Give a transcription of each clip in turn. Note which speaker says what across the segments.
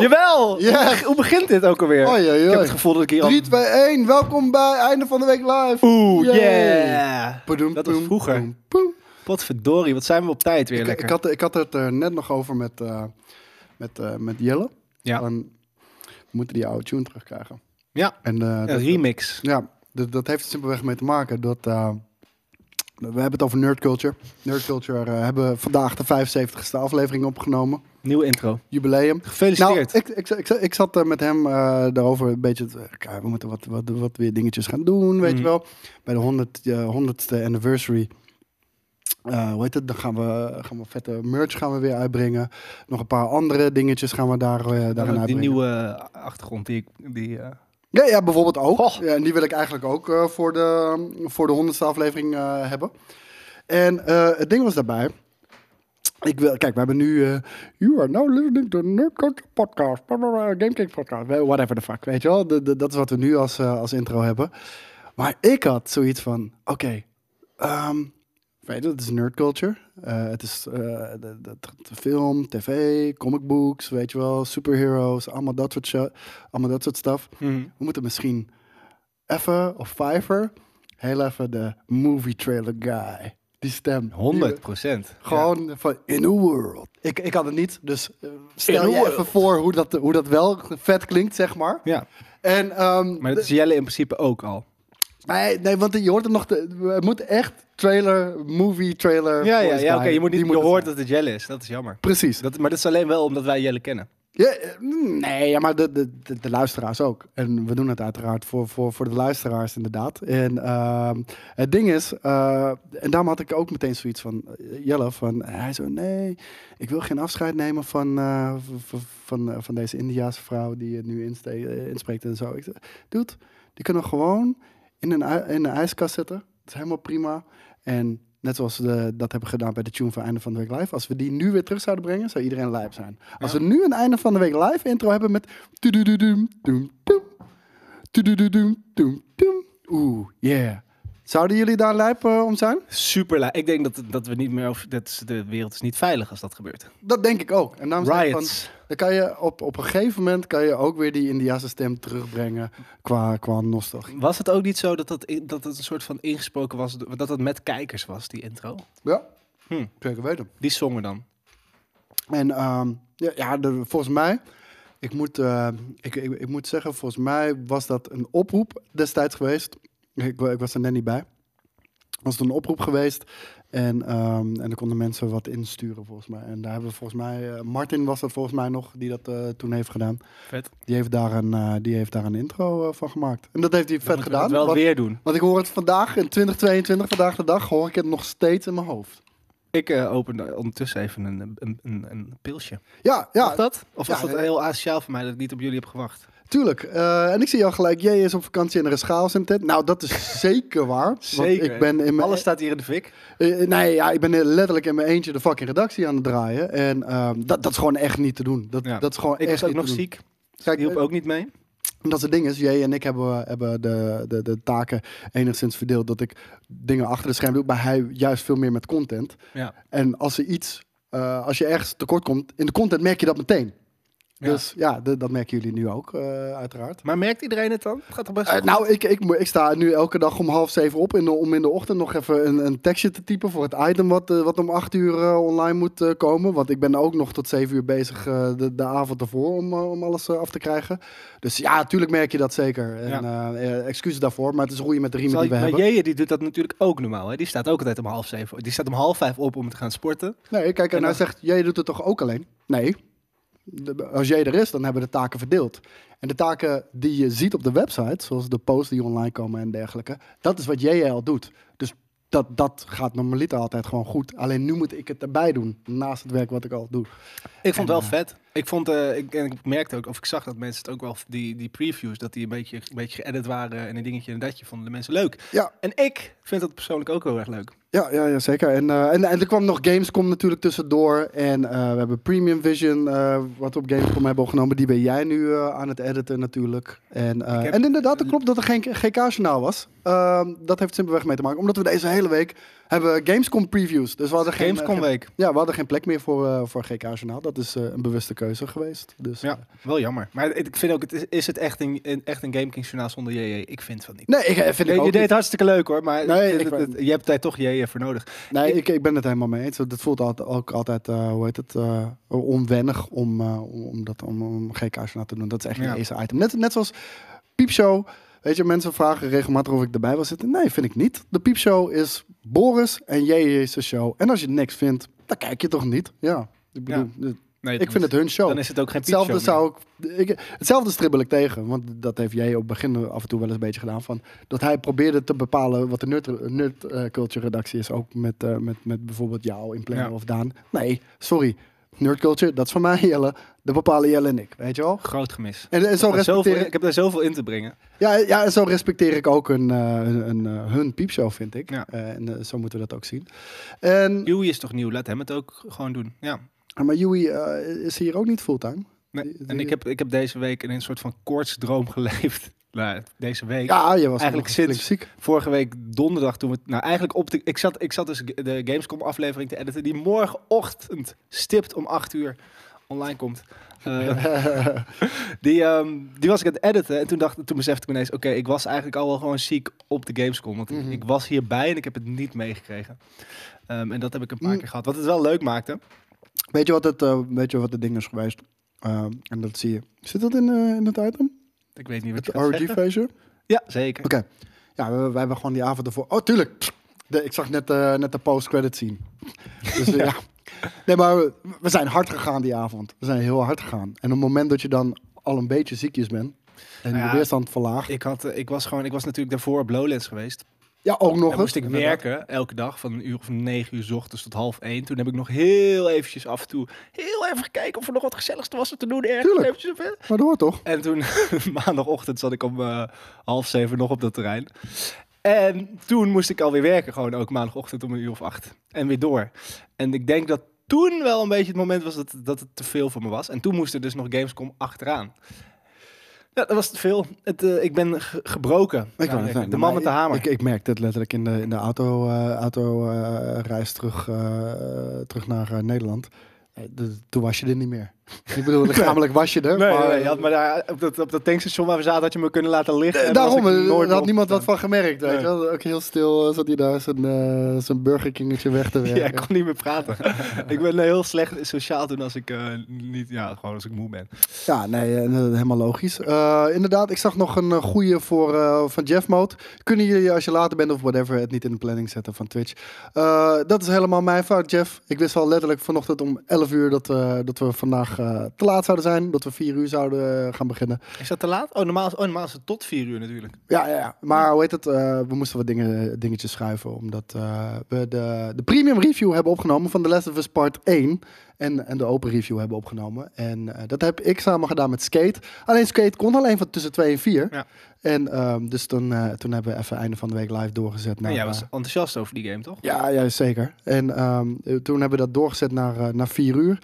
Speaker 1: Jawel!
Speaker 2: Ja.
Speaker 1: Hoe begint dit ook alweer?
Speaker 2: Oei, oei, oei.
Speaker 1: Ik heb het gevoel dat ik hier al...
Speaker 2: 3, 2, 1. Welkom bij Einde van de Week Live.
Speaker 1: Oeh,
Speaker 2: Yay.
Speaker 1: yeah!
Speaker 2: Padoem,
Speaker 1: Dat was
Speaker 2: poem,
Speaker 1: vroeger.
Speaker 2: poem, poem.
Speaker 1: Potverdorie, wat zijn we op tijd weer
Speaker 2: Ik,
Speaker 1: lekker.
Speaker 2: ik, had, ik had het er net nog over met, eh, met, eh, met Jelle.
Speaker 1: Ja.
Speaker 2: Van, we moeten die oude tune terugkrijgen.
Speaker 1: Ja,
Speaker 2: En, eh, dat-
Speaker 1: een remix.
Speaker 2: Ja, dat, dat heeft er simpelweg mee te maken dat... eh, we hebben het over nerd culture. Nerd culture eh, hebben vandaag de 75ste aflevering opgenomen.
Speaker 1: Nieuwe intro.
Speaker 2: Jubileum. Nou,
Speaker 1: Gefeliciteerd.
Speaker 2: ik, ik, ik, ik, ik zat eh, met hem eh, daarover een beetje... te- Kijk, we moeten wat, wat, wat weer dingetjes gaan doen, weet
Speaker 1: Mhm.
Speaker 2: je wel. Bij de 100, eh, 100ste anniversary... eh, hoe heet het? Dan gaan we, gaan we vette merch gaan we weer uitbrengen. Nog een paar andere dingetjes gaan we daar, eh daarin
Speaker 1: Dan ook
Speaker 2: uitbrengen.
Speaker 1: die nieuwe eh, achtergrond die ik... Die, eh,
Speaker 2: Ja, ja, bijvoorbeeld ook.
Speaker 1: Goh.
Speaker 2: Ja, en die wil ik eigenlijk ook eh, voor de voor de honderdste aflevering eh, hebben. En eh, het ding was daarbij. Ik wil, kijk, we hebben nu. eh, you are now listening to Nerd Culture Podcast. blah, blah, blah, Game King Podcast. eh, Whatever the fuck. Weet je wel? De- de- dat is wat we nu als, eh, als intro hebben. Maar ik had zoiets van: oké. ehm, weet je, het is nerd culture. Eh, het is eh, de- de- de film, tv, comic books, weet je wel, superheroes, allemaal dat soort, shit, allemaal dat soort stuff we moeten misschien even of Fiverr heel even de movie trailer guy. Die stem.
Speaker 1: 100
Speaker 2: Die we- gewoon van in the world. Ik, ik had het niet, dus eh, stel
Speaker 1: the
Speaker 2: je
Speaker 1: world.
Speaker 2: even voor hoe dat, hoe dat wel vet klinkt, zeg maar.
Speaker 1: Ja,
Speaker 2: En, ehm,
Speaker 1: maar dat is Jelle in principe ook al.
Speaker 2: nee, nee, want je hoort het nog, te- het moet echt trailer, movie trailer.
Speaker 1: Ja, ja,
Speaker 2: voice
Speaker 1: ja oké.
Speaker 2: guy,
Speaker 1: je moet niet,
Speaker 2: die
Speaker 1: je
Speaker 2: het
Speaker 1: hoort
Speaker 2: zijn.
Speaker 1: dat het Jelle is. Dat is jammer.
Speaker 2: Precies.
Speaker 1: Dat, maar dat is alleen wel omdat wij Jelle kennen.
Speaker 2: Ja, eh, nee, ja, maar de, de, de, de luisteraars ook. En we doen het uiteraard voor, voor, voor de luisteraars, inderdaad. En ehm, het ding is, eh, en daarom had ik ook meteen zoiets van eh, Jelle: van eh, hij zo, nee, ik wil geen afscheid nemen van, eh, v- v- van, eh, van deze Indiaanse vrouw die het nu inste- eh, inspreekt en zo. Ik zei, dude, die kunnen we gewoon in een, ui- in een ijskast zetten. Dat is helemaal prima. En net zoals we de- dat hebben gedaan bij de tune van Einde van de Week Live. Als we die nu weer terug zouden brengen, zou iedereen lijp zijn. Als we nu een Einde van de Week Live intro hebben met... tudududum, doem, doem, tudududum, doem, doem. Oeh, yeah. Zouden jullie daar lijp eh, om zijn?
Speaker 1: Super la- Ik denk dat, dat we niet meer over. Dat is, de wereld is niet veilig als dat gebeurt.
Speaker 2: Dat denk ik ook. En daarom zeg ik van,
Speaker 1: Riots.
Speaker 2: dan kan je op, op een gegeven moment kan je ook weer die Indiase stem terugbrengen qua, qua nostalgie.
Speaker 1: Was het ook niet zo dat dat, in- dat het een soort van ingesproken was? Dat dat met kijkers was, die intro?
Speaker 2: Ja,
Speaker 1: Hm.
Speaker 2: zeker weten.
Speaker 1: Die zongen dan.
Speaker 2: En ehm, ja, ja de- volgens mij, ik moet, eh, ik, ik, ik moet zeggen, volgens mij was dat een oproep destijds geweest. Ik, wa- ik was er net niet bij. Was het een oproep geweest en, ehm en er konden mensen wat insturen volgens mij. En daar hebben we volgens mij, eh, Martin was dat volgens mij nog, die dat eh, toen heeft gedaan.
Speaker 1: Vet.
Speaker 2: Die heeft daar een, eh, die heeft daar een intro eh, van gemaakt. En dat heeft hij vet
Speaker 1: Dat
Speaker 2: gedaan.
Speaker 1: wel
Speaker 2: want,
Speaker 1: weer doen.
Speaker 2: want ik hoor het vandaag, in 2022, vandaag de dag, hoor ik het nog steeds in mijn hoofd.
Speaker 1: Ik eh opende ondertussen even een, een, een, een pilsje.
Speaker 2: Ja,
Speaker 1: Mag
Speaker 2: ja,
Speaker 1: dat? Of was
Speaker 2: Ja,
Speaker 1: dat
Speaker 2: ja.
Speaker 1: heel asociaal van mij dat ik niet op jullie heb gewacht?
Speaker 2: Tuurlijk. Eh, en ik zie al gelijk, jij is op vakantie en er is chaos in de tent. Nou, dat is zeker waar.
Speaker 1: Zeker.
Speaker 2: Want ik ben in mijn... e-
Speaker 1: Alles staat hier in de fik.
Speaker 2: eh, nee, ja, ik ben letterlijk in mijn eentje de fucking redactie aan het draaien. En ehm, dat, dat is gewoon echt niet te doen. Dat,
Speaker 1: Ja.
Speaker 2: dat is gewoon
Speaker 1: Ik
Speaker 2: echt
Speaker 1: was ook
Speaker 2: niet
Speaker 1: nog
Speaker 2: te doen.
Speaker 1: ziek.
Speaker 2: Kijk, eh,
Speaker 1: Die hielp ook niet mee.
Speaker 2: dat is het ding is, jij en ik hebben, hebben de, de, de taken enigszins verdeeld. Dat ik dingen achter de schermen doe, maar hij juist veel meer met content.
Speaker 1: Ja.
Speaker 2: En als er iets, eh, als je ergens tekort komt, in de content merk je dat meteen.
Speaker 1: Ja.
Speaker 2: Dus ja, d- dat merken jullie nu ook, eh, uiteraard.
Speaker 1: Maar merkt iedereen het dan? Het gaat toch best
Speaker 2: Eh,
Speaker 1: goed?
Speaker 2: nou, ik, ik, mo- ik sta nu elke dag om half zeven op in de, om in de ochtend nog even een, een tekstje te typen voor het item wat, eh, wat om acht uur eh, online moet eh, komen. Want ik ben ook nog tot zeven uur bezig eh, de, de avond ervoor om, eh, om alles eh, af te krijgen. Dus ja, tuurlijk merk je dat zeker. En, eh, eh, excuses daarvoor, maar het is roeien met de riemen
Speaker 1: Zal-
Speaker 2: die we
Speaker 1: maar
Speaker 2: hebben.
Speaker 1: Jeje die doet dat natuurlijk ook normaal. Hè? Die staat ook altijd om half zeven. Die staat om half vijf op om te gaan sporten.
Speaker 2: Nee, kijk, en,
Speaker 1: En
Speaker 2: hij
Speaker 1: dan-
Speaker 2: zegt, jij doet het toch ook alleen? Nee. De- als jij er is, dan hebben we de taken verdeeld. En de taken die je ziet op de website, zoals de posts die online komen en dergelijke, dat is wat jij al doet. Dus dat, dat gaat normaliter altijd gewoon goed. Alleen nu moet ik het erbij doen, naast het werk wat ik al doe.
Speaker 1: Ik vond het
Speaker 2: En,
Speaker 1: wel vet. Ik vond, eh, ik, en ik merkte ook, of ik zag dat mensen het ook wel, die, die previews, dat die een beetje, een beetje geëdit waren en een dingetje en datje, vonden de mensen leuk.
Speaker 2: Ja.
Speaker 1: En ik vind dat persoonlijk ook heel erg leuk.
Speaker 2: Ja, ja, ja zeker. En, eh, en, en er kwam nog Gamescom natuurlijk tussendoor. En eh, we hebben Premium Vision, eh, wat we op Gamescom hebben opgenomen. Die ben jij nu eh, aan het editen natuurlijk. En, eh,
Speaker 1: Ik heb-
Speaker 2: en inderdaad, het klopt dat er geen GK-journaal was. Ehm, dat heeft simpelweg mee te maken. Omdat we deze hele week hebben Gamescom previews. Dus we hadden geen,
Speaker 1: Gamescom
Speaker 2: geen-
Speaker 1: week.
Speaker 2: ja, we hadden geen plek meer voor, eh, voor GK-journaal. Dat is eh, een bewuste keuze geweest. Dus,
Speaker 1: Ja, wel jammer. Maar het- ik vind ook, het is, is het echt een, een- echt een Game Kings journaal zonder JJ? Ik vind van niet.
Speaker 2: Nee, ik, eh, vind ik
Speaker 1: Nee, je
Speaker 2: ook
Speaker 1: deed
Speaker 2: niet.
Speaker 1: het hartstikke leuk hoor, maar
Speaker 2: Nee,
Speaker 1: het-
Speaker 2: ik
Speaker 1: het-
Speaker 2: ben-
Speaker 1: het- je hebt daar toch JJ voor nodig.
Speaker 2: Nee,
Speaker 1: Ik-
Speaker 2: ik, ik ben het helemaal mee eens. Dat voelt altijd, ook altijd, eh, hoe heet het, eh, onwennig om, eh, om, om, dat, om, om GK-journaal te doen. Dat is echt
Speaker 1: Ja.
Speaker 2: een eerste item. Net, net zoals Piepshow. Weet je, mensen vragen regelmatig of ik erbij wil zitten. Nee, vind ik niet. De Piepshow is Boris en JJ is de show. En als je niks vindt, dan kijk je toch niet? Ja, ik bedoel,
Speaker 1: Nee,
Speaker 2: ik vind het hun show.
Speaker 1: Dan is het ook geen
Speaker 2: Hetzelfde,
Speaker 1: piepshow meer.
Speaker 2: zou ik, ik- hetzelfde stribbel ik tegen. Want dat heeft jij op het begin af en toe wel eens een beetje gedaan. Van, dat hij probeerde te bepalen wat de nerd, nerd eh, culture redactie is. Ook met, eh, met, met bijvoorbeeld jou in Plano
Speaker 1: Ja.
Speaker 2: of Daan. Nee, sorry. Nerd culture, dat is van mij Jelle. Dat bepalen Jelle en ik, weet je wel?
Speaker 1: Groot gemis.
Speaker 2: En, en zo
Speaker 1: Maar zoveel-
Speaker 2: respecteer
Speaker 1: ik
Speaker 2: ik,
Speaker 1: heb daar zoveel in te brengen.
Speaker 2: ja, ja, en zo respecteer ik ook een, eh, een, een, eh, hun piepshow, vind ik.
Speaker 1: Ja.
Speaker 2: Eh, en eh, zo moeten we dat ook zien. En,
Speaker 1: Huey is toch nieuw, laat hem het ook gewoon doen. Ja.
Speaker 2: maar Joey eh, is hier ook niet fulltime.
Speaker 1: Nee,
Speaker 2: Die- die-
Speaker 1: En ik heb, ik heb deze week in een soort van koortsdroom geleefd. Nou, deze week.
Speaker 2: Ja, je was
Speaker 1: eigenlijk
Speaker 2: nog
Speaker 1: sinds-
Speaker 2: ziek.
Speaker 1: Vorige week donderdag toen we... het- Nou, eigenlijk op de... Ik zat, ik zat dus de Gamescom aflevering te editen... die morgenochtend stipt om 8 uur online komt. Eh, Die, ehm, die was ik aan het editen en toen, dacht, toen besefte ik me ineens... oké, ik was eigenlijk al wel gewoon ziek op de Gamescom. Want ik-
Speaker 2: Mhm.
Speaker 1: ik, was hierbij en ik heb het niet meegekregen. Ehm, en dat heb ik een paar
Speaker 2: Mm.
Speaker 1: keer gehad. Wat het wel leuk maakte.
Speaker 2: Weet je wat het, eh, weet je wat het ding is geweest? Ehm, en dat zie je. Zit dat in, eh, in het item?
Speaker 1: Ik weet niet wat
Speaker 2: Het
Speaker 1: je gaat
Speaker 2: RG
Speaker 1: zeggen.
Speaker 2: feestje?
Speaker 1: Ja, zeker.
Speaker 2: Oké. Ja, we, we hebben gewoon die avond ervoor. Oh, tuurlijk. De, ik zag net, eh, net de post-credit scene. Dus eh, ja. Nee, maar we, we zijn hard gegaan die avond. We zijn heel hard gegaan. En op het moment dat je dan al een beetje ziekjes bent en
Speaker 1: Ja.
Speaker 2: de weerstand verlaagt.
Speaker 1: Ik, had, eh, ik, was gewoon, ik was natuurlijk daarvoor op Lowlands geweest.
Speaker 2: Ja, ook nog
Speaker 1: Dan
Speaker 2: eens.
Speaker 1: moest ik
Speaker 2: inderdaad.
Speaker 1: werken elke dag van een uur of negen uur 's ochtends tot half één. Toen heb ik nog heel eventjes af en toe heel even gekeken of er nog wat gezelligs was er te doen. Ergens
Speaker 2: Tuurlijk.
Speaker 1: eventjes op, hè?
Speaker 2: Maar door toch?
Speaker 1: En toen maandagochtend zat ik om eh, half zeven nog op dat terrein. En toen moest ik alweer werken, gewoon ook maandagochtend om een uur of acht. En weer door. En ik denk dat toen wel een beetje het moment was dat, dat het te veel voor me was. En toen moest er dus nog Gamescom achteraan. Ja, dat was te veel. Het, eh, ik ben ge- gebroken.
Speaker 2: Ik
Speaker 1: Nou,
Speaker 2: wou net zeggen,
Speaker 1: de man
Speaker 2: maar
Speaker 1: met de hamer.
Speaker 2: Ik, ik merkte het letterlijk in de, in de auto, eh, auto eh, reis terug, eh, terug naar eh, Nederland. Eh, de- toen was je er niet meer. ik bedoel, lichamelijk was je er.
Speaker 1: Nee,
Speaker 2: maar,
Speaker 1: nee, je had me daar op dat, op dat tankstation waar we zaten, had je me kunnen laten liggen.
Speaker 2: Eh,
Speaker 1: en dan was
Speaker 2: daarom,
Speaker 1: ik
Speaker 2: eh,
Speaker 1: nooit
Speaker 2: daar
Speaker 1: meer
Speaker 2: had niemand wat
Speaker 1: opgestaan.
Speaker 2: van gemerkt. Weet je
Speaker 1: Nee.
Speaker 2: wel. Ook heel stil eh, zat hij daar zijn, eh, zijn burgerkingetje weg te
Speaker 1: Ja, ik
Speaker 2: werken.
Speaker 1: kon niet meer praten. ik ben eh, heel slecht sociaal toen als ik eh, niet, ja, gewoon als ik moe ben.
Speaker 2: Ja, nee, eh, helemaal logisch. Eh, inderdaad, ik zag nog een eh, goeie voor, eh, van Jeff Mode. Kunnen jullie, als je later bent of whatever, het niet in de planning zetten van Twitch? Eh, dat is helemaal mijn fout, Jeff. Ik wist al letterlijk vanochtend om 11 uur dat, eh, dat we vandaag eh, te laat zouden zijn. Dat we 4 uur zouden eh, gaan beginnen.
Speaker 1: Is dat te laat? Oh, normaal is, oh, normaal is het tot vier uur natuurlijk.
Speaker 2: Ja, ja, ja. maar hoe heet het? eh, we moesten wat dingen, dingetjes schuiven. Omdat eh, we de, de premium review hebben opgenomen van The Last of Us Part 1. En, en de open review hebben opgenomen. En eh, dat heb ik samen gedaan met Skate. Alleen Skate kon alleen van tussen 2 en 4.
Speaker 1: Ja.
Speaker 2: En ehm, dus toen, eh, toen hebben we even einde van de week live doorgezet.
Speaker 1: En
Speaker 2: Naar,
Speaker 1: jij
Speaker 2: eh,
Speaker 1: was enthousiast over die game, toch?
Speaker 2: ja, ja, zeker. En ehm, eh, toen hebben we dat doorgezet naar, eh, naar 4 uur.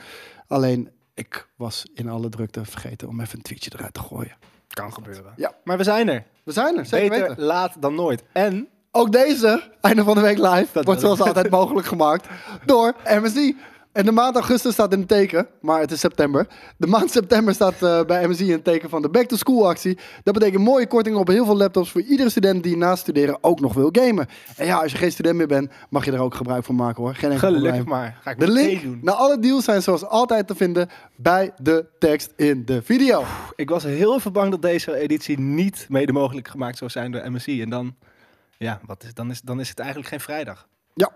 Speaker 2: Alleen ik was in alle drukte vergeten om even een tweetje eruit te gooien.
Speaker 1: Kan gebeuren.
Speaker 2: Ja.
Speaker 1: Maar we zijn er.
Speaker 2: We zijn er, zeker
Speaker 1: Beter
Speaker 2: weten.
Speaker 1: laat dan nooit. En
Speaker 2: Ook deze, einde van de week live,
Speaker 1: Dat
Speaker 2: wordt
Speaker 1: wel.
Speaker 2: zoals altijd mogelijk gemaakt door MSI. En de maand augustus staat in het teken, maar het is september. De maand september staat eh, bij MSI in het teken van de back-to-school actie. Dat betekent mooie kortingen op heel veel laptops voor iedere student die naast studeren ook nog wil gamen. En ja, als je geen student meer bent, mag je er ook gebruik van maken hoor. Geen enkel
Speaker 1: gelukkig
Speaker 2: probleem.
Speaker 1: maar. Ga ik
Speaker 2: De
Speaker 1: meteen
Speaker 2: link
Speaker 1: doen.
Speaker 2: naar alle deals zijn zoals altijd te vinden bij de tekst in de video.
Speaker 1: Ik was heel even bang dat deze editie niet mede mogelijk gemaakt zou zijn door MSI. En dan, ja, wat is, dan, is, dan is het eigenlijk geen vrijdag.
Speaker 2: Ja.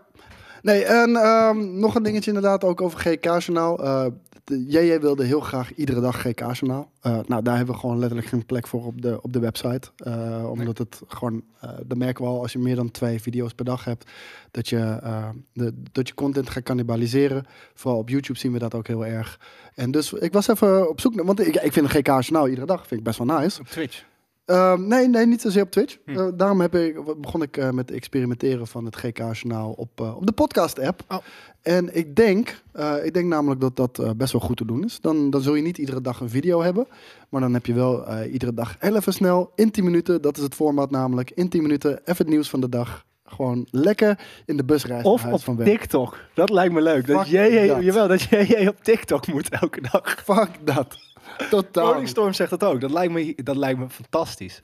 Speaker 2: Nee, en ehm, nog een dingetje inderdaad ook over GK-journaal. Eh, de JJ wilde heel graag iedere dag GK-journaal. Eh, nou, daar hebben we gewoon letterlijk geen plek voor op de, op de website. Eh, omdat het gewoon, eh dat merken we al, als je meer dan twee video's per dag hebt, dat je, eh, de, dat je content gaat cannibaliseren. Vooral op YouTube zien we dat ook heel erg. En dus ik was even op zoek naar, want ik, ik vind een GK-journaal iedere dag, vind ik best wel nice.
Speaker 1: Op Twitch.
Speaker 2: Ehm, nee, nee, niet zozeer op Twitch.
Speaker 1: Hm.
Speaker 2: Eh, daarom heb ik, begon ik eh, met experimenteren van het GK-journaal op, eh, op de podcast-app.
Speaker 1: Oh.
Speaker 2: En ik denk, eh, ik denk namelijk dat dat eh, best wel goed te doen is. Dan, dan zul je niet iedere dag een video hebben. Maar dan heb je wel eh, iedere dag heel even snel, in 10 minuten. Dat is het format namelijk. In 10 minuten, even het nieuws van de dag. Gewoon lekker in de bus rijden. naar
Speaker 1: Of
Speaker 2: huis
Speaker 1: op
Speaker 2: werk.
Speaker 1: TikTok. Dat lijkt me leuk. Dat
Speaker 2: Fuck
Speaker 1: jij,
Speaker 2: dat.
Speaker 1: Jawel, dat jij op TikTok moet elke dag.
Speaker 2: Fuck dat. Totaal.
Speaker 1: Rolling Storm zegt dat ook. Dat lijkt me, dat lijkt me fantastisch.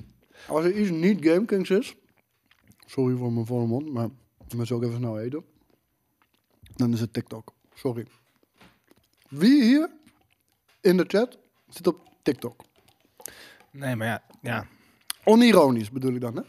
Speaker 2: Als er iets niet Game Kings is, sorry voor mijn volle mond, maar ik moet ze ook even snel eten. Dan is het TikTok. Sorry. Wie hier in de chat zit op TikTok?
Speaker 1: Nee, maar ja. ja.
Speaker 2: Onironisch bedoel ik dan, hè?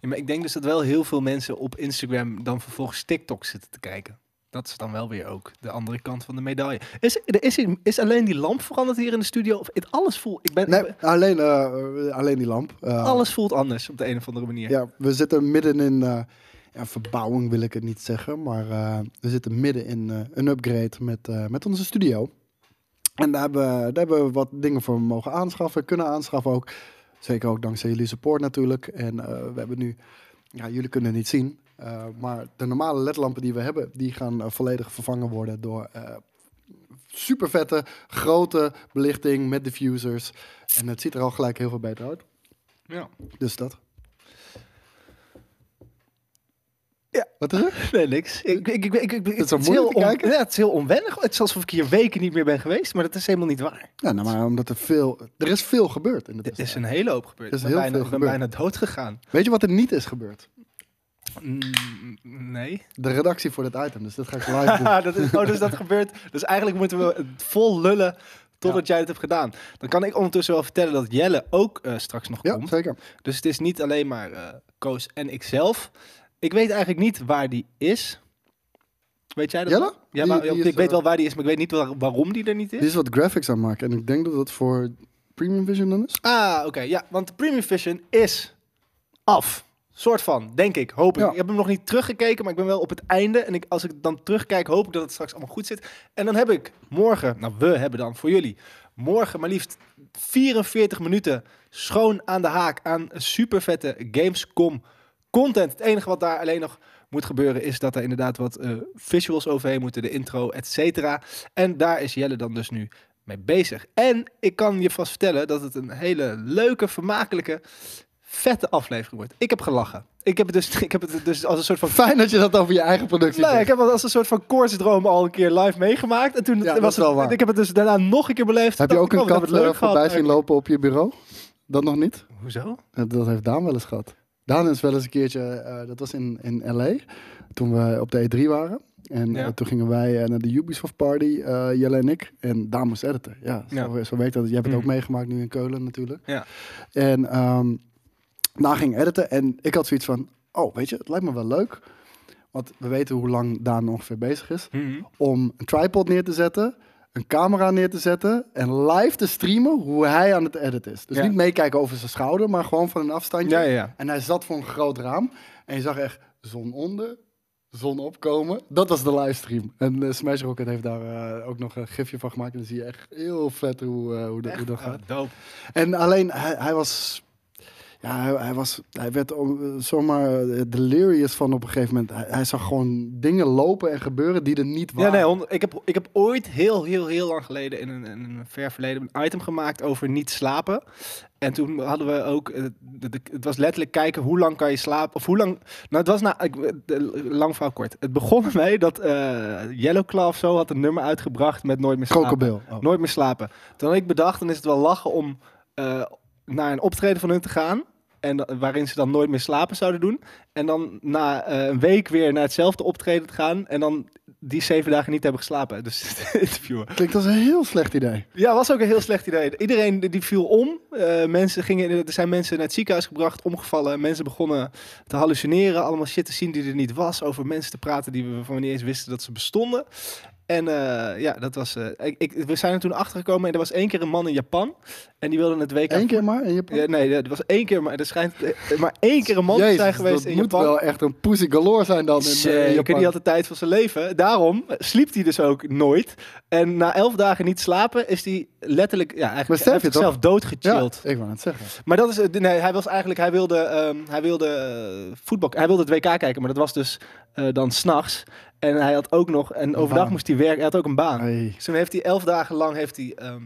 Speaker 1: Ja, maar ik denk dus dat wel heel veel mensen op Instagram dan vervolgens TikTok zitten te kijken. Dat is dan wel weer ook de andere kant van de medaille. Is, er is, hier- is alleen die lamp veranderd hier in de studio? Of het, alles voelt... Ik ben, ik
Speaker 2: Nee,
Speaker 1: ben-
Speaker 2: alleen, eh, alleen die lamp. Eh,
Speaker 1: alles voelt anders op de een of andere manier.
Speaker 2: Ja, we zitten midden in... eh, ja, verbouwing wil ik het niet zeggen, maar eh, we zitten midden in eh, een upgrade met, eh, met onze studio. En daar hebben, daar hebben we wat dingen voor mogen aanschaffen, kunnen aanschaffen ook. Zeker ook dankzij jullie support natuurlijk. En eh, we hebben nu, ja, jullie kunnen het niet zien, eh, maar de normale ledlampen die we hebben, die gaan eh, volledig vervangen worden door super vette, grote belichting met diffusers. En het ziet er al gelijk heel veel beter uit.
Speaker 1: Ja.
Speaker 2: Dus dat.
Speaker 1: Ja.
Speaker 2: Wat is er?
Speaker 1: Nee, niks. Ik, ik, ik, ik, ik-
Speaker 2: is wel
Speaker 1: heel
Speaker 2: moeilijk te kijken.
Speaker 1: ja, het is heel onwennig. Het is alsof ik hier weken niet meer ben geweest, maar dat is helemaal niet waar.
Speaker 2: Ja, nou, maar omdat er veel... Er is veel gebeurd in de
Speaker 1: Er is
Speaker 2: tussentijd.
Speaker 1: een hele hoop gebeurd.
Speaker 2: Er
Speaker 1: Ik
Speaker 2: is
Speaker 1: ben,
Speaker 2: heel
Speaker 1: bijna,
Speaker 2: veel
Speaker 1: ik ben
Speaker 2: gebeurd.
Speaker 1: bijna dood gegaan.
Speaker 2: Weet je wat er niet is gebeurd?
Speaker 1: Mm, nee.
Speaker 2: De redactie voor dit item. Dus dat ga ik live doen.
Speaker 1: dat is, oh, dus dat gebeurt. Dus eigenlijk moeten we het vol lullen totdat jij het hebt gedaan. Dan kan ik ondertussen wel vertellen dat Jelle ook eh, straks nog
Speaker 2: Ja,
Speaker 1: komt.
Speaker 2: zeker.
Speaker 1: Dus het is niet alleen maar eh, Koos en ikzelf. Ik weet eigenlijk niet waar die is. Weet jij dat?
Speaker 2: Jelle?
Speaker 1: wel? Ja,
Speaker 2: Die-
Speaker 1: maar,
Speaker 2: die
Speaker 1: ik
Speaker 2: is,
Speaker 1: weet
Speaker 2: eh,
Speaker 1: wel waar die is, maar ik weet niet waar- waarom die er niet is.
Speaker 2: Die is wat graphics aan het maken. En ik denk dat dat voor Premium Vision dan is.
Speaker 1: Ah, oké. ja, want de Premium Vision is af. Soort van, denk ik, hoop ik.
Speaker 2: Ja.
Speaker 1: Ik heb hem nog niet teruggekeken, maar ik ben wel op het einde. En ik, als ik dan terugkijk, hoop ik dat het straks allemaal goed zit. En dan heb ik morgen, nou we hebben dan voor jullie, morgen maar liefst 44 minuten schoon aan de haak aan super vette Gamescom content. Het enige wat daar alleen nog moet gebeuren is dat er inderdaad wat eh, visuals overheen moeten, de intro, et cetera. En daar is Jelle dan dus nu mee bezig. En ik kan je vast vertellen dat het een hele leuke, vermakelijke, vette aflevering wordt. Ik heb gelachen. Ik heb het dus, ik heb het dus als een soort van...
Speaker 2: Fijn dat je dat over je eigen productie
Speaker 1: Nou, ja,
Speaker 2: zegt.
Speaker 1: ik heb het als een soort van koortsdroom al een keer live meegemaakt. En toen
Speaker 2: Ja, dat
Speaker 1: was
Speaker 2: is wel
Speaker 1: het,
Speaker 2: waar.
Speaker 1: Ik heb het dus daarna nog een keer beleefd.
Speaker 2: Heb je
Speaker 1: Dacht
Speaker 2: ook
Speaker 1: ik,
Speaker 2: een
Speaker 1: oh, we
Speaker 2: kat
Speaker 1: hebben het
Speaker 2: eh,
Speaker 1: leuk gehad
Speaker 2: voorbij zien
Speaker 1: eigenlijk.
Speaker 2: lopen op je bureau? Dat nog niet?
Speaker 1: Hoezo?
Speaker 2: Eh, Dat heeft Daan wel eens gehad. Daan is wel eens een keertje, eh, dat was in, in LA, toen we op de E3 waren. En
Speaker 1: Ja.
Speaker 2: eh, toen gingen wij eh, naar de Ubisoft party, eh, Jelle en ik. En Daan moest editen. Ja, zo,
Speaker 1: Ja.
Speaker 2: zo werkt dat. Jij hebt het
Speaker 1: Mhm.
Speaker 2: ook meegemaakt nu in Keulen natuurlijk.
Speaker 1: Ja.
Speaker 2: En ehm Daan ging editen en ik had zoiets van, oh weet je, het lijkt me wel leuk. Want we weten hoe lang Daan ongeveer bezig is
Speaker 1: Mhm.
Speaker 2: om een tripod neer te zetten, een camera neer te zetten en live te streamen hoe hij aan het editen is. Dus
Speaker 1: Ja.
Speaker 2: niet meekijken over zijn schouder, maar gewoon van een afstandje.
Speaker 1: Ja, ja, ja.
Speaker 2: En hij zat voor een groot raam en je zag echt zon onder, zon opkomen. Dat was de livestream. En eh, Smash Rocket heeft daar eh, ook nog een gifje van gemaakt en dan zie je echt heel vet hoe, eh, hoe, dat- hoe dat gaat.
Speaker 1: Ah, dope.
Speaker 2: En alleen, hij, hij was... Ja, hij, hij was, hij werd om- zomaar eh, delirious van op een gegeven moment. Hij, hij zag gewoon dingen lopen en gebeuren die er niet
Speaker 1: Ja,
Speaker 2: waren.
Speaker 1: nee, hond- ik, heb, ik heb ooit heel, heel, heel lang geleden in een, in een ver verleden een item gemaakt over niet slapen. En toen hadden we ook, eh, de- de- het was letterlijk kijken hoe lang kan je slapen. Of hoe lang, nou het was na, ik, de- lang verhaal kort. Het begon ermee dat eh Yellow Claw of zo had een nummer uitgebracht met Nooit meer slapen.
Speaker 2: Krokodil. Oh.
Speaker 1: Nooit meer slapen. Toen had ik bedacht, dan is het wel lachen om eh, naar een optreden van hun te gaan. En da- waarin ze dan nooit meer slapen zouden doen. En dan na eh, een week weer naar hetzelfde optreden te gaan. En dan die zeven dagen niet hebben geslapen. Dus te interviewen.
Speaker 2: Klinkt als een heel slecht idee.
Speaker 1: Ja, was ook een heel slecht idee. Iedereen die- die viel om. Eh, mensen gingen, er zijn mensen naar het ziekenhuis gebracht, omgevallen. Mensen begonnen te hallucineren. Allemaal shit te zien die er niet was. Over mensen te praten die we van niet eens wisten dat ze bestonden. En eh, ja, dat was. eh, ik, ik- we zijn er toen achter gekomen en er was één keer een man in Japan. En die wilde het WK.
Speaker 2: Eén keer maar in Japan?
Speaker 1: Ja, nee, er was één keer, maar er schijnt eh, maar één keer een man te
Speaker 2: Jezus,
Speaker 1: zijn geweest
Speaker 2: dat
Speaker 1: in
Speaker 2: moet
Speaker 1: Japan.
Speaker 2: wel echt een pussy galore zijn dan in, eh, in
Speaker 1: Zeker,
Speaker 2: Japan.
Speaker 1: die had de tijd van zijn leven. Daarom sliep hij dus ook nooit. En na elf dagen niet slapen is hij letterlijk, ja,
Speaker 2: Maar
Speaker 1: eigenlijk
Speaker 2: sterf
Speaker 1: heeft
Speaker 2: je toch?
Speaker 1: zichzelf doodgechilled.
Speaker 2: Ja, ik wou het zeggen.
Speaker 1: Maar dat is, het- nee, hij was eigenlijk, hij wilde, ehm, hij wilde eh, voetbal, hij wilde het WK kijken, maar dat was dus eh, dan s'nachts. En hij had ook nog, en overdag
Speaker 2: baan.
Speaker 1: moest hij werken, hij had ook een baan.
Speaker 2: Hey.
Speaker 1: Dus toen heeft hij elf dagen lang heeft hij, ehm,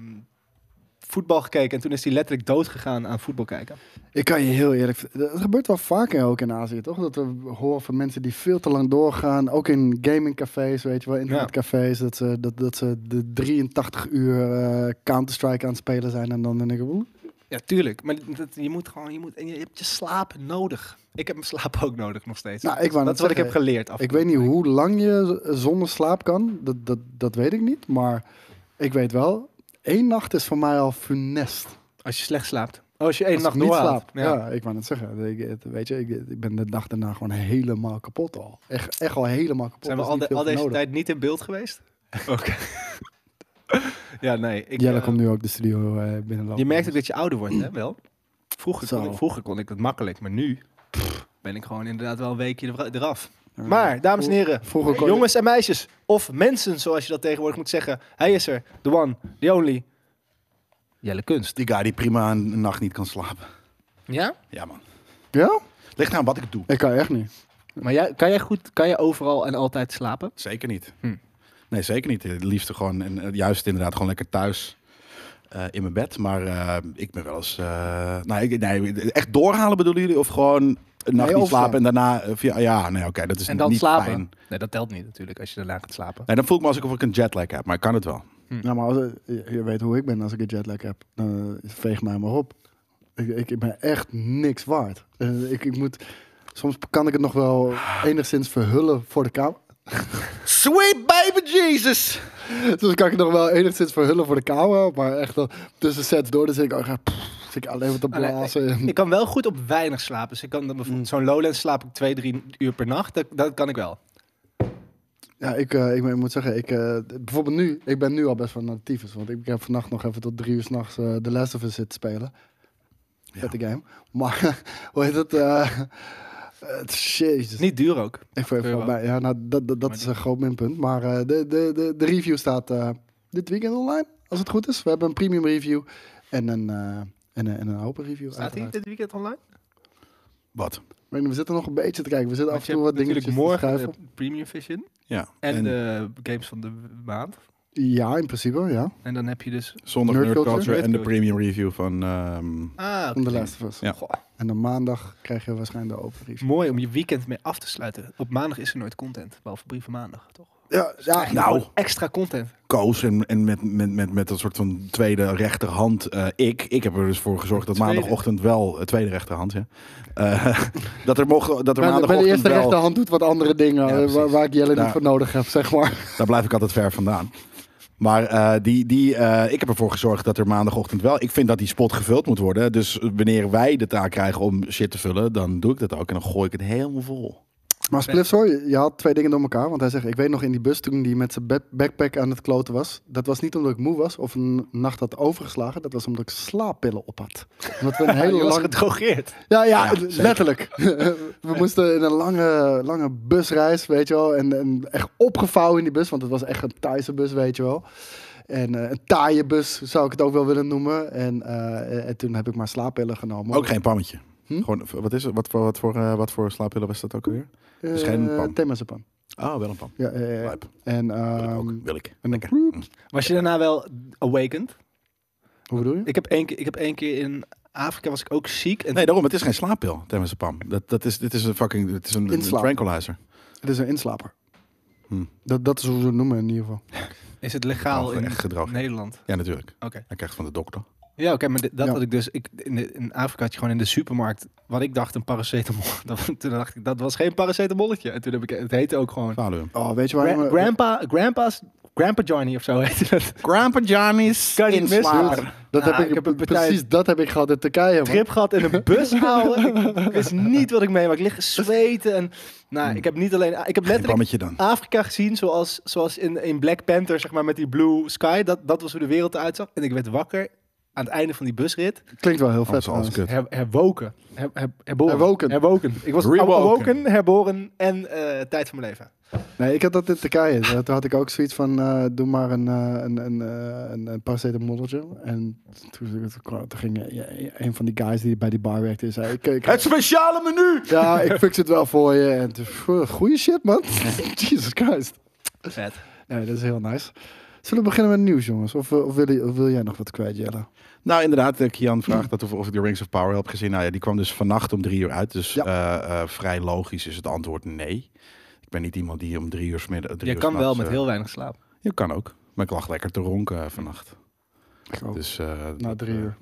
Speaker 1: voetbal gekeken en toen is hij letterlijk dood gegaan aan voetbal kijken.
Speaker 2: Ik kan je heel eerlijk... ver- Het gebeurt wel vaker ook in Azië, toch? Dat we horen van mensen die veel te lang doorgaan. Ook in gamingcafés, weet je wel. Internetcafés. Dat, ze, dat, dat ze de 83 uur eh, Counter-Strike aan het spelen zijn. En dan denk ik... Oeh,
Speaker 1: Ja, tuurlijk. Maar dat, je moet gewoon, je, moet, en je hebt je slaap nodig. Ik heb mijn slaap ook nodig nog steeds.
Speaker 2: Nou, ik wou
Speaker 1: dat
Speaker 2: net
Speaker 1: is wat ik heb
Speaker 2: zeggen,
Speaker 1: geleerd. Af en
Speaker 2: Ik
Speaker 1: toe.
Speaker 2: weet niet hoe lang je z- zonder slaap kan. Dat, dat, dat weet ik niet. Maar ik weet wel... één nacht is voor mij al funest.
Speaker 1: Als je slecht slaapt. Oh, als je één
Speaker 2: Als
Speaker 1: nacht
Speaker 2: ik niet
Speaker 1: doorhaalt.
Speaker 2: slaap.
Speaker 1: Ja.
Speaker 2: Ja. ik wou net zeggen. Ik, het- weet je, ik, ik ben de dag daarna gewoon helemaal kapot al. Echt, echt al helemaal kapot.
Speaker 1: Zijn we
Speaker 2: Er is
Speaker 1: al,
Speaker 2: niet
Speaker 1: de-
Speaker 2: veel
Speaker 1: al
Speaker 2: voor
Speaker 1: deze
Speaker 2: nodig.
Speaker 1: tijd niet in beeld geweest? Oké. ja, nee. Ik,
Speaker 2: Jelle
Speaker 1: eh,
Speaker 2: komt nu ook de studio eh binnenlopen.
Speaker 1: je merkt ook dat je ouder wordt, hè? Wel. Vroeger kon,
Speaker 2: Zo.
Speaker 1: ik, vroeger kon ik dat makkelijk, maar nu pff, ben ik gewoon inderdaad wel een weekje er- eraf.
Speaker 2: Ja.
Speaker 1: Maar, dames en heren,
Speaker 2: Vroeger kon je-
Speaker 1: jongens en meisjes, of mensen zoals je dat tegenwoordig moet zeggen. Hij is er, the one, the only. Jelle Kunst.
Speaker 3: Die guy die prima een, een nacht niet kan slapen.
Speaker 1: Ja?
Speaker 3: Ja, man.
Speaker 2: Ja?
Speaker 3: Ligt nou wat ik doe.
Speaker 2: Ik kan echt niet.
Speaker 1: Maar jij, kan jij goed, kan jij overal en altijd slapen?
Speaker 3: Zeker niet.
Speaker 1: Hm.
Speaker 3: Nee, zeker niet. Het liefste gewoon, en eh, juist inderdaad, gewoon lekker thuis eh, in mijn bed. Maar eh, ik ben wel eens... eh, nou, ik, nee, echt doorhalen bedoelen jullie? Of gewoon een nacht
Speaker 2: Nee,
Speaker 3: niet slapen
Speaker 2: overslaan.
Speaker 3: en daarna... eh, via, ja, nee, oké, dat is
Speaker 1: En dan
Speaker 3: niet
Speaker 1: slapen?
Speaker 3: fijn.
Speaker 1: Nee, dat telt niet natuurlijk als je daarna gaat slapen.
Speaker 3: Nee, dan voel ik me alsof ik een jetlag heb, maar ik kan het wel.
Speaker 2: Nou, maar als, je je weet hoe ik ben als ik een jetlag heb. Dan eh, veeg mij maar op. Ik, ik, ik ben echt niks waard. Eh, ik, ik moet, soms kan ik het nog wel enigszins verhullen voor de camera.
Speaker 3: Sweet baby Jesus!
Speaker 2: Dus kan ik het nog wel enigszins verhullen voor de camera. Maar echt dan tussen sets door. Dan zit ik, ook echt, pff, zit ik alleen maar te
Speaker 1: Allee,
Speaker 2: blazen. en-
Speaker 1: Ik kan wel goed op weinig slapen. Dus ik kan dan bijvoorbeeld zo'n Lowlands slaap ik twee, drie uur per nacht. Dat, dat kan ik wel.
Speaker 2: Ja, ik, eh, ik, ben- ik moet zeggen, ik, eh, bijvoorbeeld nu, ik ben nu al best wel naar de tyfus. Want ik heb vannacht nog even tot drie uur s'nachts eh The Last of Us zitten spelen. Vette game. Maar, hoe heet het? eh het jezus.
Speaker 1: Niet duur ook.
Speaker 2: ik vond
Speaker 1: Euro.
Speaker 2: even bij. Ja, nou, dat, dat, dat
Speaker 1: Maar
Speaker 2: is
Speaker 1: die-
Speaker 2: een groot minpunt. Maar eh, de, de, de, de review staat eh, dit weekend online, als het goed is. We hebben een premium review en een, eh, en, een- en een open review.
Speaker 1: Staat hij
Speaker 2: uiteraard.
Speaker 1: dit weekend online?
Speaker 3: Wat?
Speaker 2: Maar We zitten nog een beetje te kijken. We zitten
Speaker 1: Want
Speaker 2: af
Speaker 1: je
Speaker 2: en toe
Speaker 1: hebt
Speaker 2: wat dingetjes
Speaker 1: natuurlijk
Speaker 2: te
Speaker 1: morgen
Speaker 2: schuiven.
Speaker 1: de Premium Vision.
Speaker 3: Ja.
Speaker 1: En,
Speaker 3: En,
Speaker 1: de games van de maand.
Speaker 2: Ja, in principe, ja.
Speaker 1: En dan heb je dus...
Speaker 3: zondag
Speaker 2: Nerd
Speaker 3: Nerd
Speaker 2: Culture.
Speaker 3: Culture,
Speaker 1: Nerd
Speaker 3: en de
Speaker 1: Culture.
Speaker 3: premium review van... ehm,
Speaker 1: Ah,
Speaker 2: Van The Last of Us.
Speaker 3: Ja.
Speaker 1: Goh,
Speaker 2: En dan maandag krijg je waarschijnlijk de open review.
Speaker 1: mooi om je weekend mee af te sluiten. Op maandag is er nooit content. Behalve brieven maandag, toch?
Speaker 2: Ja, ja,
Speaker 3: Nou.
Speaker 1: Gewoon Extra content.
Speaker 3: koos en, en met, met, met, met een soort van tweede rechterhand eh, ik. Ik heb er dus voor gezorgd dat
Speaker 1: Tweede.
Speaker 3: maandagochtend wel, eh, tweede rechterhand, ja. Eh, dat er, mocht, dat er
Speaker 2: Bij de, bij de
Speaker 3: maandagochtend
Speaker 2: eerste
Speaker 3: wel,
Speaker 2: rechterhand doet wat andere dingen
Speaker 3: Ja,
Speaker 2: eh, waar,
Speaker 3: precies.
Speaker 2: waar ik Jelle
Speaker 3: Nou.
Speaker 2: niet voor nodig heb, zeg maar.
Speaker 3: daar blijf ik altijd ver vandaan. Maar eh, die, die, eh, ik heb ervoor gezorgd dat er maandagochtend wel. Ik vind dat die spot gevuld moet worden. Dus wanneer wij de taak krijgen om shit te vullen, dan doe ik dat ook. En dan gooi ik het helemaal vol.
Speaker 2: Maar Spliffs hoor, je je haalt twee dingen door elkaar. Want hij zegt, ik weet nog in die bus toen hij met zijn ba- backpack aan het kloten was. Dat was niet omdat ik moe was of een nacht had overgeslagen. Dat was omdat ik slaappillen op had. Omdat we een
Speaker 1: Hij
Speaker 2: hele
Speaker 1: was
Speaker 2: lange...
Speaker 1: gedrogeerd.
Speaker 2: Ja, ja,
Speaker 3: Ja, zeker.
Speaker 2: letterlijk. we moesten in een lange, lange busreis, weet je wel. En, en echt opgevouwen in die bus, want het was echt een Thaise bus, weet je wel. En eh, een taaie bus zou ik het ook wel willen noemen. En, eh, en toen heb ik maar slaappillen genomen.
Speaker 3: Ook geen pammetje.
Speaker 2: Hm?
Speaker 3: Gewoon, wat, is het? Wat, voor- wat, voor, eh, wat voor slaappillen was dat ook weer?
Speaker 2: Eh,
Speaker 3: dus geen pam.
Speaker 2: Themasepan.
Speaker 3: Oh, wel een pam.
Speaker 2: Ja, ja, ja.
Speaker 3: Lijp.
Speaker 2: En,
Speaker 3: Wil ik
Speaker 2: ehm,
Speaker 3: ook. Wil ik.
Speaker 2: en dan,
Speaker 3: Lekker.
Speaker 1: Was je daarna wel awakened?
Speaker 2: hoe bedoel je?
Speaker 1: Ik heb één keer, ik heb één keer in Afrika was ik ook ziek. En
Speaker 3: Nee, daarom. Het is geen slaappil, Temazepam. Dat, dat is, dit is een fucking, dit is een, een
Speaker 2: Inslaap.
Speaker 3: tranquilizer.
Speaker 2: Het is een inslaper.
Speaker 3: Hm.
Speaker 2: Dat, dat is hoe ze het noemen in ieder geval.
Speaker 1: is het legaal
Speaker 3: Oh,
Speaker 1: in
Speaker 3: echt gedroogd.
Speaker 1: Nederland.
Speaker 3: Ja, natuurlijk.
Speaker 1: Oké.
Speaker 3: Hij krijgt van de dokter.
Speaker 1: Ja, oké, maar d- dat
Speaker 2: Ja.
Speaker 1: had ik dus. Ik, in, de- in Afrika had je gewoon in de supermarkt. Wat ik dacht, een paracetamol. Dat, toen dacht ik, dat was geen paracetamolletje. En toen heb ik het heette ook gewoon.
Speaker 3: Valium.
Speaker 2: Oh, weet je waar
Speaker 1: Gra-
Speaker 2: je me-
Speaker 1: grandpa, grandpa's Grandpa Johnny of zo heet het.
Speaker 3: Grandpa Johnny's
Speaker 1: Kan je niet missen.
Speaker 3: inslager.
Speaker 2: Dat
Speaker 1: Nou,
Speaker 2: heb ik,
Speaker 1: ik heb een partij-
Speaker 2: precies dat heb ik gehad in Turkije. man.
Speaker 1: Trip gehad in een bus houden. Ik- ik wist niet wat ik meemaak. Ik lig zweten. En, nou, ik heb niet alleen... Ik heb
Speaker 3: Geen
Speaker 1: letterlijk
Speaker 3: bammetje dan.
Speaker 1: Afrika gezien, zoals, zoals in, in Black Panther, zeg maar, met die blue sky. Dat, dat was hoe de wereld eruit zag. En ik werd wakker aan het einde van die busrit.
Speaker 2: Klinkt wel heel
Speaker 3: Oh, Dat
Speaker 2: vet.
Speaker 3: is alles
Speaker 2: trouwens.
Speaker 3: kut.
Speaker 1: Her- herwoken. Her- her- herboren.
Speaker 2: Herwoken.
Speaker 1: Ik was
Speaker 3: Rewoken.
Speaker 1: herwoken, herboren en eh, tijd van mijn leven.
Speaker 2: Nee, ik had dat in Turkije. Daar- Toen had ik ook zoiets van, eh, doe maar een, eh, een, een, eh, een, een paracetamolletje. En toen, toen, kwam- toen ging eh, ja, een van die guys die bij die bar werkte, en zei, ik, ik-
Speaker 3: Het speciale menu!
Speaker 2: ja, ik fix het wel voor je. En toen, pff, goeie shit, man. Jesus Christ.
Speaker 1: Vet.
Speaker 2: Nee, dat is heel nice. Zullen we beginnen met het nieuws, jongens? Of, eh, of, wil, je- of wil jij nog wat kwijt, Jelle?
Speaker 3: Nou, inderdaad, eh, Kian vraagt dat of, of ik de Rings of Power heb gezien. Nou ja, die kwam dus vannacht om drie uur uit. Dus
Speaker 2: Ja.
Speaker 3: eh, eh, vrij logisch is het antwoord nee. Ik ben niet iemand die om drie uur 's middag.
Speaker 1: Je kan wel met heel weinig slaap.
Speaker 3: Je kan ook. Maar ik lag lekker te ronken eh, vannacht.
Speaker 1: Oh.
Speaker 3: Dus, eh,
Speaker 2: Na
Speaker 3: dat,
Speaker 2: drie
Speaker 3: eh,
Speaker 2: uur.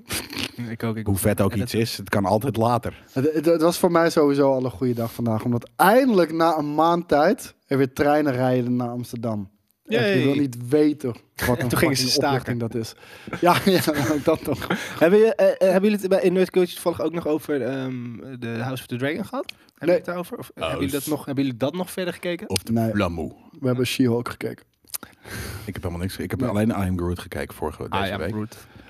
Speaker 1: Ik ook. Ik
Speaker 3: hoe vet ook
Speaker 1: En
Speaker 3: iets is, het kan altijd later.
Speaker 2: Het, het- het was voor mij sowieso al een goede dag vandaag. Omdat eindelijk na een maand tijd er weer treinen rijden naar Amsterdam. Echt, je
Speaker 1: Yay.
Speaker 2: wil niet weten wat een
Speaker 1: toen gingen ze
Speaker 2: fucking
Speaker 1: staken.
Speaker 2: opluchting dat is. Ja, ja dat toch.
Speaker 1: Hebben, je, eh, eh, hebben jullie het bij in Nerd Culture toevallig ook nog over ehm, de House of the Dragon gehad? Hebben jullie het daarover? Of eh,
Speaker 3: Oh,
Speaker 1: hebben, jullie dat
Speaker 3: s-
Speaker 1: nog, hebben jullie dat nog verder gekeken?
Speaker 3: Of de
Speaker 2: Nee.
Speaker 3: Lamoe.
Speaker 2: We hebben She-Hulk gekeken.
Speaker 3: Ik heb helemaal niks. Ik heb
Speaker 2: Nee.
Speaker 3: alleen I Am Groot gekeken vorige deze week.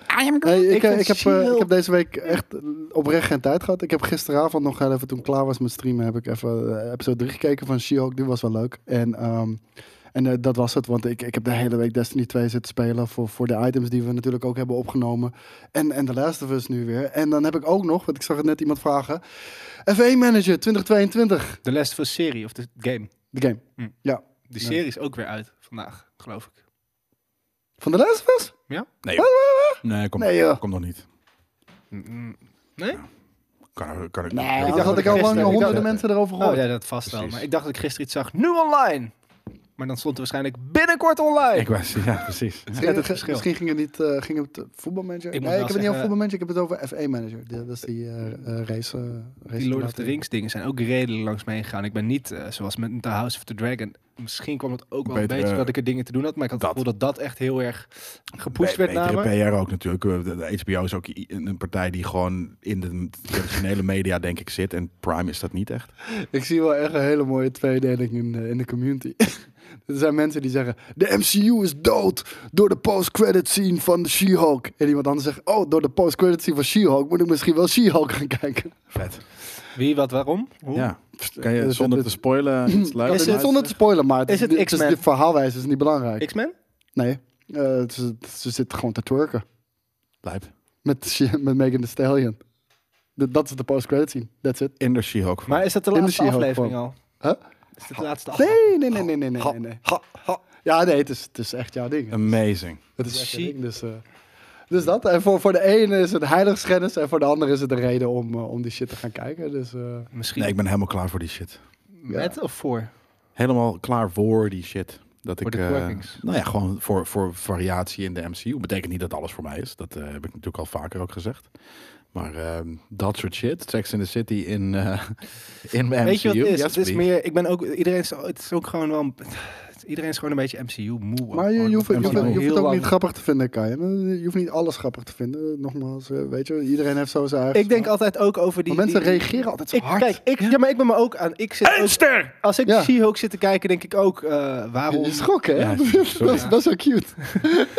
Speaker 2: Hey, ik,
Speaker 1: Ik
Speaker 2: eh,
Speaker 1: vind
Speaker 2: ik, heb, eh,
Speaker 1: She-Hulk-
Speaker 2: ik heb deze week echt oprecht geen tijd gehad. Ik heb gisteravond nog heel even, toen ik klaar was met streamen, heb ik even eh, episode 3 gekeken van She-Hulk. Die was wel leuk. En, ehm, en eh, dat was het, want ik, ik heb de hele week Destiny 2 zitten spelen voor, voor de items die we natuurlijk ook hebben opgenomen. En, en The Last of Us nu weer. En dan heb ik ook nog, want ik zag het net iemand vragen, FA Manager 2022,
Speaker 1: De Last of Us serie of de game.
Speaker 2: de game.
Speaker 1: De
Speaker 2: Nee.
Speaker 1: serie is ook weer uit vandaag, geloof ik.
Speaker 2: Van The Last of Us?
Speaker 3: Nee, joh. nee, kom,
Speaker 2: Nee, joh.
Speaker 3: kom nog niet.
Speaker 1: Nee?
Speaker 3: Kan, kan ik
Speaker 2: Nee,
Speaker 3: kan ik-
Speaker 2: ik
Speaker 1: dat
Speaker 2: dacht dat
Speaker 1: ik
Speaker 2: ik al lang
Speaker 1: gisteren- ik
Speaker 2: honderden
Speaker 1: dacht-
Speaker 2: mensen erover
Speaker 1: Oh
Speaker 2: gehoord.
Speaker 1: ja, dat vast wel.
Speaker 3: Precies.
Speaker 1: Maar ik dacht dat ik gisteren iets zag. Nu online! Maar dan stond er waarschijnlijk binnenkort online.
Speaker 3: Ik was, ja, precies. Ja.
Speaker 1: net het
Speaker 2: Misschien-
Speaker 1: verschil.
Speaker 2: Misschien ging het niet eh, ging het voetbalmanager.
Speaker 1: Ik moet
Speaker 2: nee,
Speaker 1: wel
Speaker 2: ik heb het niet over
Speaker 1: zeggen-
Speaker 2: voetbalmanager, ik heb het over FA manager. Die- dat is die eh, eh, race, eh, race.
Speaker 1: die Lord of the Rings dingen zijn ook redelijk langs me heen gegaan. Ik ben niet, eh, zoals met The House of the Dragon, misschien kwam het ook wel
Speaker 3: Betere-
Speaker 2: eh,
Speaker 1: een beetje dat ik er dingen te doen had. Maar ik had het
Speaker 3: dat.
Speaker 1: gevoel dat dat echt heel erg gepusht werd
Speaker 3: Betere
Speaker 1: namen.
Speaker 3: PR ook natuurlijk. Eh, De- De HBO is ook i- een een partij die gewoon in de traditionele media denk ik zit. En Prime is dat niet echt.
Speaker 2: Ik zie wel echt een hele mooie tweedeling in, eh, in de community. er zijn mensen die zeggen, de MCU is dood door de post-credit scene van de She-Hulk. En iemand anders zegt, oh, door de post-credit scene van She-Hulk moet ik misschien wel She-Hulk gaan kijken.
Speaker 3: Vet.
Speaker 1: Wie, wat, waarom? Hoe?
Speaker 3: Ja. Kan
Speaker 2: Dus
Speaker 3: je
Speaker 2: het-
Speaker 3: zonder
Speaker 2: het-
Speaker 3: te spoilen iets
Speaker 2: Het
Speaker 3: luisteren?
Speaker 2: is zonder te spoilen, maar het
Speaker 1: Is
Speaker 2: is,
Speaker 1: het
Speaker 2: het is,
Speaker 1: X-Men?
Speaker 2: de verhaalwijze is niet belangrijk.
Speaker 1: X-Men?
Speaker 2: nee, eh, het is- ze zitten gewoon te twerken.
Speaker 3: Lijp.
Speaker 2: Met, She- met Megan Thee Stallion. De- Dat is de post-credit scene. That's it.
Speaker 3: In de She-Hulk.
Speaker 1: Maar is dat de
Speaker 2: In de
Speaker 1: laatste
Speaker 2: She-Hulk
Speaker 1: aflevering al?
Speaker 2: Huh?
Speaker 1: Is dit de laatste aflevering?
Speaker 2: Nee, nee, nee, nee, nee,
Speaker 1: Oh.
Speaker 2: nee. nee. Ja, nee, het is, het is echt jouw ding.
Speaker 3: Amazing.
Speaker 2: Het is echt jouw
Speaker 1: She-
Speaker 2: ding. Dus, eh, dus dat. En voor, voor de ene is het heiligschennis en voor de andere is het een reden om, eh, om die shit te gaan kijken. Dus, eh,
Speaker 1: Misschien
Speaker 3: Nee, ik ben helemaal klaar voor die shit.
Speaker 1: met of voor?
Speaker 3: Helemaal klaar voor die shit. Dat
Speaker 1: Voor
Speaker 3: ik,
Speaker 1: de
Speaker 3: eh,
Speaker 1: twerkings.
Speaker 3: nou ja, gewoon voor, voor variatie in de MCU. Betekent niet dat alles voor mij is. Dat eh, heb ik natuurlijk al vaker ook gezegd. Maar ehm, dat soort shit. Sex in the City in, eh in mijn MCU.
Speaker 1: Weet je wat het is?
Speaker 3: Yes,
Speaker 1: het is
Speaker 3: please.
Speaker 1: meer, ik ben ook, iedereen is, het is ook gewoon wel, een- iedereen is gewoon een beetje MCU moe.
Speaker 2: maar
Speaker 3: Oh,
Speaker 2: je, je hoeft, je hoeft- je hoeft het ook niet
Speaker 1: grappig.
Speaker 2: grappig te vinden, Kai. Eh, Je hoeft niet alles grappig te vinden. Nogmaals, eh, weet je, iedereen heeft zo zijn eigen
Speaker 1: Ik denk
Speaker 2: smaak.
Speaker 1: altijd ook over die...
Speaker 2: Maar mensen
Speaker 1: die-
Speaker 2: reageren altijd zo
Speaker 1: ik,
Speaker 2: hard.
Speaker 1: Kijk, ik, ja, maar ik ben me ook aan. Ik zit ook-
Speaker 3: ster!
Speaker 1: als ik
Speaker 2: Ja.
Speaker 1: She-Hulk zit te kijken, denk ik ook, eh,
Speaker 2: Je,
Speaker 1: waarom?
Speaker 2: je schrok, hè?
Speaker 3: Ja,
Speaker 2: dat,
Speaker 3: sorry.
Speaker 2: is, dat is wel cute.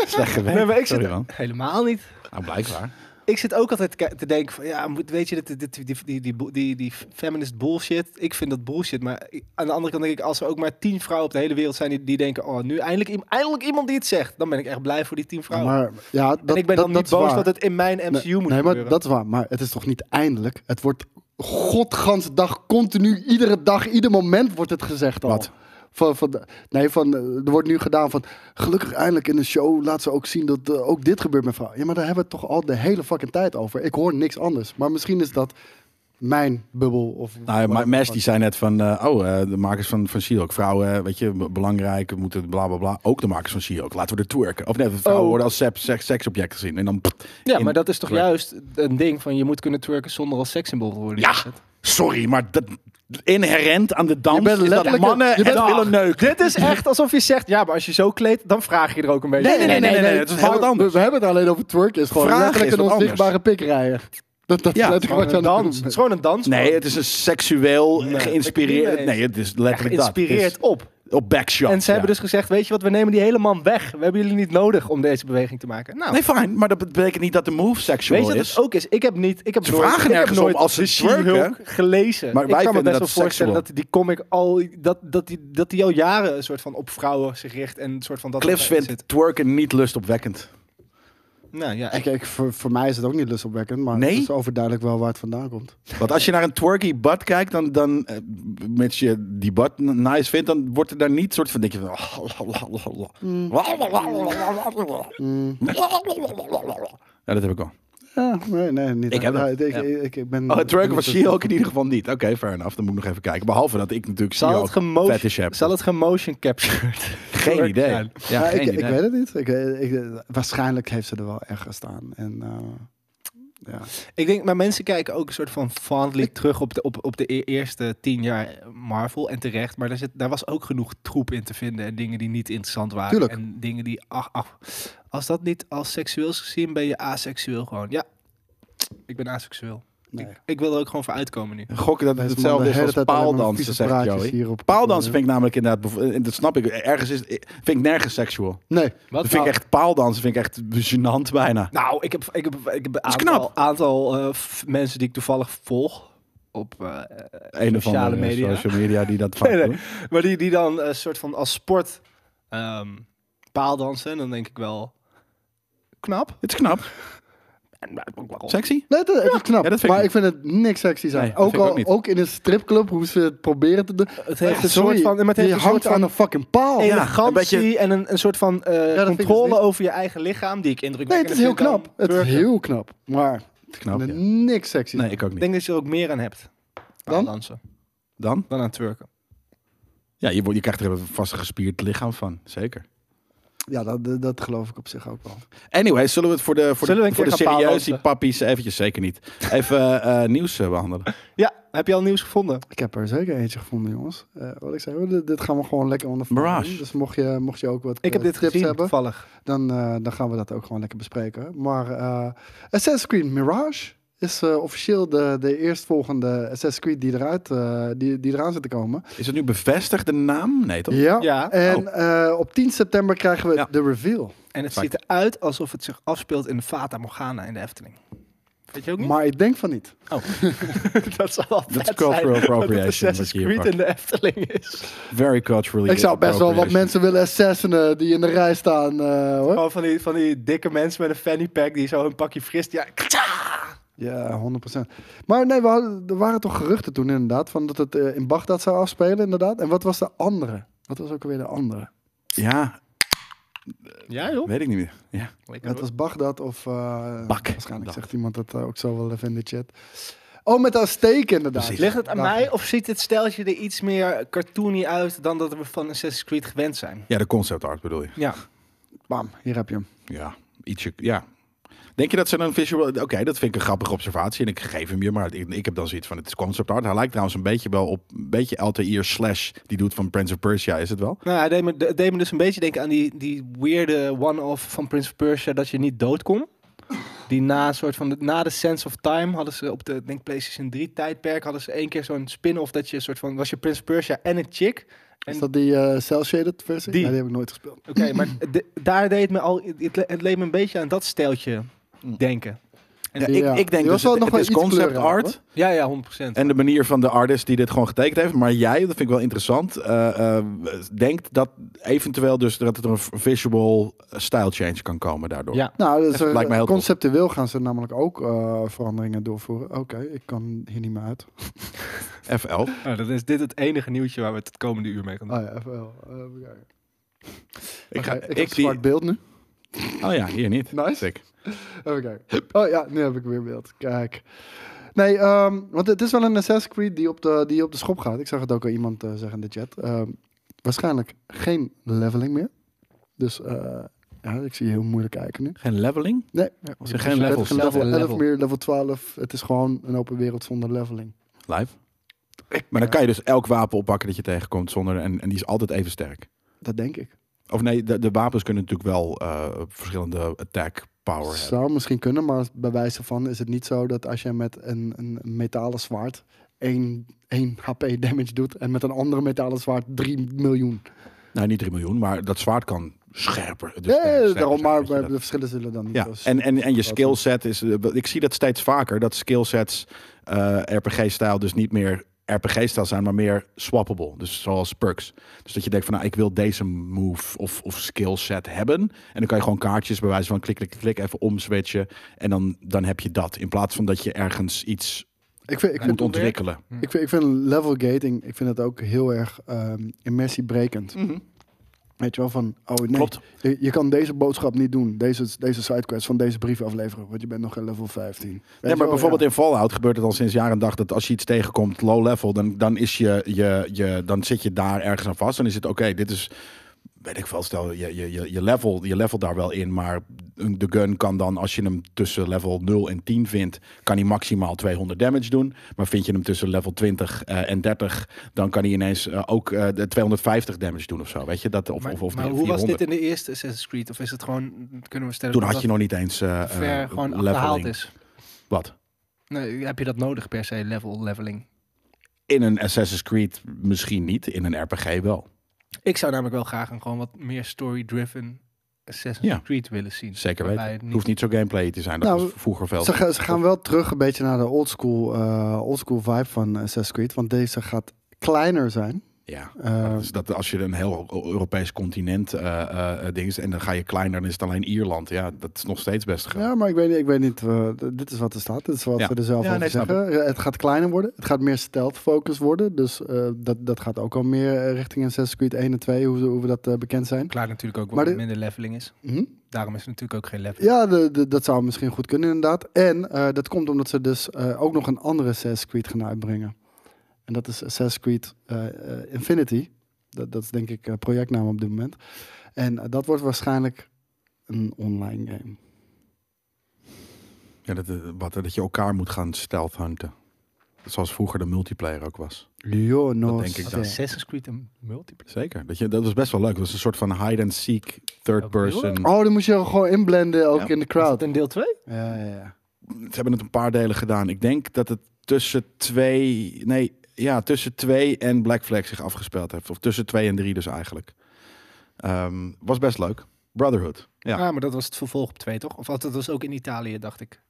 Speaker 3: Slecht gewerkt.
Speaker 1: Nee, maar ik
Speaker 3: Sorry,
Speaker 1: zit
Speaker 3: man.
Speaker 1: helemaal niet.
Speaker 3: Nou, blijkbaar.
Speaker 1: Ik zit ook altijd te ki- te denken van, ja, moet, weet je, dit, dit, die, die, die, bo- die, die feminist bullshit. Ik vind dat bullshit, maar ik- aan de andere kant denk ik, als er ook maar tien vrouwen op de hele wereld zijn die, die denken, oh, nu eindelijk, iem- eindelijk iemand die het zegt, dan ben ik echt blij voor die tien vrouwen.
Speaker 2: Maar ja, dat,
Speaker 1: en ik ben
Speaker 2: dat,
Speaker 1: dan
Speaker 2: dat
Speaker 1: niet
Speaker 2: is
Speaker 1: boos
Speaker 2: waar.
Speaker 1: dat het in mijn MCU
Speaker 2: Nee,
Speaker 1: moet
Speaker 2: nee, maar
Speaker 1: gebeuren.
Speaker 2: dat is waar. Maar het is toch niet eindelijk? Het wordt godgans dag, continu, iedere dag, ieder moment wordt het gezegd al.
Speaker 3: Wat?
Speaker 2: Van, van, de- nee, van, eh, er wordt nu gedaan van, gelukkig eindelijk in een show laat ze ook zien dat eh, ook dit gebeurt met vrouwen. Ja, maar daar hebben we het toch al de hele fucking tijd over. Ik hoor niks anders. Maar misschien is dat mijn bubbel. Of
Speaker 3: Nou, ja, maar Mesh die zei net van, eh, oh, eh, de makers van, van She-Hulk, vrouwen, eh, weet je, b- belangrijk, we moeten bla bla bla. Ook de makers van She-Hulk, laten we er twerken. Of nee, vrouwen
Speaker 1: Oh.
Speaker 3: worden als sep- seks- seksobject gezien. En dan, pff,
Speaker 1: ja,
Speaker 3: in-
Speaker 1: maar dat is toch
Speaker 3: Twerk.
Speaker 1: juist een ding van, je moet kunnen twerken zonder als sekssymbool te worden.
Speaker 3: Ja.
Speaker 1: gezet.
Speaker 3: Sorry, maar dat inherent aan de dans
Speaker 2: Je bent
Speaker 3: is dat
Speaker 2: letterlijk-
Speaker 3: mannen
Speaker 2: je bent-
Speaker 3: het willen neuken.
Speaker 1: Dit is echt alsof je zegt, ja, maar als je zo kleedt, dan vraag je er ook een beetje.
Speaker 3: Nee, nee, nee, nee, nee, nee, het is wel
Speaker 2: we,
Speaker 3: wat anders.
Speaker 2: we hebben het alleen over twerk. Is gewoon
Speaker 3: Vraag
Speaker 2: letterlijk
Speaker 3: is
Speaker 2: een
Speaker 3: wat anders.
Speaker 2: onzichtbare pik rijden. Dat, dat
Speaker 3: Ja,
Speaker 2: is letterlijk wat
Speaker 1: Gewoon
Speaker 2: je
Speaker 1: een
Speaker 2: aan het doen
Speaker 1: dans. Het
Speaker 2: bent.
Speaker 1: is gewoon een dans.
Speaker 3: Nee, het is een seksueel
Speaker 1: Nee. Ik
Speaker 3: geïnspireerd.
Speaker 1: ben
Speaker 3: Nee, het is letterlijk dat. Het is
Speaker 1: Inspireert op.
Speaker 3: Op backshot.
Speaker 1: En ze hebben
Speaker 3: ja.
Speaker 1: dus gezegd, weet je wat, we nemen die hele man weg. We hebben jullie niet nodig om deze beweging te maken. Nou,
Speaker 3: Nee, fijn, maar dat betekent niet dat de move seksueel
Speaker 1: weet je wat
Speaker 3: is.
Speaker 1: het ook is? Ik heb niet, ik heb
Speaker 3: Ze
Speaker 1: nooit,
Speaker 3: vragen
Speaker 1: ik heb
Speaker 3: nergens om
Speaker 1: nooit
Speaker 3: als ze
Speaker 1: de
Speaker 3: twerken.
Speaker 1: She-Hulk gelezen.
Speaker 3: Maar
Speaker 1: ik
Speaker 3: wij
Speaker 1: kan me best
Speaker 3: vinden dat
Speaker 1: wel voorstellen
Speaker 3: seksueel.
Speaker 1: dat die comic al, dat, dat, die, dat die al jaren een soort van op vrouwen zich richt en een soort van dat
Speaker 3: Cliffs
Speaker 1: erbij
Speaker 3: vindt
Speaker 1: zit.
Speaker 3: twerken niet lustopwekkend.
Speaker 1: Nou ja,
Speaker 2: Ik, ik, voor, voor mij is het ook niet lustopwekkend, maar
Speaker 3: Nee?
Speaker 2: het is overduidelijk wel waar het vandaan komt.
Speaker 3: Want als je naar een twerky butt kijkt, dan, dan eh, met je die butt n- nice vindt, dan wordt er daar niet soort van, denk je van... "Oh,
Speaker 2: Mm.
Speaker 3: Ja, dat heb ik al.
Speaker 2: Ja, nee, nee, niet.
Speaker 3: Ik heb dat.
Speaker 2: Ja, ik, ik, ik, ik ben,
Speaker 3: Oh, het twerken van
Speaker 2: ik-
Speaker 3: She-Hulk in ieder geval niet. Oké, fair enough. Dan moet ik nog even kijken. Behalve dat ik natuurlijk
Speaker 1: zal het,
Speaker 3: She-Hulk
Speaker 1: gemo-
Speaker 3: fetish heb.
Speaker 1: zal het gemotion captured
Speaker 3: Geen idee. Ja,
Speaker 1: zijn?
Speaker 2: Ja,
Speaker 3: geen
Speaker 2: ik, ik
Speaker 3: idee.
Speaker 2: weet het niet. Ik, eh, ik, waarschijnlijk heeft ze er wel echt gestaan. En, eh, ja.
Speaker 1: Ik denk, maar mensen kijken ook een soort van fondly terug op de, op, op de e- eerste tien jaar Marvel. En terecht, maar daar, zit, daar was ook genoeg troep in te vinden. En dingen die niet interessant waren.
Speaker 2: Tuurlijk.
Speaker 1: En dingen die, ach, ach. Als dat niet als seksueels gezien, ben je aseksueel gewoon. Ja, ik ben aseksueel.
Speaker 2: Nee.
Speaker 1: Ik, ik wil er ook gewoon voor uitkomen nu.
Speaker 3: Gokken dat het
Speaker 2: Deze man
Speaker 3: hetzelfde
Speaker 2: de
Speaker 3: is
Speaker 2: hele
Speaker 3: als
Speaker 2: tijd alleen maar
Speaker 3: paaldansen,
Speaker 2: vieze
Speaker 3: zegt
Speaker 2: praatjes
Speaker 3: Joey.
Speaker 2: hierop.
Speaker 3: Paaldansen vind ik namelijk inderdaad... bevo- eh, Dat snap ik. Ergens is, eh, vind ik nergens seksueel.
Speaker 2: Nee,
Speaker 1: Wat
Speaker 3: Dat vind ik echt paaldansen vind ik echt gênant bijna.
Speaker 1: Nou, ik heb, ik heb, ik heb een
Speaker 3: is
Speaker 1: aantal,
Speaker 3: knap.
Speaker 1: aantal eh, f- mensen die ik toevallig volg op eh,
Speaker 3: Een of
Speaker 1: sociale
Speaker 3: andere eh,
Speaker 1: media.
Speaker 3: social media die dat vaak
Speaker 1: Nee, nee.
Speaker 3: doen.
Speaker 1: Maar die, die dan een soort van als sport ehm, paaldansen. En dan denk ik wel knap.
Speaker 3: Het is knap. Sexy?
Speaker 2: nee dat, het is knap.
Speaker 3: ja, dat vind ik
Speaker 2: maar
Speaker 3: niet.
Speaker 2: ik vind het niks sexy zijn.
Speaker 3: Nee, dat
Speaker 2: ook,
Speaker 3: vind ik
Speaker 2: al,
Speaker 3: ook
Speaker 2: ook,
Speaker 3: niet.
Speaker 2: in een stripclub, hoe ze het proberen te doen.
Speaker 1: Het heeft
Speaker 2: Ja,
Speaker 1: een soort
Speaker 2: sorry,
Speaker 1: van... Maar het heeft
Speaker 2: je
Speaker 1: een soort
Speaker 2: hangt aan
Speaker 1: van
Speaker 2: een fucking paal.
Speaker 3: Ja,
Speaker 1: elegantie
Speaker 3: een beetje-
Speaker 1: en een, een soort van eh,
Speaker 2: ik dus
Speaker 1: controle
Speaker 2: niet.
Speaker 1: over je eigen lichaam die ik
Speaker 2: nee,
Speaker 1: indrukwekkend
Speaker 2: het is heel
Speaker 1: vind dan
Speaker 2: knap. Het is
Speaker 1: Burger.
Speaker 2: heel knap. Maar
Speaker 3: Het is
Speaker 2: ik
Speaker 3: knap,
Speaker 2: vind
Speaker 3: ja.
Speaker 2: het niks sexy.
Speaker 3: Nee, ik ook
Speaker 1: Ik
Speaker 3: niet.
Speaker 1: denk dat je er ook meer aan hebt. Paaldansen.
Speaker 3: Dan?
Speaker 1: Dan aan twerken.
Speaker 3: Ja, je, wordt- je krijgt er een vast gespierd lichaam van. Zeker.
Speaker 2: Ja, dat, dat, dat geloof ik op zich ook wel.
Speaker 3: Anyway, zullen we het voor de, voor
Speaker 1: Zullen we
Speaker 3: de,
Speaker 1: een
Speaker 3: voor de
Speaker 1: keer gaan
Speaker 3: serieus die
Speaker 1: paaldansen?
Speaker 3: pappies eventjes zeker niet. Even eh, eh, nieuws eh, behandelen.
Speaker 1: Ja, heb je al nieuws gevonden?
Speaker 2: Ik heb er zeker eentje gevonden, jongens. Eh, wat ik zei, we- dit, dit gaan we gewoon lekker onder elkaar
Speaker 3: Mirage.
Speaker 2: doen. Dus mocht je, mocht je ook wat
Speaker 1: Ik heb
Speaker 2: eh,
Speaker 1: dit
Speaker 2: tips
Speaker 1: gezien,
Speaker 2: hebben,
Speaker 1: toevallig.
Speaker 2: dan, eh, dan gaan we dat ook gewoon lekker bespreken. Maar eh, Assassin's Creed Mirage is eh, officieel de, de eerstvolgende Assassin's Creed die, eruit, eh, die, die eraan zit te komen.
Speaker 3: Is het nu bevestigd, de naam? Nee, toch?
Speaker 2: Ja,
Speaker 1: Ja.
Speaker 2: en eh, op 10 september krijgen we
Speaker 3: Ja.
Speaker 2: de reveal.
Speaker 1: En het
Speaker 3: Fuck.
Speaker 1: ziet eruit alsof het zich afspeelt in Fata Morgana in de Efteling. Weet je ook niet?
Speaker 2: Maar ik denk van niet.
Speaker 1: dat zal altijd
Speaker 3: Dat is
Speaker 1: zijn
Speaker 3: cultural
Speaker 1: dat het
Speaker 3: appropriation wat
Speaker 1: Assassin's
Speaker 3: je hier
Speaker 1: Creed
Speaker 3: pakt.
Speaker 1: in de Efteling is.
Speaker 3: Very culturally
Speaker 2: Ik zou best wel wat
Speaker 3: appropriation.
Speaker 2: mensen willen assassinen die in de rij staan. eh, hoor.
Speaker 1: Gewoon van die, van die dikke mensen met een fanny pack die zo een pakje fris... Ja,
Speaker 2: Ja, 100%. Maar nee, we hadden- er waren toch geruchten toen inderdaad, van dat het eh, in Bagdad zou afspelen inderdaad. En wat was de andere? Wat was ook alweer de andere?
Speaker 3: Ja,
Speaker 1: ja joh.
Speaker 3: weet ik niet meer. Ja.
Speaker 2: Het was Bagdad of... eh,
Speaker 3: Bak.
Speaker 2: Waarschijnlijk
Speaker 3: Dat.
Speaker 2: zegt iemand dat eh, ook zo wel even in de chat. Oh, met Azteken inderdaad.
Speaker 3: Precies.
Speaker 1: Ligt het aan
Speaker 2: Dag.
Speaker 1: mij of ziet het steltje er iets meer cartoony uit dan dat we van Assassin's Creed gewend zijn?
Speaker 3: ja, de concept art bedoel je.
Speaker 1: Ja.
Speaker 2: Bam, hier heb je hem.
Speaker 3: Ja, ietsje, ja. Denk je dat ze een visual... Oké, dat vind ik een grappige observatie en ik geef hem je, maar ik, ik heb dan zoiets van, het is concept art. Hij lijkt trouwens een beetje wel op, een beetje Altair slash, die doet van Prince of Persia, is het wel?
Speaker 1: Nou, hij deed me, de- deed me dus een beetje denken aan die, die weirde one-off van Prince of Persia dat je niet dood kon. Die na, een soort van de, na de Sense of Time hadden ze op de denk ik, PlayStation 3 tijdperk hadden ze één keer zo'n spin-off dat je een soort van was je Prince of Persia en een chick. En-
Speaker 2: Is dat die eh, cel-shaded versie?
Speaker 1: Die.
Speaker 2: Nee, die heb ik nooit gespeeld.
Speaker 1: Oké, maar de- daar deed het me al het, le- het leed me een beetje aan dat steltje denken.
Speaker 3: Ja, ik,
Speaker 2: Ja.
Speaker 3: ik denk
Speaker 2: Die was
Speaker 3: dus
Speaker 2: wel
Speaker 3: het,
Speaker 2: nog
Speaker 3: het
Speaker 2: wel
Speaker 3: is
Speaker 2: iets
Speaker 3: concept
Speaker 2: kleurrijker,
Speaker 3: art
Speaker 2: hoor.
Speaker 1: Ja, ja, 100%.
Speaker 3: en de manier van de artist die dit gewoon getekend heeft. Maar jij, dat vind ik wel interessant, eh, eh, denkt dat eventueel dus dat er een visual style change kan komen daardoor.
Speaker 1: Ja.
Speaker 2: Nou, dus,
Speaker 3: Lijkt
Speaker 2: eh,
Speaker 3: mij heel tof.
Speaker 2: conceptueel gaan ze namelijk ook eh, veranderingen doorvoeren. Oké, ik kan hier niet meer uit.
Speaker 3: FL.
Speaker 1: Nou, dan is dit het enige nieuwtje waar we het het komende uur mee gaan
Speaker 3: Ah,
Speaker 1: doen.
Speaker 2: Oh ja, FL. Eh, even kijken.
Speaker 3: Ik, ga,
Speaker 2: Oké,
Speaker 3: ik,
Speaker 2: heb een
Speaker 3: die,
Speaker 2: zwart beeld nu.
Speaker 3: oh ja, hier niet.
Speaker 2: Nice.
Speaker 3: Sick.
Speaker 2: Even kijken. Oh ja, nu heb ik weer beeld. Kijk. Nee, ehm, want het is wel een Assassin's Creed die op de, die op de schop gaat. Ik zag het ook al iemand eh, zeggen in de chat. Ehm, waarschijnlijk geen leveling meer. Dus eh, ja, ik zie je heel moeilijk kijken nu.
Speaker 3: Geen leveling?
Speaker 2: Nee, ja,
Speaker 3: geen levels.
Speaker 2: Level
Speaker 1: Level.
Speaker 2: 11 meer, level 12. Het is gewoon een open wereld zonder leveling.
Speaker 3: Live. Maar dan kan je dus elk wapen oppakken dat je tegenkomt zonder. En, en die is altijd even sterk.
Speaker 2: Dat denk ik.
Speaker 3: Of nee, de, de wapens kunnen natuurlijk wel eh, verschillende attack power hebben.
Speaker 2: Zou misschien kunnen, maar bij wijze van is het niet zo dat als je met een, een metalen zwaard 1, 1 HP damage doet en met een andere metalen zwaard 3 miljoen.
Speaker 3: Nou, niet 3 miljoen, maar dat zwaard kan scherper.
Speaker 2: Ja,
Speaker 3: Dus
Speaker 2: ja,
Speaker 3: eh, sneller
Speaker 2: daarom,
Speaker 3: zijn,
Speaker 2: maar
Speaker 3: weet je dat.
Speaker 2: de verschillen zullen dan niet
Speaker 3: Ja,
Speaker 2: zo-
Speaker 3: en, en, en je
Speaker 2: dat-
Speaker 3: skillset is. eh, Ik zie dat steeds vaker, dat skillsets eh, RPG-stijl dus niet meer RPG-stijl zijn, maar meer swappable. Dus zoals perks. Dus dat je denkt van, nou, ik wil deze move of, of skillset hebben. En dan kan je gewoon kaartjes bij wijze van klik, klik, klik even omswitchen. En dan, dan heb je dat. In plaats van dat je ergens iets
Speaker 2: Ik vind, ik,
Speaker 3: moet
Speaker 2: vind,
Speaker 3: ontwikkelen.
Speaker 2: ik, vind, ik vind level gating, ik vind het ook heel erg ehm immersiebrekend. Weet je wel, van, oh nee,
Speaker 3: Mhm. Klopt.
Speaker 2: Je, je kan deze boodschap niet doen, deze, deze sidequest van deze brief afleveren, want je bent nog geen level 15. Weet je
Speaker 3: Ja, maar
Speaker 2: wel,
Speaker 3: bijvoorbeeld in Fallout gebeurt het al sinds jaar en dag dat als je iets tegenkomt, low level, dan, dan, is je, je, je, dan zit je daar ergens aan vast. Dan is het oké, dit is, weet ik wel, stel je, je, je, je, level, je level daar wel in, maar een- de gun kan dan, als je hem tussen level 0 en 10 vindt, kan hij maximaal 200 damage doen. Maar vind je hem tussen level 20 eh, en 30, dan kan hij ineens eh, ook eh, de 250 damage doen of zo. Weet je dat? Of,
Speaker 1: maar
Speaker 3: of, of
Speaker 1: maar hoe was dit in de eerste Assassin's Creed? Of is het gewoon, kunnen we stellen
Speaker 3: Toen
Speaker 1: dat
Speaker 3: had je nog niet eens eh
Speaker 1: dat ver
Speaker 3: eh,
Speaker 1: gewoon
Speaker 3: leveling.
Speaker 1: achterhaald is?
Speaker 3: Wat?
Speaker 1: Nee, heb je dat nodig per se, level, leveling?
Speaker 3: In een Assassin's Creed misschien niet, in een RPG wel.
Speaker 1: Ik zou namelijk wel graag een gewoon wat meer story-driven Assassin's
Speaker 3: Ja.
Speaker 1: Creed willen zien.
Speaker 3: Zeker
Speaker 1: Waarbij het
Speaker 3: weten. Het
Speaker 1: niet-
Speaker 3: hoeft niet zo gameplay te zijn. Dat
Speaker 2: Nou,
Speaker 3: was vroeger veel.
Speaker 2: Ze, gaan- ze gaan wel terug een beetje naar de oldschool eh oldschool vibe van Assassin's Creed. Want deze gaat kleiner zijn.
Speaker 3: Ja.
Speaker 2: Eh,
Speaker 3: Dus dat als je een heel Europees continent eh, eh, eh, ding is en dan ga je kleiner, dan is het alleen Ierland. Ja, dat is nog steeds best groot.
Speaker 2: ja, maar ik weet niet, ik weet niet eh, d- dit is wat er staat. Dit is wat
Speaker 3: Ja.
Speaker 2: ze er zelf
Speaker 3: Ja,
Speaker 2: over
Speaker 3: nee, snap
Speaker 2: zeggen. Eh, Het gaat kleiner worden. Het gaat meer stealth focus worden. Dus eh, dat, dat gaat ook al meer eh, richting Assassin's Creed 1 en 2, hoe, ze- hoe we dat eh, bekend zijn.
Speaker 1: Klaar natuurlijk ook
Speaker 2: Maar
Speaker 1: wat
Speaker 2: de-
Speaker 1: minder leveling is.
Speaker 2: Mhm.
Speaker 1: Daarom is er natuurlijk ook geen leveling.
Speaker 2: Ja, de, de- dat zou misschien goed kunnen inderdaad. En eh, dat komt omdat ze dus eh, ook nog een andere Assassin's Creed gaan uitbrengen. En dat is Assassin's Creed eh, eh, Infinity. Dat, dat is denk ik eh, projectnaam op dit moment. En eh, dat wordt waarschijnlijk een online game.
Speaker 3: Ja, dat, eh, wat, eh, dat je elkaar moet gaan stealth hunten. Zoals vroeger de multiplayer ook was.
Speaker 2: Jo, no
Speaker 3: denk ik
Speaker 1: Had
Speaker 2: sé.
Speaker 3: dan.
Speaker 1: Assassin's Creed een multiplayer?
Speaker 3: Zeker. Dat, je, dat was best wel leuk. Dat was een soort van hide-and-seek third
Speaker 1: Ook
Speaker 3: person.
Speaker 2: Oh, dan moest je gewoon inblenden ook
Speaker 3: Ja.
Speaker 2: in de
Speaker 1: Is dat
Speaker 2: crowd.
Speaker 1: een deel 2?
Speaker 2: Ja, ja, ja.
Speaker 3: ze hebben het een paar delen gedaan. Ik denk dat het tussen twee, nee, ja, tussen twee en Black Flag zich afgespeeld heeft. Of tussen twee en drie dus eigenlijk. Ehm, was best leuk. Brotherhood. Ja.
Speaker 1: Ja, Ah, maar dat was het vervolg op 2, toch? Of dat was ook in Italië, dacht ik.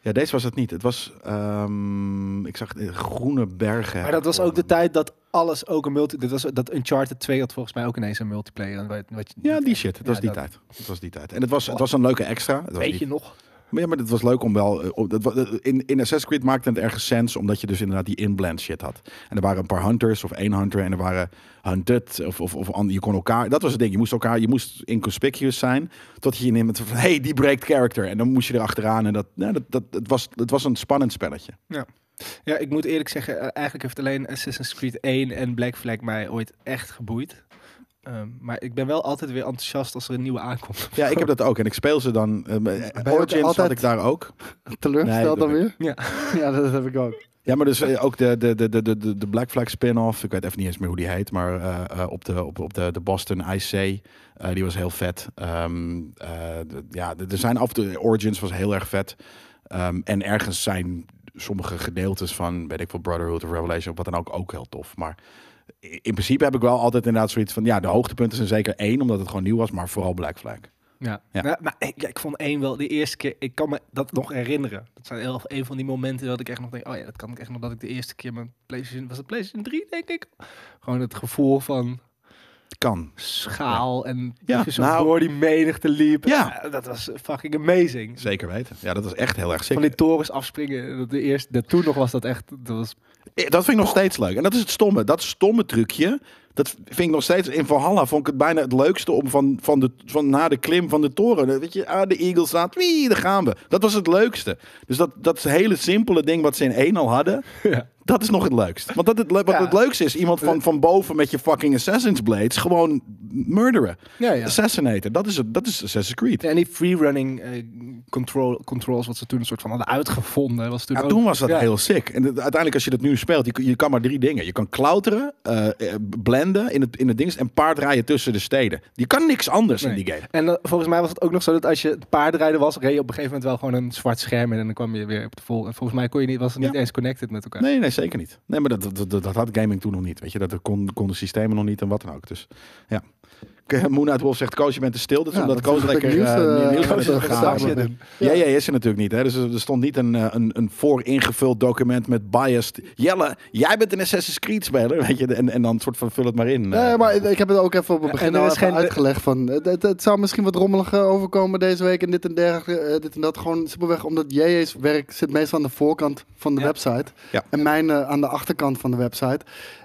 Speaker 3: ja, deze was het niet. Het was, ehm, ik zag eh, groene bergen.
Speaker 1: Maar dat was ook de tijd dat alles ook een multi... Dat, was, dat Uncharted 2 had volgens mij ook ineens een multiplayer. En wat- wat je
Speaker 3: Ja,
Speaker 1: niet
Speaker 3: die
Speaker 1: echt-
Speaker 3: shit. Het
Speaker 1: Ja,
Speaker 3: was die
Speaker 1: dat-
Speaker 3: tijd. Het was die tijd. En het was, het was een leuke extra. Het was
Speaker 1: Weet
Speaker 3: niet-
Speaker 1: je nog?
Speaker 3: Maar ja, maar het was leuk om wel. eh, om- dat wa- eh, In, in Assassin's Creed maakte het ergens sens, omdat je dus inderdaad die inblend shit had. En er waren een paar hunters of één hunter en er waren hunted of, of, of an- je kon elkaar. Dat was het ding. Je moest elkaar, je moest inconspicuous zijn, tot je iemand van hey die breekt character en dan moest je er achteraan en dat, nou, dat, dat, het was, het was een spannend spelletje.
Speaker 1: Ja, ik moet eerlijk zeggen, eh, eigenlijk heeft alleen Assassin's Creed 1 en Black Flag mij ooit echt geboeid. Ehm, maar ik ben wel altijd weer enthousiast als er een nieuwe aankomt.
Speaker 3: Ja, ik heb dat ook en ik speel ze dan. eh,
Speaker 2: ook
Speaker 3: Origins had
Speaker 2: altijd-
Speaker 3: ik daar ook.
Speaker 2: Teleurgesteld
Speaker 3: Nee,
Speaker 2: dan
Speaker 3: dat
Speaker 2: weer?
Speaker 1: Ja.
Speaker 2: ja, dat heb ik ook.
Speaker 3: Ja, maar dus eh, ook de, de, de, de, de, de Black Flag spin-off. Ik weet even niet eens meer hoe die heet. Maar eh, eh, op, de, op, op de, de Boston IC. eh, die was heel vet. Ehm, eh, d- ja, d- er zijn af en toe... Origins was heel erg vet. Ehm, en ergens zijn sommige gedeeltes van... weet ik veel, Brotherhood of Revelation... of wat dan ook, ook heel tof. Maar i- in principe heb ik wel altijd inderdaad zoiets van... ja, de hoogtepunten zijn zeker één... omdat het gewoon nieuw was, maar vooral Black Flag.
Speaker 1: Ja.
Speaker 3: Ja.
Speaker 1: Nou, maar ik, ja, ik vond één wel de eerste keer. Ik kan me dat nog herinneren. Dat zijn heel, een van die momenten dat ik echt nog denk: oh ja, dat kan ik echt nog. Dat ik de eerste keer mijn PlayStation. Was het PlayStation 3, denk ik? Gewoon het gevoel van
Speaker 3: Kan.
Speaker 1: schaal en
Speaker 3: Ja,
Speaker 1: dat je zo
Speaker 3: nou-
Speaker 1: door die menigte liep.
Speaker 3: Ja.
Speaker 1: Eh, dat was fucking amazing.
Speaker 3: Zeker weten. Ja, dat was echt heel erg sick.
Speaker 1: Van die torens afspringen. Dat de eerste, dat toen nog was dat echt. Dat was
Speaker 3: Eh, Dat vind ik nog steeds leuk. En dat is het stomme. Dat stomme trucje, Dat vind ik nog steeds. In Valhalla vond ik het bijna het leukste om van, van de, van, na de klim van de toren. Weet je, ah, de Eagles staat. Wie, daar gaan we. Dat was het leukste. Dus dat, dat hele simpele ding wat ze in één al hadden.
Speaker 1: Ja.
Speaker 3: Dat is nog het leukst. Want dat het, le- wat
Speaker 1: Ja.
Speaker 3: het leukste is, iemand van, van boven met je fucking Assassin's Blades gewoon murderen.
Speaker 1: Ja, ja.
Speaker 3: Assassinaten. Dat is, het, dat is Assassin's Creed.
Speaker 1: En die freerunning eh control, controls wat ze toen een soort van hadden uitgevonden. Was toen,
Speaker 3: Ja,
Speaker 1: ook-
Speaker 3: toen was dat
Speaker 1: ja.
Speaker 3: heel sick. En het- uiteindelijk als je dat nu speelt, je, kun- je kan maar drie dingen. Je kan klauteren, eh, eh, blenden in het, in het ding en paardrijden tussen de steden. Je kan niks anders
Speaker 1: Nee.
Speaker 3: in die game.
Speaker 1: En eh, volgens mij was het ook nog zo dat als je het paardrijden was, reed je op een gegeven moment wel gewoon een zwart scherm in en dan kwam je weer op de vol. En volgens mij kon je niet, was het niet
Speaker 3: Ja.
Speaker 1: eens connected met elkaar.
Speaker 3: Nee, nee, zeker niet. Nee, maar dat, dat, dat, dat had gaming toen nog niet. Weet je, dat er kon, konden systemen nog niet en wat dan ook. Dus ja. K- Moon Knight Wolf zegt, Koos, je bent te stil. Dat is
Speaker 2: Ja,
Speaker 3: omdat
Speaker 2: dat
Speaker 3: Koos
Speaker 2: is
Speaker 3: lekker...
Speaker 2: goed nieuws,
Speaker 3: eh,
Speaker 2: eh,
Speaker 3: nieuws
Speaker 2: Koos
Speaker 3: aan het
Speaker 2: is een
Speaker 3: gaan
Speaker 2: gaaf
Speaker 3: is.
Speaker 2: man.
Speaker 3: Ja, ja, is er natuurlijk niet. Hè? Dus er er stond niet een, eh, een, een vooringevuld document met biased. Jelle, jij bent een Assassin's Creed speler. Weet je, en, en dan soort van vul het maar in. eh.
Speaker 2: Nee, maar ik heb het ook even op het begin
Speaker 1: en er
Speaker 2: al
Speaker 1: is
Speaker 2: even
Speaker 1: geen-
Speaker 2: uitgelegd. Van, het, het, het zou misschien wat rommelig eh, overkomen deze week en dit en dergelijke, eh, dit en dat. Gewoon simpelweg omdat JJ's werk zit meestal aan de voorkant van de
Speaker 1: Ja.
Speaker 2: website.
Speaker 3: Ja.
Speaker 2: En mijn eh, aan de achterkant van de website.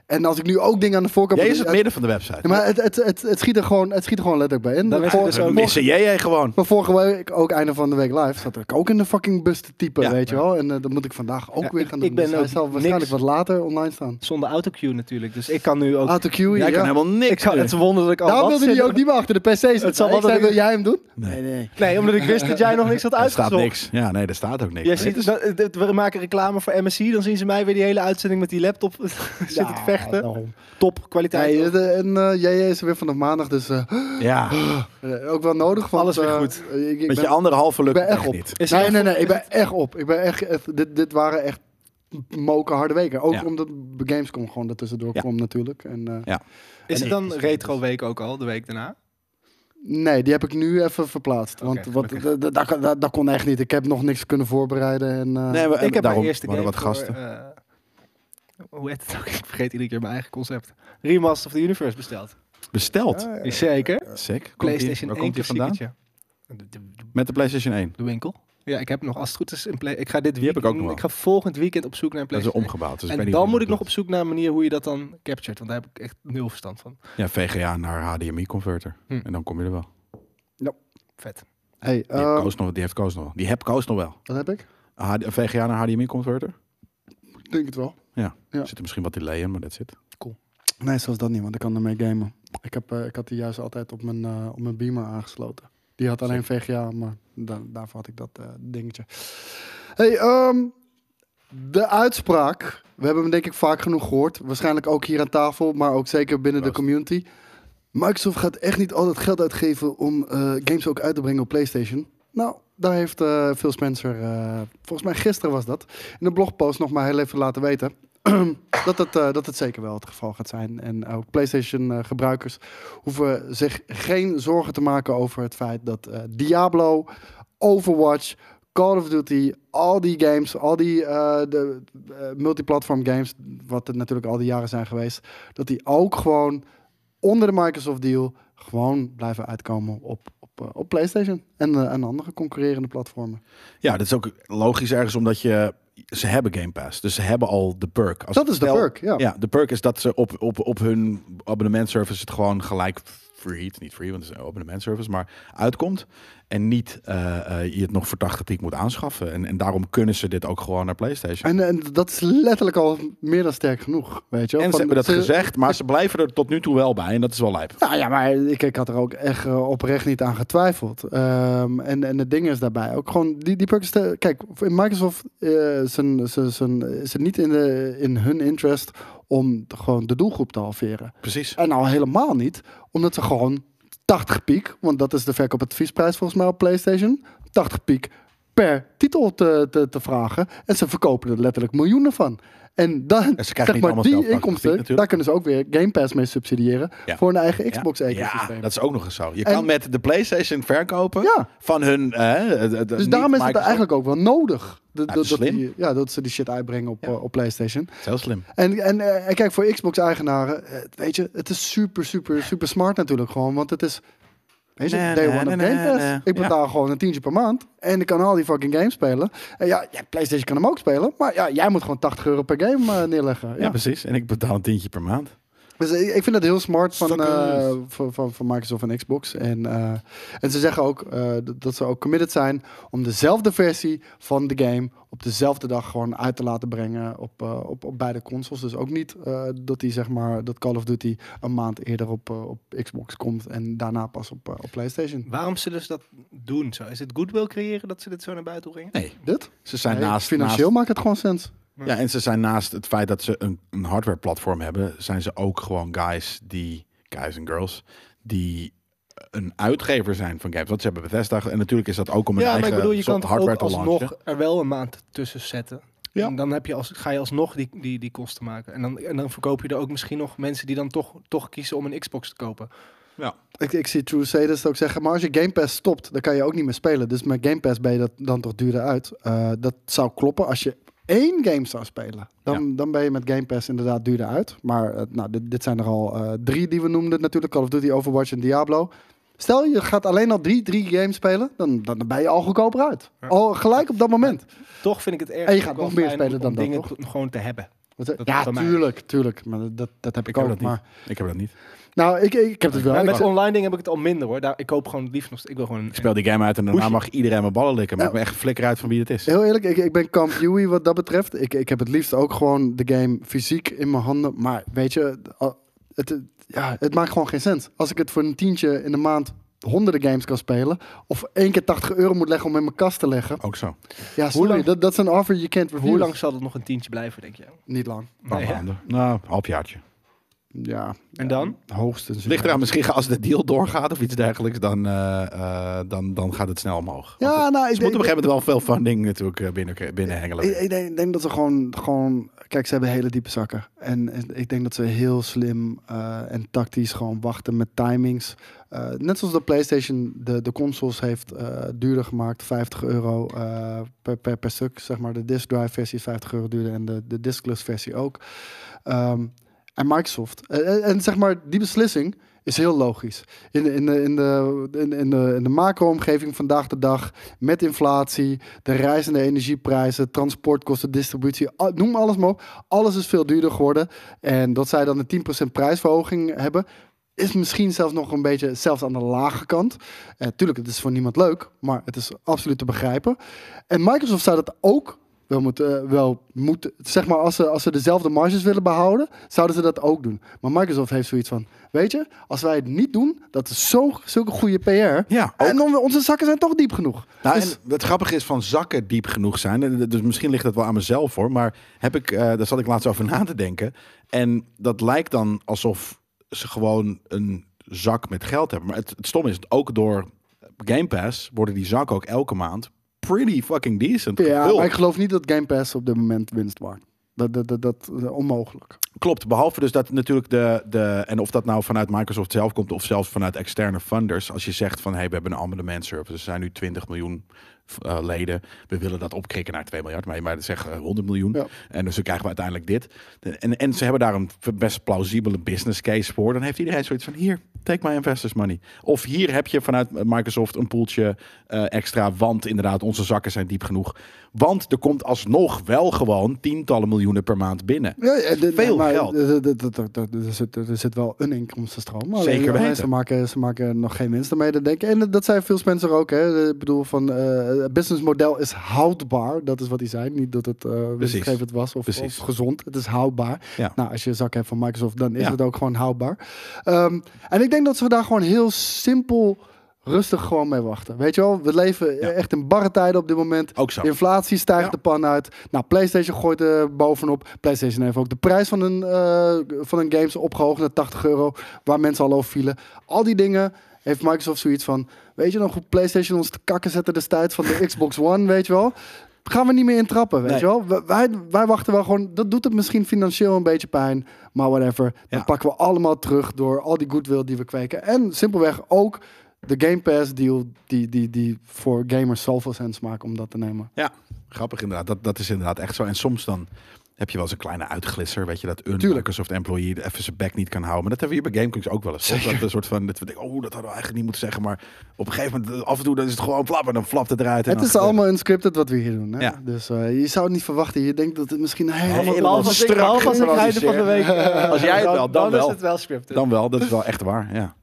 Speaker 2: En als ik nu ook dingen aan de voorkant...
Speaker 3: Jij
Speaker 2: moet
Speaker 3: is het
Speaker 2: doen,
Speaker 3: midden van de website.
Speaker 2: ja, maar het, het, het, het, schiet er gewoon, het schiet er gewoon letterlijk bij in.
Speaker 1: Dan is
Speaker 2: Voor-
Speaker 1: het dus ook-
Speaker 3: We missen jij gewoon.
Speaker 2: Maar vorige week, ook einde van de week live, zat ik ook in de fucking bus te typen,
Speaker 3: Ja.
Speaker 2: weet je wel. En eh, dat moet ik vandaag ook
Speaker 1: Ja,
Speaker 2: weer
Speaker 1: ik-
Speaker 2: gaan
Speaker 1: ik
Speaker 2: doen.
Speaker 1: ben
Speaker 2: dus hij
Speaker 1: ook
Speaker 2: zal waarschijnlijk
Speaker 1: niks-
Speaker 2: wat later online staan.
Speaker 1: Zonder autocue natuurlijk. Dus ik kan nu ook.
Speaker 2: Auto Q,
Speaker 3: Jij kan
Speaker 2: ja.
Speaker 3: helemaal niks.
Speaker 1: ik zou het wonder dat ik al.
Speaker 2: Daarom
Speaker 1: had
Speaker 2: wilde hij ook
Speaker 1: zitten-
Speaker 2: niet meer achter de PC zitten.
Speaker 1: Het zal
Speaker 2: ik
Speaker 1: wel
Speaker 2: zei,
Speaker 1: dat-
Speaker 2: wil jij hem doen?
Speaker 3: Nee,
Speaker 1: Nee, omdat ik wist dat jij nog niks had
Speaker 3: Er staat
Speaker 1: uitgezocht.
Speaker 3: niks. Ja, nee, er staat ook niks.
Speaker 1: Jij
Speaker 3: Nee,
Speaker 1: ziet,
Speaker 3: het is-
Speaker 1: dat- dat- we maken reclame voor MSI, dan zien ze mij weer die hele uitzending met die laptop zit ik vechten.
Speaker 2: daarom.
Speaker 1: Top kwaliteit.
Speaker 2: Nee, de- en eh, jij is er weer vanaf maandag, dus eh,
Speaker 3: Ja,
Speaker 2: eh, ook wel nodig. Want,
Speaker 1: Alles weer
Speaker 2: eh,
Speaker 1: goed.
Speaker 2: ik, ik
Speaker 3: met je
Speaker 2: ben,
Speaker 3: anderhalve lukt
Speaker 2: ik ben
Speaker 3: het
Speaker 2: echt
Speaker 3: echt
Speaker 2: op.
Speaker 3: niet.
Speaker 1: Is
Speaker 2: nee,
Speaker 1: er-
Speaker 2: nee, nee, ik ben echt op. Ik ben echt, echt- dit, dit waren echt moken harde weken. Ook
Speaker 3: Ja.
Speaker 2: omdat Gamescom gewoon ertussendoor
Speaker 3: Ja.
Speaker 2: kwam natuurlijk. En, eh,
Speaker 1: Is het
Speaker 3: Nee.
Speaker 1: dan retro week ook al, de week daarna?
Speaker 2: Nee, die heb ik nu even verplaatst. Want
Speaker 1: Oké,
Speaker 2: wat,
Speaker 1: gelukkig.
Speaker 2: d- d- dat kon- dat- dat kon echt niet. Ik heb nog niks kunnen voorbereiden. En, eh,
Speaker 3: Nee, maar, en
Speaker 1: ik heb
Speaker 3: daarom
Speaker 1: mijn eerste
Speaker 3: waren
Speaker 1: game
Speaker 3: wat
Speaker 1: voor,
Speaker 3: gasten.
Speaker 1: eh, hoe heet het ook? Ik vergeet iedere keer mijn eigen concept. Remaster of the Universe besteld.
Speaker 3: Besteld.
Speaker 2: ja, ja.
Speaker 1: Zeker.
Speaker 3: Sick. Eh, Komt
Speaker 1: PlayStation
Speaker 3: die-
Speaker 1: 1
Speaker 3: waar komt die vandaan?
Speaker 1: klassieketje. De, de-
Speaker 3: Met de PlayStation 1.
Speaker 1: de winkel. Ja, ik heb nog als het goed is een play. Ik ga dit
Speaker 3: Die heb ik ook
Speaker 1: weekend-
Speaker 3: nog wel.
Speaker 1: Ik ga volgend weekend op zoek naar een
Speaker 3: Dat is
Speaker 1: PlayStation.
Speaker 3: omgebouwd. Dus ik weet
Speaker 1: en
Speaker 3: niet
Speaker 1: dan
Speaker 3: hoe
Speaker 1: moet
Speaker 3: dat
Speaker 1: ik nog op
Speaker 3: doet.
Speaker 1: zoekt naar een manier hoe je dat dan captured. Want daar heb ik echt nul verstand van.
Speaker 3: Ja, VGA naar HDMI-converter.
Speaker 1: Hm.
Speaker 3: En dan kom je er wel.
Speaker 1: Vet.
Speaker 2: Hey,
Speaker 3: Die, heeft
Speaker 2: eh,
Speaker 3: Koos nog, die heeft Koos nog wel. Die heb Koos nog wel.
Speaker 2: wat heb ik?
Speaker 3: HD VGA naar HDMI-converter.
Speaker 2: Ik denk het wel. Ja.
Speaker 3: Er Zit er misschien wat delay in, maar dat zit.
Speaker 2: Nee, zoals dat niet, want ik kan ermee gamen. Ik, heb, eh, ik had die juist altijd op mijn, eh, op mijn beamer aangesloten. Die had alleen VGA, maar da- daarvoor had ik dat eh, dingetje. Hey, ehm, de uitspraak. We hebben hem denk ik vaak genoeg gehoord. Waarschijnlijk ook hier aan tafel, maar ook zeker binnen de
Speaker 3: Proost.
Speaker 2: community. Microsoft gaat echt niet al dat geld uitgeven om eh, games ook uit te brengen op PlayStation. Nou, daar heeft eh, Phil Spencer, eh, volgens mij gisteren was dat, in een blogpost nog maar heel even laten weten. dat, het, eh, dat het zeker wel het geval gaat zijn. En ook PlayStation-gebruikers hoeven zich geen zorgen te maken over het feit dat eh, Diablo, Overwatch, Call of Duty, al die games, al die eh, de, eh, multiplatform games, wat er natuurlijk al die jaren zijn geweest, dat die ook gewoon onder de Microsoft deal gewoon blijven uitkomen op, op, eh, op PlayStation en eh, aan andere concurrerende platformen.
Speaker 3: Ja, dat is ook logisch ergens, omdat je... Ze hebben Game Pass, dus ze hebben al de perk. Als
Speaker 2: dat is de
Speaker 3: stel-
Speaker 2: perk, ja.
Speaker 3: Ja, de perk is dat ze op, op, op hun abonnementservice het gewoon gelijk free, het is niet free, want het is een abonnementservice, maar uitkomt. En niet eh, eh, je het nog voor 80 piek moet aanschaffen. En, en daarom kunnen ze dit ook gewoon naar PlayStation.
Speaker 2: En, en dat is letterlijk al meer dan sterk genoeg, weet je wel.
Speaker 3: En ze
Speaker 2: Van-
Speaker 3: hebben dat
Speaker 2: ze-
Speaker 3: gezegd, maar ze blijven er tot nu toe wel bij. En dat is wel lijp.
Speaker 2: Nou ja, maar ik, ik had er ook echt eh, oprecht niet aan getwijfeld. Ehm, en, en het ding is daarbij ook gewoon, die, die perks, te- kijk, in Microsoft eh, zijn, zijn, zijn, is het niet in, de, in hun interest om de- gewoon de doelgroep te halveren.
Speaker 3: Precies.
Speaker 2: En nou helemaal niet, omdat ze gewoon 80 piek, want dat is de verkoopadviesprijs volgens mij op PlayStation, 80 piek per titel te, te, te vragen. En ze verkopen er letterlijk miljoenen van. En dan,
Speaker 3: En ze krijgen
Speaker 2: zeg
Speaker 3: niet
Speaker 2: maar,
Speaker 3: allemaal
Speaker 2: die
Speaker 3: zelf 80 piek
Speaker 2: inkomsten,
Speaker 3: natuurlijk.
Speaker 2: daar kunnen ze ook weer Game Pass mee subsidiëren
Speaker 3: Ja.
Speaker 2: voor hun eigen
Speaker 3: Ja.
Speaker 2: Xbox-ecosysteem.
Speaker 3: Ja, dat is ook nog eens zo. Je
Speaker 2: En-
Speaker 3: kan met de PlayStation verkopen
Speaker 2: Ja.
Speaker 3: van hun... eh, eh, eh,
Speaker 2: Dus daarom is
Speaker 3: niet
Speaker 2: het
Speaker 3: Microsoft.
Speaker 2: eigenlijk ook wel nodig. Dat, dat,
Speaker 3: Ja, dat is slim.
Speaker 2: die, ja, dat ze die shit uitbrengen op, eh, op PlayStation.
Speaker 3: Heel slim.
Speaker 2: En, en eh, en kijk, voor Xbox-eigenaren, eh, weet je, het is super, super, super smart natuurlijk gewoon. Want het is, weet je,
Speaker 3: Nee,
Speaker 2: day
Speaker 3: nee,
Speaker 2: one of
Speaker 3: nee,
Speaker 2: Game
Speaker 3: nee,
Speaker 2: Pass.
Speaker 3: nee.
Speaker 2: Ik betaal gewoon een tientje per maand. En ik kan al die fucking games spelen. En ja, ja, PlayStation kan hem ook spelen. Maar ja, jij moet gewoon 80 euro per game eh, neerleggen.
Speaker 3: Ja, precies. En ik betaal een tientje per maand.
Speaker 2: Dus ik ik vind dat heel smart van,
Speaker 3: Suckers.
Speaker 2: eh, van, van, van Microsoft en Xbox. En, eh, en ze zeggen ook eh, d- dat ze ook committed zijn om dezelfde versie van de game op dezelfde dag gewoon uit te laten brengen op, eh, op, op beide consoles. Dus ook niet eh, dat die zeg maar dat Call of Duty een maand eerder op, eh, op Xbox komt en daarna pas op, eh, op PlayStation.
Speaker 1: Waarom zullen ze dat doen? Zo, is het goodwill creëren dat ze dit zo naar buiten brengen?
Speaker 3: Nee,
Speaker 2: Dit?
Speaker 3: ze zijn
Speaker 2: Nee,
Speaker 3: naast...
Speaker 2: financieel maakt het gewoon sens.
Speaker 3: naast- ja, en ze zijn naast het feit dat ze een, een hardware-platform hebben... zijn ze ook gewoon guys die... Guys en girls. Die een uitgever zijn van games. Want ze hebben Bethesda... En natuurlijk is dat ook om een
Speaker 1: Ja, maar
Speaker 3: eigen
Speaker 1: ik bedoel, je kan
Speaker 3: soort
Speaker 1: het
Speaker 3: hardware
Speaker 1: ook
Speaker 3: te launchen.
Speaker 1: alsnog er wel een maand tussen zetten.
Speaker 3: Ja.
Speaker 1: En dan heb je als, ga je alsnog die, die, die kosten maken. En dan, en dan verkoop je er ook misschien nog mensen die dan toch, toch kiezen om een Xbox te kopen.
Speaker 2: Ik, ik zie True Sadist ook zeggen, maar als je Game Pass stopt, dan kan je ook niet meer spelen. Dus met Game Pass ben je dat dan toch duurder uit. Eh, dat zou kloppen als je één game zou spelen. Dan, dan ben je met Game Pass inderdaad duurder uit. Maar eh, nou, dit, dit zijn er al eh, drie die we noemden natuurlijk. Call of Duty, Overwatch en Diablo. Stel, je gaat alleen al drie, drie games spelen, dan, dan ben je al goedkoper uit. Al gelijk op dat moment.
Speaker 1: Toch vind ik het erg.
Speaker 2: En je gaat
Speaker 1: wel
Speaker 2: nog meer
Speaker 1: fijn
Speaker 2: spelen
Speaker 1: om
Speaker 2: dan dat,
Speaker 1: dingen
Speaker 2: toch?
Speaker 1: te- gewoon te hebben.
Speaker 2: Wat zeg-
Speaker 1: Dat is
Speaker 2: ja,
Speaker 1: bij mij.
Speaker 2: tuurlijk, tuurlijk. Maar dat, dat heb ik,
Speaker 3: Ik
Speaker 2: ook.
Speaker 3: heb dat niet.
Speaker 2: maar,
Speaker 3: Ik heb dat niet.
Speaker 2: nou, ik, ik, ik heb het wel.
Speaker 1: Maar
Speaker 2: Ik-
Speaker 1: met online dingen heb ik het al minder hoor. Daar, ik koop gewoon het liefst nog. Ik wil gewoon.
Speaker 3: Ik speel die game uit en daarna
Speaker 1: Hoesje.
Speaker 3: mag iedereen mijn ballen likken. Maakt
Speaker 2: Ja.
Speaker 3: me echt flikker uit van wie het is.
Speaker 2: Heel eerlijk, ik, ik ben kamp Yui wat dat betreft. Ik, ik heb het liefst ook gewoon de game fysiek in mijn handen. Maar weet je, al- het, het- ja, het maakt gewoon geen sens. Als ik het voor een tientje in de maand honderden games kan spelen... of één keer 80 euro moet leggen om in mijn kast te leggen...
Speaker 3: Ook zo.
Speaker 2: ja, sorry,
Speaker 1: lang-
Speaker 2: dat, dat is een offer you can't refuse.
Speaker 1: Hoe lang zal het nog een tientje blijven, denk je?
Speaker 2: Niet lang.
Speaker 3: Een paar
Speaker 1: Nee, hè?
Speaker 3: maanden. Nou, halfjaartje.
Speaker 2: Ja.
Speaker 1: En dan?
Speaker 2: Hoogstens.
Speaker 3: Ligt eraan, misschien als de deal doorgaat of iets dergelijks, dan, eh, eh, dan, dan gaat het snel omhoog. Want
Speaker 2: Ja, nou, ik
Speaker 3: ze moeten op een
Speaker 2: denk-
Speaker 3: gegeven moment wel veel funding natuurlijk eh, binnen, binnenhengelen.
Speaker 2: Ik, ik denk, ik denk dat ze gewoon, gewoon. Kijk, ze hebben hele diepe zakken. En, en ik denk dat ze heel slim eh, en tactisch gewoon wachten met timings. Eh, net zoals de PlayStation de, de consoles heeft eh, duurder gemaakt. 50 euro eh, per, per, per stuk. Zeg maar de disk drive versie is 50 euro duurder en de, de diskless versie ook. Ehm, en Microsoft. En, en- en zeg maar, die beslissing is heel logisch. In, de- in, de, in, de, in, in de, in de macro-omgeving vandaag de dag, met inflatie, de reizende energieprijzen, transportkosten, distributie, al- noem alles maar op. Alles is veel duurder geworden. En dat zij dan een 10% prijsverhoging hebben, is misschien zelfs nog een beetje, zelfs aan de lage kant. Eh, tuurlijk, het is voor niemand leuk, maar het is absoluut te begrijpen. En Microsoft zou dat ook wel moeten, eh, wel moeten zeg maar, als ze, als ze dezelfde marges willen behouden, zouden ze dat ook doen. Maar Microsoft heeft zoiets van, weet je, als wij het niet doen, dat is zo, zulke goede PR.
Speaker 3: Ja, ook.
Speaker 2: en on- onze zakken zijn toch diep genoeg.
Speaker 3: Nou,
Speaker 2: Dus-
Speaker 3: en het grappige is van zakken diep genoeg zijn. En Dus misschien ligt dat wel aan mezelf hoor. Maar heb ik, eh, daar zat ik laatst over na te denken. En dat lijkt dan alsof ze gewoon een zak met geld hebben. Maar het, het stom is, ook door Game Pass worden die zakken ook elke maand pretty fucking decent.
Speaker 2: Ja,
Speaker 3: gevuld.
Speaker 2: maar ik geloof niet dat Game Pass op dit moment winst waard. Dat, dat, dat, dat eh, onmogelijk.
Speaker 3: Klopt, behalve dus dat natuurlijk de, de... En of dat nou vanuit Microsoft zelf komt of zelfs vanuit externe funders. Als je zegt van, hey, we hebben een abonnement service. Er zijn nu 20 miljoen eh, leden. We willen dat opkrikken naar 2 miljard. Maar, maar dat zeggen 100 miljoen.
Speaker 2: Ja.
Speaker 3: En dus dan krijgen we uiteindelijk dit. En, en ze hebben daar een best plausibele business case voor. Dan heeft iedereen zoiets van, hier, take my investors money. Of hier heb je vanuit eh, Microsoft een poeltje eh, extra. Want inderdaad, onze zakken zijn diep genoeg. Want er komt alsnog wel gewoon tientallen miljoenen per maand binnen.
Speaker 2: Ja, ja, de-
Speaker 3: Veel
Speaker 2: maar
Speaker 3: geld.
Speaker 2: de- de- de- de- de- de- Er zit, er zit wel een inkomstenstroom. Alleen-
Speaker 3: Zeker
Speaker 2: alleen
Speaker 3: weten.
Speaker 2: Ze maken, ze maken nog geen winst ermee, dat denk ik. En dat zei Phil Spencer ook. Hè. Ik bedoel, van, eh, het businessmodel is houdbaar. Dat is wat hij zei. Niet dat het eh winstgevend was of,
Speaker 3: Precies.
Speaker 2: of gezond. Het is houdbaar.
Speaker 3: Ja.
Speaker 2: Nou, als je een zak hebt van Microsoft, dan is
Speaker 3: Ja.
Speaker 2: het ook gewoon houdbaar. Ehm, en ik denk dat ze daar gewoon heel simpel... Rustig gewoon mee wachten. Weet je wel, we leven
Speaker 3: Ja.
Speaker 2: echt in barre tijden op dit moment.
Speaker 3: Ook zo.
Speaker 2: De inflatie stijgt
Speaker 3: Ja.
Speaker 2: de pan uit. Nou, PlayStation gooit er bovenop. PlayStation heeft ook de prijs van hun, eh, van hun games opgehoogd naar 80 euro, waar mensen al over vielen. Al die dingen heeft Microsoft zoiets van, weet je nog hoe PlayStation ons te kakken zette destijds van de Xbox One, weet je wel? Gaan we niet meer intrappen, weet
Speaker 3: Nee.
Speaker 2: je wel? W- Wij, wij wachten wel gewoon, dat doet het misschien financieel een beetje pijn, maar whatever. Dat
Speaker 3: Ja.
Speaker 2: pakken we allemaal terug door al die goodwill die we kweken. En simpelweg ook de Game Pass deal die, die, die voor gamers zoveel sens maakt om dat te nemen.
Speaker 3: Grappig inderdaad, dat, dat is inderdaad echt zo. En soms dan heb je wel eens een kleine uitglisser, weet je, dat
Speaker 2: Tuurlijk.
Speaker 3: een Microsoft employee even zijn bek niet kan houden. Maar dat hebben we hier bij Gamecocks ook wel eens. toch? Dat we een soort van, dat we denken, oh, dat hadden we eigenlijk niet moeten zeggen. Maar op een gegeven moment, af en toe, dan is het gewoon flap en dan flapt het eruit. En
Speaker 2: Het
Speaker 3: dan
Speaker 2: is allemaal unscripted wat we hier doen. Hè?
Speaker 3: Ja.
Speaker 2: Dus eh, je zou het niet verwachten. Je denkt dat het misschien een hele
Speaker 3: Helemaal
Speaker 1: Behalve als ik-
Speaker 3: strak
Speaker 1: behalve als ik het einde van de week... eh,
Speaker 3: Als jij het
Speaker 1: dan-
Speaker 3: wel, dan
Speaker 1: Dan
Speaker 3: wel.
Speaker 1: is het wel scripted.
Speaker 3: Dan wel, dat is wel echt waar, ja.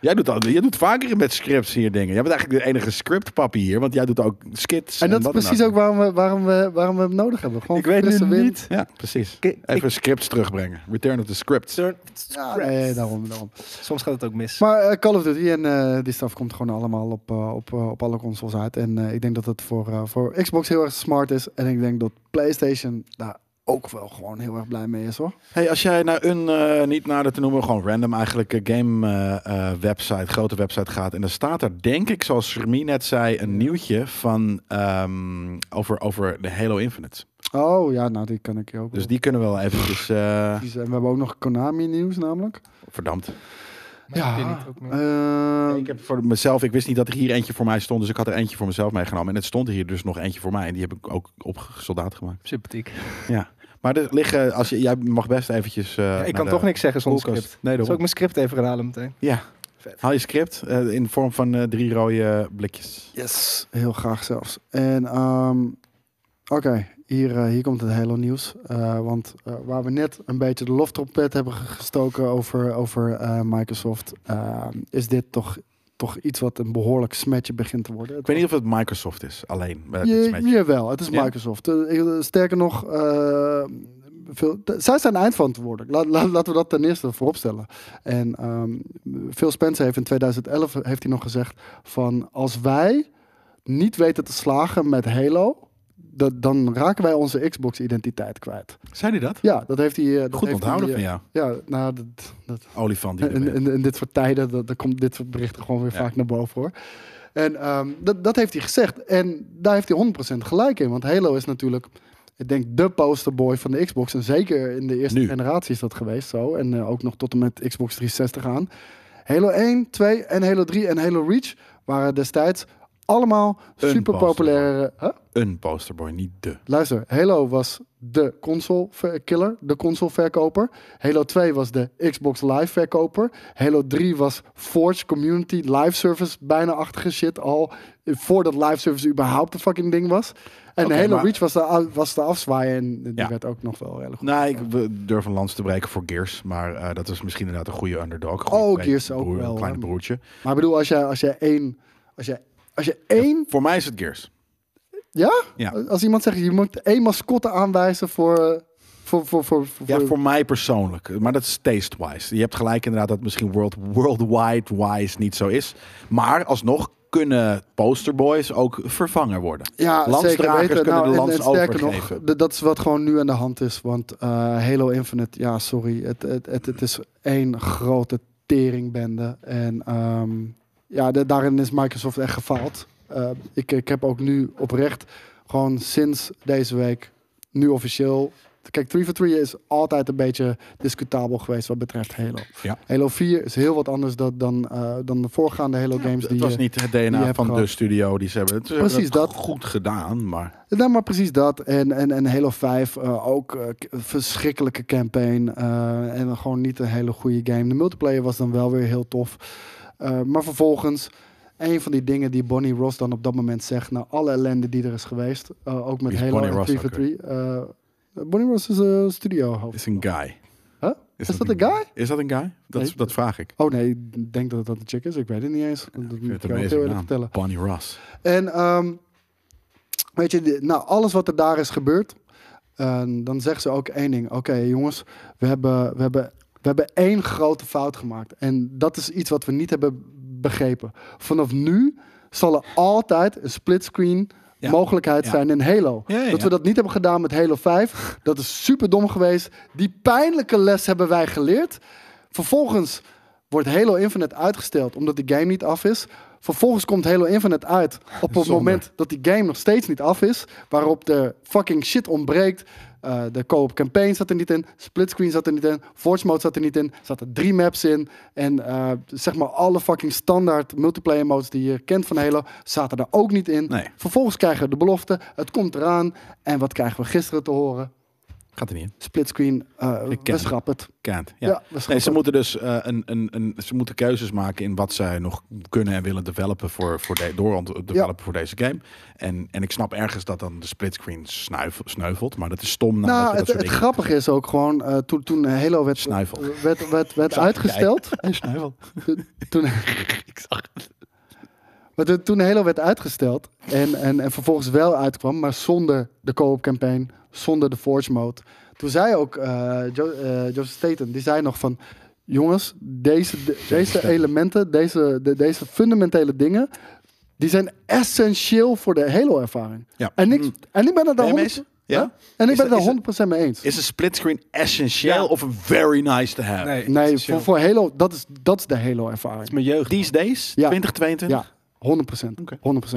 Speaker 3: Jij doet, al, jij doet vaker met scripts hier dingen. Jij bent eigenlijk de enige scriptpappie hier, want jij doet ook skits.
Speaker 2: En dat is
Speaker 3: wat dan
Speaker 2: precies ook waarom we, waarom, we, waarom we hem nodig hebben. Gewoon
Speaker 1: Ik weet
Speaker 2: frisse
Speaker 1: nu
Speaker 2: wind.
Speaker 1: niet...
Speaker 3: Ja, precies.
Speaker 1: Ik- ik-
Speaker 3: Even scripts terugbrengen. Return of the scripts.
Speaker 2: Ja, nee, daarom, daarom.
Speaker 1: Soms gaat het ook mis.
Speaker 2: Maar eh, Call of Duty en eh, die staf komt gewoon allemaal op, eh, op, eh, op alle consoles uit. En eh, ik denk dat dat voor, eh, voor Xbox heel erg smart is. En ik denk dat PlayStation daar ook wel gewoon heel erg blij mee is hoor.
Speaker 3: Hey, als jij naar een, eh, niet nader te noemen, gewoon random eigenlijk eh, game eh, eh, website, grote website gaat. En dan staat er, denk ik, zoals Remy net zei, een nieuwtje van ehm, over, over de Halo Infinite.
Speaker 2: Oh ja, nou die kan ik je ook.
Speaker 3: Dus
Speaker 2: wel.
Speaker 3: die kunnen we wel eventjes, eh,
Speaker 2: Precies. En we hebben ook nog Konami nieuws namelijk.
Speaker 3: verdampt.
Speaker 1: Maar ik weet
Speaker 2: Ja,
Speaker 1: niet ook meer.
Speaker 2: eh,
Speaker 3: Ik heb voor mezelf, ik wist niet dat er hier eentje voor mij stond, dus ik had er eentje voor mezelf meegenomen. En het stond hier dus nog eentje voor mij en die heb ik ook op soldaat gemaakt.
Speaker 1: Sympathiek.
Speaker 3: Ja. Maar er liggen, als je, jij mag best eventjes... eh,
Speaker 1: ik
Speaker 3: naar
Speaker 1: kan
Speaker 3: de
Speaker 1: toch niks zeggen zonder
Speaker 3: koelkast.
Speaker 1: script.
Speaker 3: Nee,
Speaker 1: Zal ik
Speaker 3: daarom.
Speaker 1: mijn script even gaan halen meteen?
Speaker 3: Ja.
Speaker 1: Vet.
Speaker 3: Haal je script eh, in de vorm van eh, drie rode blikjes.
Speaker 2: Yes, heel graag zelfs. En ehm, oké, hier, eh, hier komt het hele nieuws. Eh, want eh, waar we net een beetje de loftrompet hebben ge- gestoken over, over eh, Microsoft, ehm, is dit toch, toch iets wat een behoorlijk smetje begint te worden.
Speaker 3: Ik weet niet of het Microsoft is, alleen. eh, dit
Speaker 2: Je-
Speaker 3: is met je.
Speaker 2: jawel, het is
Speaker 3: Ja?
Speaker 2: Microsoft. Eh, ik- eh, sterker nog, eh, veel, t- zij zijn eindverantwoordelijk. Laat, laat- laten we dat ten eerste vooropstellen. En ehm, Phil Spencer heeft in 2011 heeft hij nog gezegd van als wij niet weten te slagen met Halo, dat, dan raken wij onze Xbox-identiteit kwijt.
Speaker 3: Zei hij dat?
Speaker 2: Ja, dat heeft hij. eh, dat
Speaker 3: Goed
Speaker 2: heeft
Speaker 3: onthouden
Speaker 2: hij,
Speaker 3: van
Speaker 2: eh,
Speaker 3: jou,
Speaker 2: Ja, nou, dat, dat,
Speaker 3: olifant. Die
Speaker 2: en,
Speaker 3: en,
Speaker 2: en, en dit soort tijden, dat, dat komt dit soort berichten gewoon weer
Speaker 3: Ja.
Speaker 2: vaak naar boven hoor. En ehm, dat, dat heeft hij gezegd. En daar heeft hij 100% gelijk in. Want Halo is natuurlijk, ik denk, de posterboy van de Xbox. En zeker in de eerste
Speaker 3: Nu.
Speaker 2: generatie is dat geweest zo. En eh, ook nog tot en met Xbox 360 aan. Halo 1, 2 en Halo 3 en Halo Reach waren destijds allemaal
Speaker 3: Een
Speaker 2: super populaire... Huh?
Speaker 3: Een posterboy, niet de.
Speaker 2: Luister, Halo was de console ver- killer, de console verkoper. Halo 2 was de Xbox Live verkoper. Halo 3 was Forge Community Live Service bijna achtige shit al eh, voordat live service überhaupt een fucking ding was. En
Speaker 3: Oké,
Speaker 2: Halo
Speaker 3: maar-
Speaker 2: Reach was de, a- was de afzwaaier en die
Speaker 3: Ja.
Speaker 2: werd ook nog wel heel goed.
Speaker 3: Nou, ik we- durf een lans te breken voor Gears, maar eh, dat is misschien inderdaad een goede underdog. Goede
Speaker 2: Oh,
Speaker 3: klein
Speaker 2: Gears ook wel, eh.
Speaker 3: Een klein
Speaker 2: hè.
Speaker 3: broertje.
Speaker 2: Maar ik bedoel, als je, als je één... Als je, als je één...
Speaker 3: Voor mij is het Gears.
Speaker 2: Ja? Eh,
Speaker 3: Ja.
Speaker 2: Als iemand zegt, je moet één mascotte aanwijzen voor... eh, Voor, voor, voor, voor,
Speaker 3: Ja, voor mij persoonlijk. Maar dat is taste-wise. Je hebt gelijk inderdaad dat het misschien world, worldwide-wise niet zo is. Maar alsnog kunnen posterboys ook vervangen worden.
Speaker 2: Ja, zeker
Speaker 3: Landsdragers
Speaker 2: weten.
Speaker 3: kunnen
Speaker 2: Nou,
Speaker 3: de
Speaker 2: en-
Speaker 3: lans
Speaker 2: en, sterker
Speaker 3: overgeven.
Speaker 2: nog, d- dat is wat gewoon nu aan de hand is. Want eh, Halo Infinite, ja, sorry. Het, het, het, het is één grote teringbende. En ehm, ja, da- daarin is Microsoft echt gefaald. Eh, ik, ik heb ook nu oprecht, gewoon sinds deze week, nu officieel... Kijk, 3 for 3 is altijd een beetje discutabel geweest wat betreft Halo.
Speaker 3: Ja.
Speaker 2: Halo 4 is heel wat anders dan, dan, eh, dan de voorgaande Halo games.
Speaker 3: Het
Speaker 2: Dus die
Speaker 3: was
Speaker 2: je-
Speaker 3: niet het
Speaker 2: je
Speaker 3: DNA
Speaker 2: hebt
Speaker 3: van de
Speaker 2: gehad.
Speaker 3: studio die ze hebben. Het- Ze
Speaker 2: Precies
Speaker 3: hebben het
Speaker 2: dat.
Speaker 3: goed gedaan, maar
Speaker 2: Nou, maar precies dat. En, en, en Halo 5 eh, ook eh, k- een verschrikkelijke campaign. eh, en gewoon niet een hele goede game. De multiplayer was dan wel weer heel tof. Eh, maar vervolgens, een van die dingen die Bonnie Ross dan op dat moment zegt... na alle ellende die er is geweest, eh, ook met
Speaker 3: Wie is
Speaker 2: Halo
Speaker 3: Bonnie
Speaker 2: en
Speaker 3: Ross
Speaker 2: 3 for
Speaker 3: ook
Speaker 2: 3... eh, Bonnie Ross is een studio
Speaker 3: is een guy.
Speaker 2: Huh? Is dat een guy?
Speaker 3: Is dat een guy? Dat,
Speaker 2: Nee.
Speaker 3: dat vraag ik.
Speaker 2: Oh nee, ik denk dat dat een chick is. Ik weet het niet eens. Dat
Speaker 3: Ik
Speaker 2: moet ik
Speaker 3: vind het
Speaker 2: jou
Speaker 3: een
Speaker 2: ook heel eerlijk
Speaker 3: amazing
Speaker 2: vertellen.
Speaker 3: naam. Bonnie Ross.
Speaker 2: En ehm, weet je, die- nou, alles wat er daar is gebeurd, eh, dan zeggen ze ook één ding. Oké, jongens, we hebben, we, hebben, we hebben één grote fout gemaakt. En dat is iets wat we niet hebben begrepen. Vanaf nu zal er altijd een splitscreen
Speaker 3: Ja.
Speaker 2: mogelijkheid
Speaker 3: Ja.
Speaker 2: zijn in Halo.
Speaker 3: Ja, ja,
Speaker 2: Dat we
Speaker 3: ja.
Speaker 2: dat niet hebben gedaan met Halo 5, dat is super dom geweest. Die pijnlijke les hebben wij geleerd. Vervolgens wordt Halo Infinite uitgesteld omdat die game niet af is. Vervolgens komt Halo Infinite uit op het
Speaker 3: Zonde.
Speaker 2: moment dat die game nog steeds niet af is. Waarop de fucking shit ontbreekt. Eh, de co-op campaign zat er niet in. Splitscreen zat er niet in. Forge mode zat er niet in. Er zaten drie maps in. En eh, zeg maar alle fucking standaard multiplayer modes die je kent van Halo zaten er ook niet in.
Speaker 3: Nee.
Speaker 2: Vervolgens krijgen we de belofte. Het komt eraan. En wat krijgen we gisteren te horen?
Speaker 3: Gaat er niet in.
Speaker 2: Splitscreen. eh
Speaker 3: Ik ken
Speaker 2: we
Speaker 3: het.
Speaker 2: schrappen het.
Speaker 3: Kent.
Speaker 2: Ja,
Speaker 3: Ja.
Speaker 2: we schrappen
Speaker 3: Nee, ze
Speaker 2: het.
Speaker 3: moeten dus eh, een, een, een, ze moeten keuzes maken in wat zij nog kunnen en willen developen voor, voor de, door developen voor deze game. En, en ik snap ergens dat dan de splitscreen snuif- sneuvelt, maar dat is stom. nadat je
Speaker 2: Nou,
Speaker 3: dat
Speaker 2: het,
Speaker 3: soort
Speaker 2: het
Speaker 3: dingen-
Speaker 2: grappige is ook gewoon, eh, toen, toen Halo werd,
Speaker 3: Snuivel.
Speaker 2: werd, werd, werd,
Speaker 3: Zag ik
Speaker 2: uitgesteld.
Speaker 3: Hij snuivelt.
Speaker 2: Nou, Toen, maar toen, toen Halo werd uitgesteld en, en, en vervolgens wel uitkwam, maar zonder de co-op campaign, zonder de Forge mode. Toen zei ook eh, Jo- eh, Joseph Staten, die zei nog van, jongens, deze, de- deze
Speaker 3: Statham.
Speaker 2: elementen, deze, de- deze fundamentele dingen, die zijn essentieel voor de Halo-ervaring.
Speaker 3: Ja.
Speaker 2: En, ik, en ik ben het daar
Speaker 3: Hmm. je mee
Speaker 2: 100%,
Speaker 3: eens? Ja?
Speaker 2: Huh? En ik ben
Speaker 3: Is
Speaker 2: het
Speaker 3: dat- is dat-
Speaker 2: daar 100% mee eens.
Speaker 3: Is een splitscreen essentieel
Speaker 1: Ja.
Speaker 3: of een very nice to have?
Speaker 1: Nee,
Speaker 2: Nee,
Speaker 1: essentieel.
Speaker 2: voor, voor Halo, dat is, dat is de
Speaker 1: Het
Speaker 2: Halo-ervaring.
Speaker 1: is mijn jeugd.
Speaker 3: These days,
Speaker 2: Ja.
Speaker 3: 2022.
Speaker 2: Ja, 100 procent.
Speaker 3: Oké.
Speaker 2: 100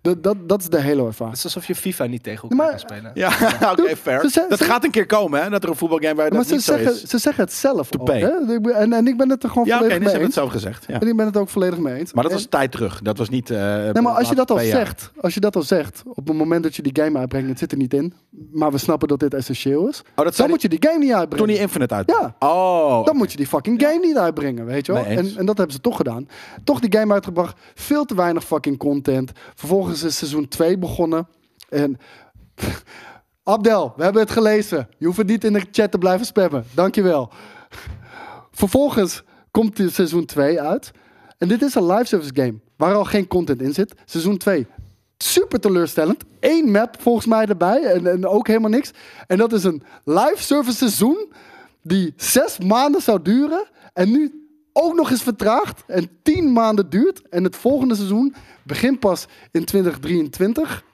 Speaker 2: Dat, dat, dat is de
Speaker 1: Het
Speaker 2: Halo-ervaring.
Speaker 1: is alsof je FIFA niet tegen
Speaker 2: Maar-
Speaker 1: elkaar kan spelen.
Speaker 3: Ja, oké,
Speaker 2: Dude,
Speaker 3: fair.
Speaker 2: ze zijn-
Speaker 3: dat
Speaker 2: ze-
Speaker 3: gaat een keer komen, hè? Dat er een voetbalgame waar
Speaker 2: Maar
Speaker 3: dat
Speaker 2: ze
Speaker 3: niet zo
Speaker 2: zeggen,
Speaker 3: is.
Speaker 2: ze zeggen het zelf ook,
Speaker 3: pay.
Speaker 2: hè? Ik ben- En, en ik ben het er gewoon
Speaker 3: Ja, oké,
Speaker 2: volledig
Speaker 3: nee, ze
Speaker 2: mee
Speaker 3: hebben het
Speaker 2: eens.
Speaker 3: zo gezegd. Ja.
Speaker 2: En ik ben het ook volledig mee eens.
Speaker 3: Maar dat
Speaker 2: En-
Speaker 3: was tijd terug. Dat was niet. eh,
Speaker 2: Nee, maar als je
Speaker 3: laatste
Speaker 2: dat al
Speaker 3: twee jaar.
Speaker 2: zegt, als je dat al zegt, op het moment dat je die game uitbrengt, het zit er niet in, maar we snappen dat dit essentieel is,
Speaker 3: Oh, dat
Speaker 2: dan
Speaker 3: zei
Speaker 2: moet je die game niet uitbrengen.
Speaker 3: Tony Infinite uit.
Speaker 2: Ja.
Speaker 3: Oh.
Speaker 2: Dan moet je die fucking game niet uitbrengen, weet je wel.
Speaker 3: Mee eens.
Speaker 2: En, en dat hebben ze toch gedaan. Toch die game uitgebracht. Veel te weinig fucking content. Vervolgens is seizoen 2 begonnen. En... Abdel, we hebben het gelezen. Je hoeft het niet in de chat te blijven spammen. Dankjewel. Vervolgens komt de seizoen 2 uit. En dit is een live service game. Waar al geen content in zit. Seizoen 2. Super teleurstellend. Eén map volgens mij erbij. En, en ook helemaal niks. En dat is een live service seizoen. Die zes maanden zou duren. En nu ook nog eens vertraagd. En tien maanden duurt. En het volgende seizoen begint pas in 2023.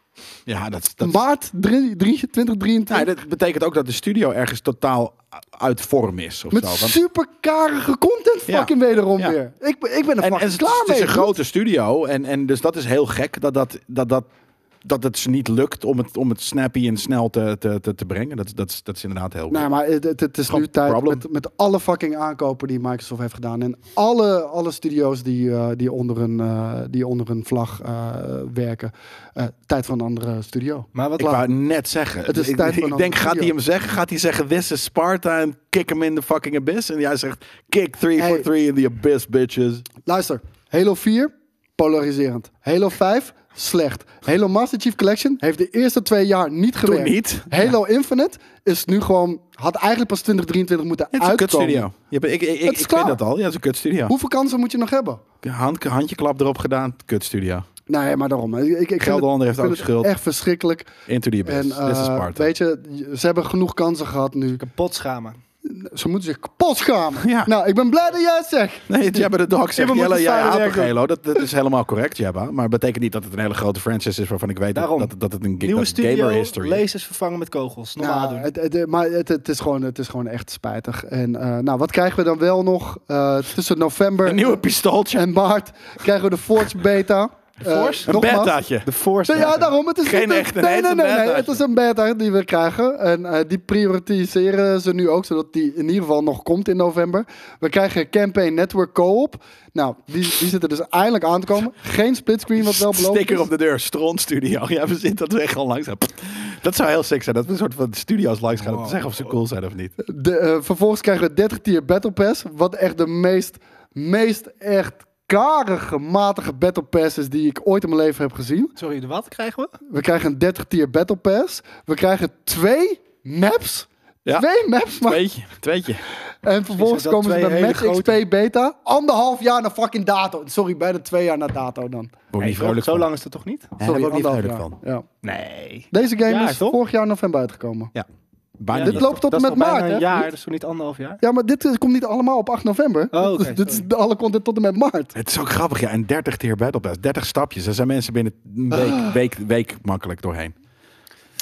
Speaker 3: Ja, dat, dat,
Speaker 2: Maart 3, 2023.
Speaker 3: Nee, dat betekent ook dat de studio ergens totaal uit vorm is. Of
Speaker 2: Met
Speaker 3: zo. Want-
Speaker 2: superkarige content
Speaker 3: Ja.
Speaker 2: fucking wederom
Speaker 3: Ja.
Speaker 2: weer. Ik, ben- ik ben er
Speaker 3: en en
Speaker 2: fucking
Speaker 3: het,
Speaker 2: klaar
Speaker 3: het is dus
Speaker 2: mee.
Speaker 3: een grote studio. En, en dus dat is heel gek dat, dat, dat, dat, dat het ze niet lukt om het, om het snappy en snel te, te, te, te brengen. Dat, dat, is- dat is inderdaad heel
Speaker 2: Nee, maar het, het- het is
Speaker 3: Gewoon
Speaker 2: nu tijd
Speaker 3: problem.
Speaker 2: met, met alle fucking aankopen die Microsoft heeft gedaan. En alle, alle studio's die, eh, die, onder een, eh, die onder een vlag eh, werken. Eh, tijd van een andere studio.
Speaker 1: Maar wat
Speaker 3: Ik wou net zeggen.
Speaker 2: Het is
Speaker 3: ik
Speaker 2: tijd voor een
Speaker 3: ik denk,
Speaker 2: andere
Speaker 3: gaat hij
Speaker 2: video.
Speaker 3: hem zeggen? Gaat hij zeggen, this is Sparta en kick him in the fucking abyss? En jij zegt, kick 3
Speaker 2: Hey.
Speaker 3: for 3 in the abyss, bitches.
Speaker 2: Luister, Halo 4, polariserend. Halo 5, slecht. Halo Master Chief Collection heeft de eerste twee jaar niet
Speaker 3: Toen
Speaker 2: gewerkt.
Speaker 3: niet.
Speaker 2: Halo Infinite is nu gewoon, had eigenlijk pas 2023 moeten
Speaker 3: Het is een
Speaker 2: uitkomen.
Speaker 3: kutstudio. Je hebt- Ik, ik,
Speaker 2: Het
Speaker 3: ik,
Speaker 2: is
Speaker 3: ik
Speaker 2: klaar.
Speaker 3: weet dat al. Ja, het is een kutstudio.
Speaker 2: Hoeveel kansen moet je nog hebben?
Speaker 3: Hand, handjeklap erop gedaan, kutstudio.
Speaker 2: Nee, maar daarom. Ik, ik, ik vind het,
Speaker 3: Gelderlander heeft
Speaker 2: ik
Speaker 3: ook
Speaker 2: vind het
Speaker 3: schuld.
Speaker 2: echt verschrikkelijk.
Speaker 3: Into the abyss.
Speaker 2: En
Speaker 3: This is
Speaker 2: eh,
Speaker 3: Sparta.
Speaker 2: weet je, ze hebben genoeg kansen gehad nu.
Speaker 1: kapot schamen.
Speaker 2: Ze moeten zich kapot schamen.
Speaker 3: Ja.
Speaker 2: Nou, ik ben blij dat jij het zegt.
Speaker 3: Nee, Jabba the Dog zegt
Speaker 1: we moeten
Speaker 3: Jelle, jij
Speaker 1: vuile
Speaker 3: haat
Speaker 1: werk
Speaker 3: toch
Speaker 1: doen.
Speaker 3: Halo. Dat, dat is helemaal correct, Jabba. Maar het betekent niet dat het een hele grote franchise is waarvan ik weet dat,
Speaker 1: Daarom.
Speaker 3: dat, dat het een ga-
Speaker 1: Nieuwe
Speaker 3: dat gamer
Speaker 1: studio,
Speaker 3: history is.
Speaker 1: lasers vervangen met kogels. Normaal
Speaker 2: Nou,
Speaker 1: doen.
Speaker 2: het, het- maar het, het, is gewoon, het is gewoon echt spijtig. En eh, nou, wat krijgen we dan wel nog? Eh, tussen november
Speaker 3: Een nieuwe pistooltje.
Speaker 2: en maart krijgen we de Forge Beta. Eh,
Speaker 1: Forge?
Speaker 3: Een
Speaker 2: nogmaals.
Speaker 3: betaatje.
Speaker 1: De Force.
Speaker 2: Nee, ja, ah, daarom. Het is
Speaker 3: Geen
Speaker 2: niet een-
Speaker 3: echte, nee,
Speaker 2: nee,
Speaker 3: het is
Speaker 2: nee,
Speaker 3: een
Speaker 2: nee, nee,
Speaker 3: beta.
Speaker 2: Het is een beta die we krijgen. En eh, die prioritiseren ze nu ook, zodat die in ieder geval nog komt in november. We krijgen Campaign Network Co-op. Nou, die, die zitten dus eindelijk aan te komen. Geen splitscreen, wat wel beloofd
Speaker 3: Sticker
Speaker 2: is.
Speaker 3: op de deur, Stron Studio. Ja, we zitten dat we echt al langs gaan. Dat zou heel sick zijn, dat we een soort van studio's langs gaan om te
Speaker 1: Wow.
Speaker 3: zeggen of ze cool zijn of niet.
Speaker 2: De, eh, vervolgens krijgen we 30 tier Battle Pass. Wat echt de meest, meest echt karige, matige Battle Pass is die ik ooit in mijn leven heb gezien.
Speaker 1: Sorry, de wat krijgen we?
Speaker 2: We krijgen een 30 tier Battle Pass. We krijgen twee maps.
Speaker 3: Ja.
Speaker 2: Twee maps, maar
Speaker 3: Tweetje, tweetje.
Speaker 2: En vervolgens
Speaker 1: Ik zag dat
Speaker 2: komen ze
Speaker 1: twee
Speaker 2: met
Speaker 1: hele
Speaker 2: Max XP beta. Anderhalf jaar naar fucking dato. Sorry, bijna twee jaar naar dato dan.
Speaker 3: Word niet
Speaker 1: Nee,
Speaker 3: vrolijk
Speaker 1: zo
Speaker 3: van.
Speaker 1: lang is het toch niet?
Speaker 3: Ja, daar
Speaker 2: Sorry,
Speaker 3: word ik niet
Speaker 2: anderhalf
Speaker 3: vrolijk
Speaker 2: jaar.
Speaker 3: van.
Speaker 2: Ja.
Speaker 1: Nee.
Speaker 2: Deze game
Speaker 1: Ja,
Speaker 2: is
Speaker 1: toch?
Speaker 2: vorig jaar november uitgekomen.
Speaker 3: Ja, bijna
Speaker 1: Ja,
Speaker 2: dit
Speaker 3: niet.
Speaker 2: loopt op en
Speaker 1: dat is
Speaker 2: met
Speaker 1: nog bijna
Speaker 2: maart, hè?
Speaker 1: een jaar, dat is toch niet anderhalf jaar?
Speaker 2: Ja, maar dit eh, komt niet allemaal op 8 november.
Speaker 1: Oh, oké,
Speaker 2: dit is de- alle content tot en met maart.
Speaker 3: Het is ook grappig, ja. En 30 tier battle pass, 30 stapjes. Daar zijn mensen binnen een week, week, week makkelijk doorheen.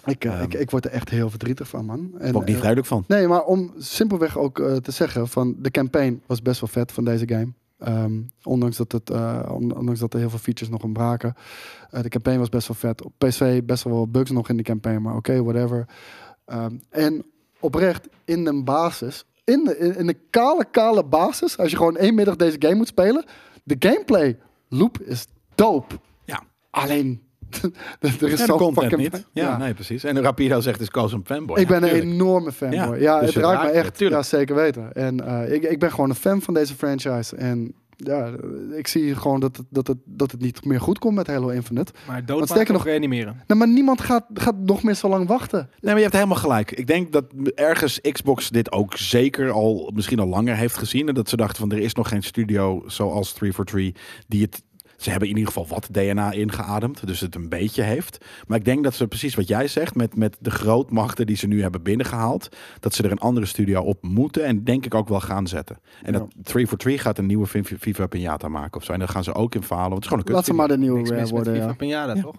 Speaker 2: Ik, eh, ik, ik word er echt heel verdrietig van, man. En,
Speaker 3: Daar word ik niet
Speaker 2: eh,
Speaker 3: vrolijk van.
Speaker 2: Nee, maar om simpelweg ook eh, te zeggen: van de campaign was best wel vet van deze game. Ehm, ondanks, dat het, eh, on- ondanks dat er heel veel features nog ontbraken. Eh, de campaign was best wel vet. Op PC best wel wat bugs nog in de campaign, maar oké, whatever. Ehm, en oprecht, in een basis, in de, in, in de kale, kale basis, als je gewoon één middag deze game moet spelen, de gameplay loop is dope.
Speaker 3: Ja.
Speaker 2: Alleen, er is zo
Speaker 3: Ja, de content
Speaker 2: fucking...
Speaker 3: niet. Ja,
Speaker 2: Ja.
Speaker 3: nee, precies. En Rapido zegt dus Koos een fanboy.
Speaker 2: Ik ben
Speaker 3: Ja,
Speaker 2: een
Speaker 3: tuurlijk.
Speaker 2: enorme fanboy.
Speaker 3: Ja,
Speaker 2: Ja,
Speaker 3: dus
Speaker 2: het
Speaker 3: het
Speaker 2: raakt me
Speaker 3: raakt je,
Speaker 2: echt.
Speaker 3: tuurlijk.
Speaker 2: Ja, zeker weten. En eh, ik, ik ben gewoon een fan van deze franchise. En ja, ik zie gewoon dat het, dat het, dat het niet meer goed komt met Halo Infinite.
Speaker 1: Maar
Speaker 2: Want
Speaker 1: doodmaken
Speaker 2: sterker
Speaker 1: nog
Speaker 2: nog-
Speaker 1: reanimeren.
Speaker 2: Nou, maar niemand gaat, gaat nog meer zo lang wachten.
Speaker 3: Nee, maar je hebt helemaal gelijk. Ik denk dat ergens Xbox dit ook zeker al misschien al langer heeft gezien. En dat ze dachten van er is nog geen studio zoals 343 die het. Ze hebben in ieder geval wat DNA ingeademd, dus het een beetje heeft. Maar ik denk dat ze precies wat jij zegt, met, met de grootmachten die ze nu hebben binnengehaald, dat ze er een andere studio op moeten en denk ik ook wel gaan zetten. En
Speaker 2: Ja.
Speaker 3: dat 343 gaat een nieuwe Viva- Viva Pinata maken of zo. En daar gaan ze ook in falen, want het is gewoon een
Speaker 2: Laat ze maar de nieuwe
Speaker 1: Niks
Speaker 2: Rare
Speaker 1: mis met
Speaker 2: worden.
Speaker 1: FIFA
Speaker 2: Ja.
Speaker 1: Pinata,
Speaker 3: Ja.
Speaker 1: toch?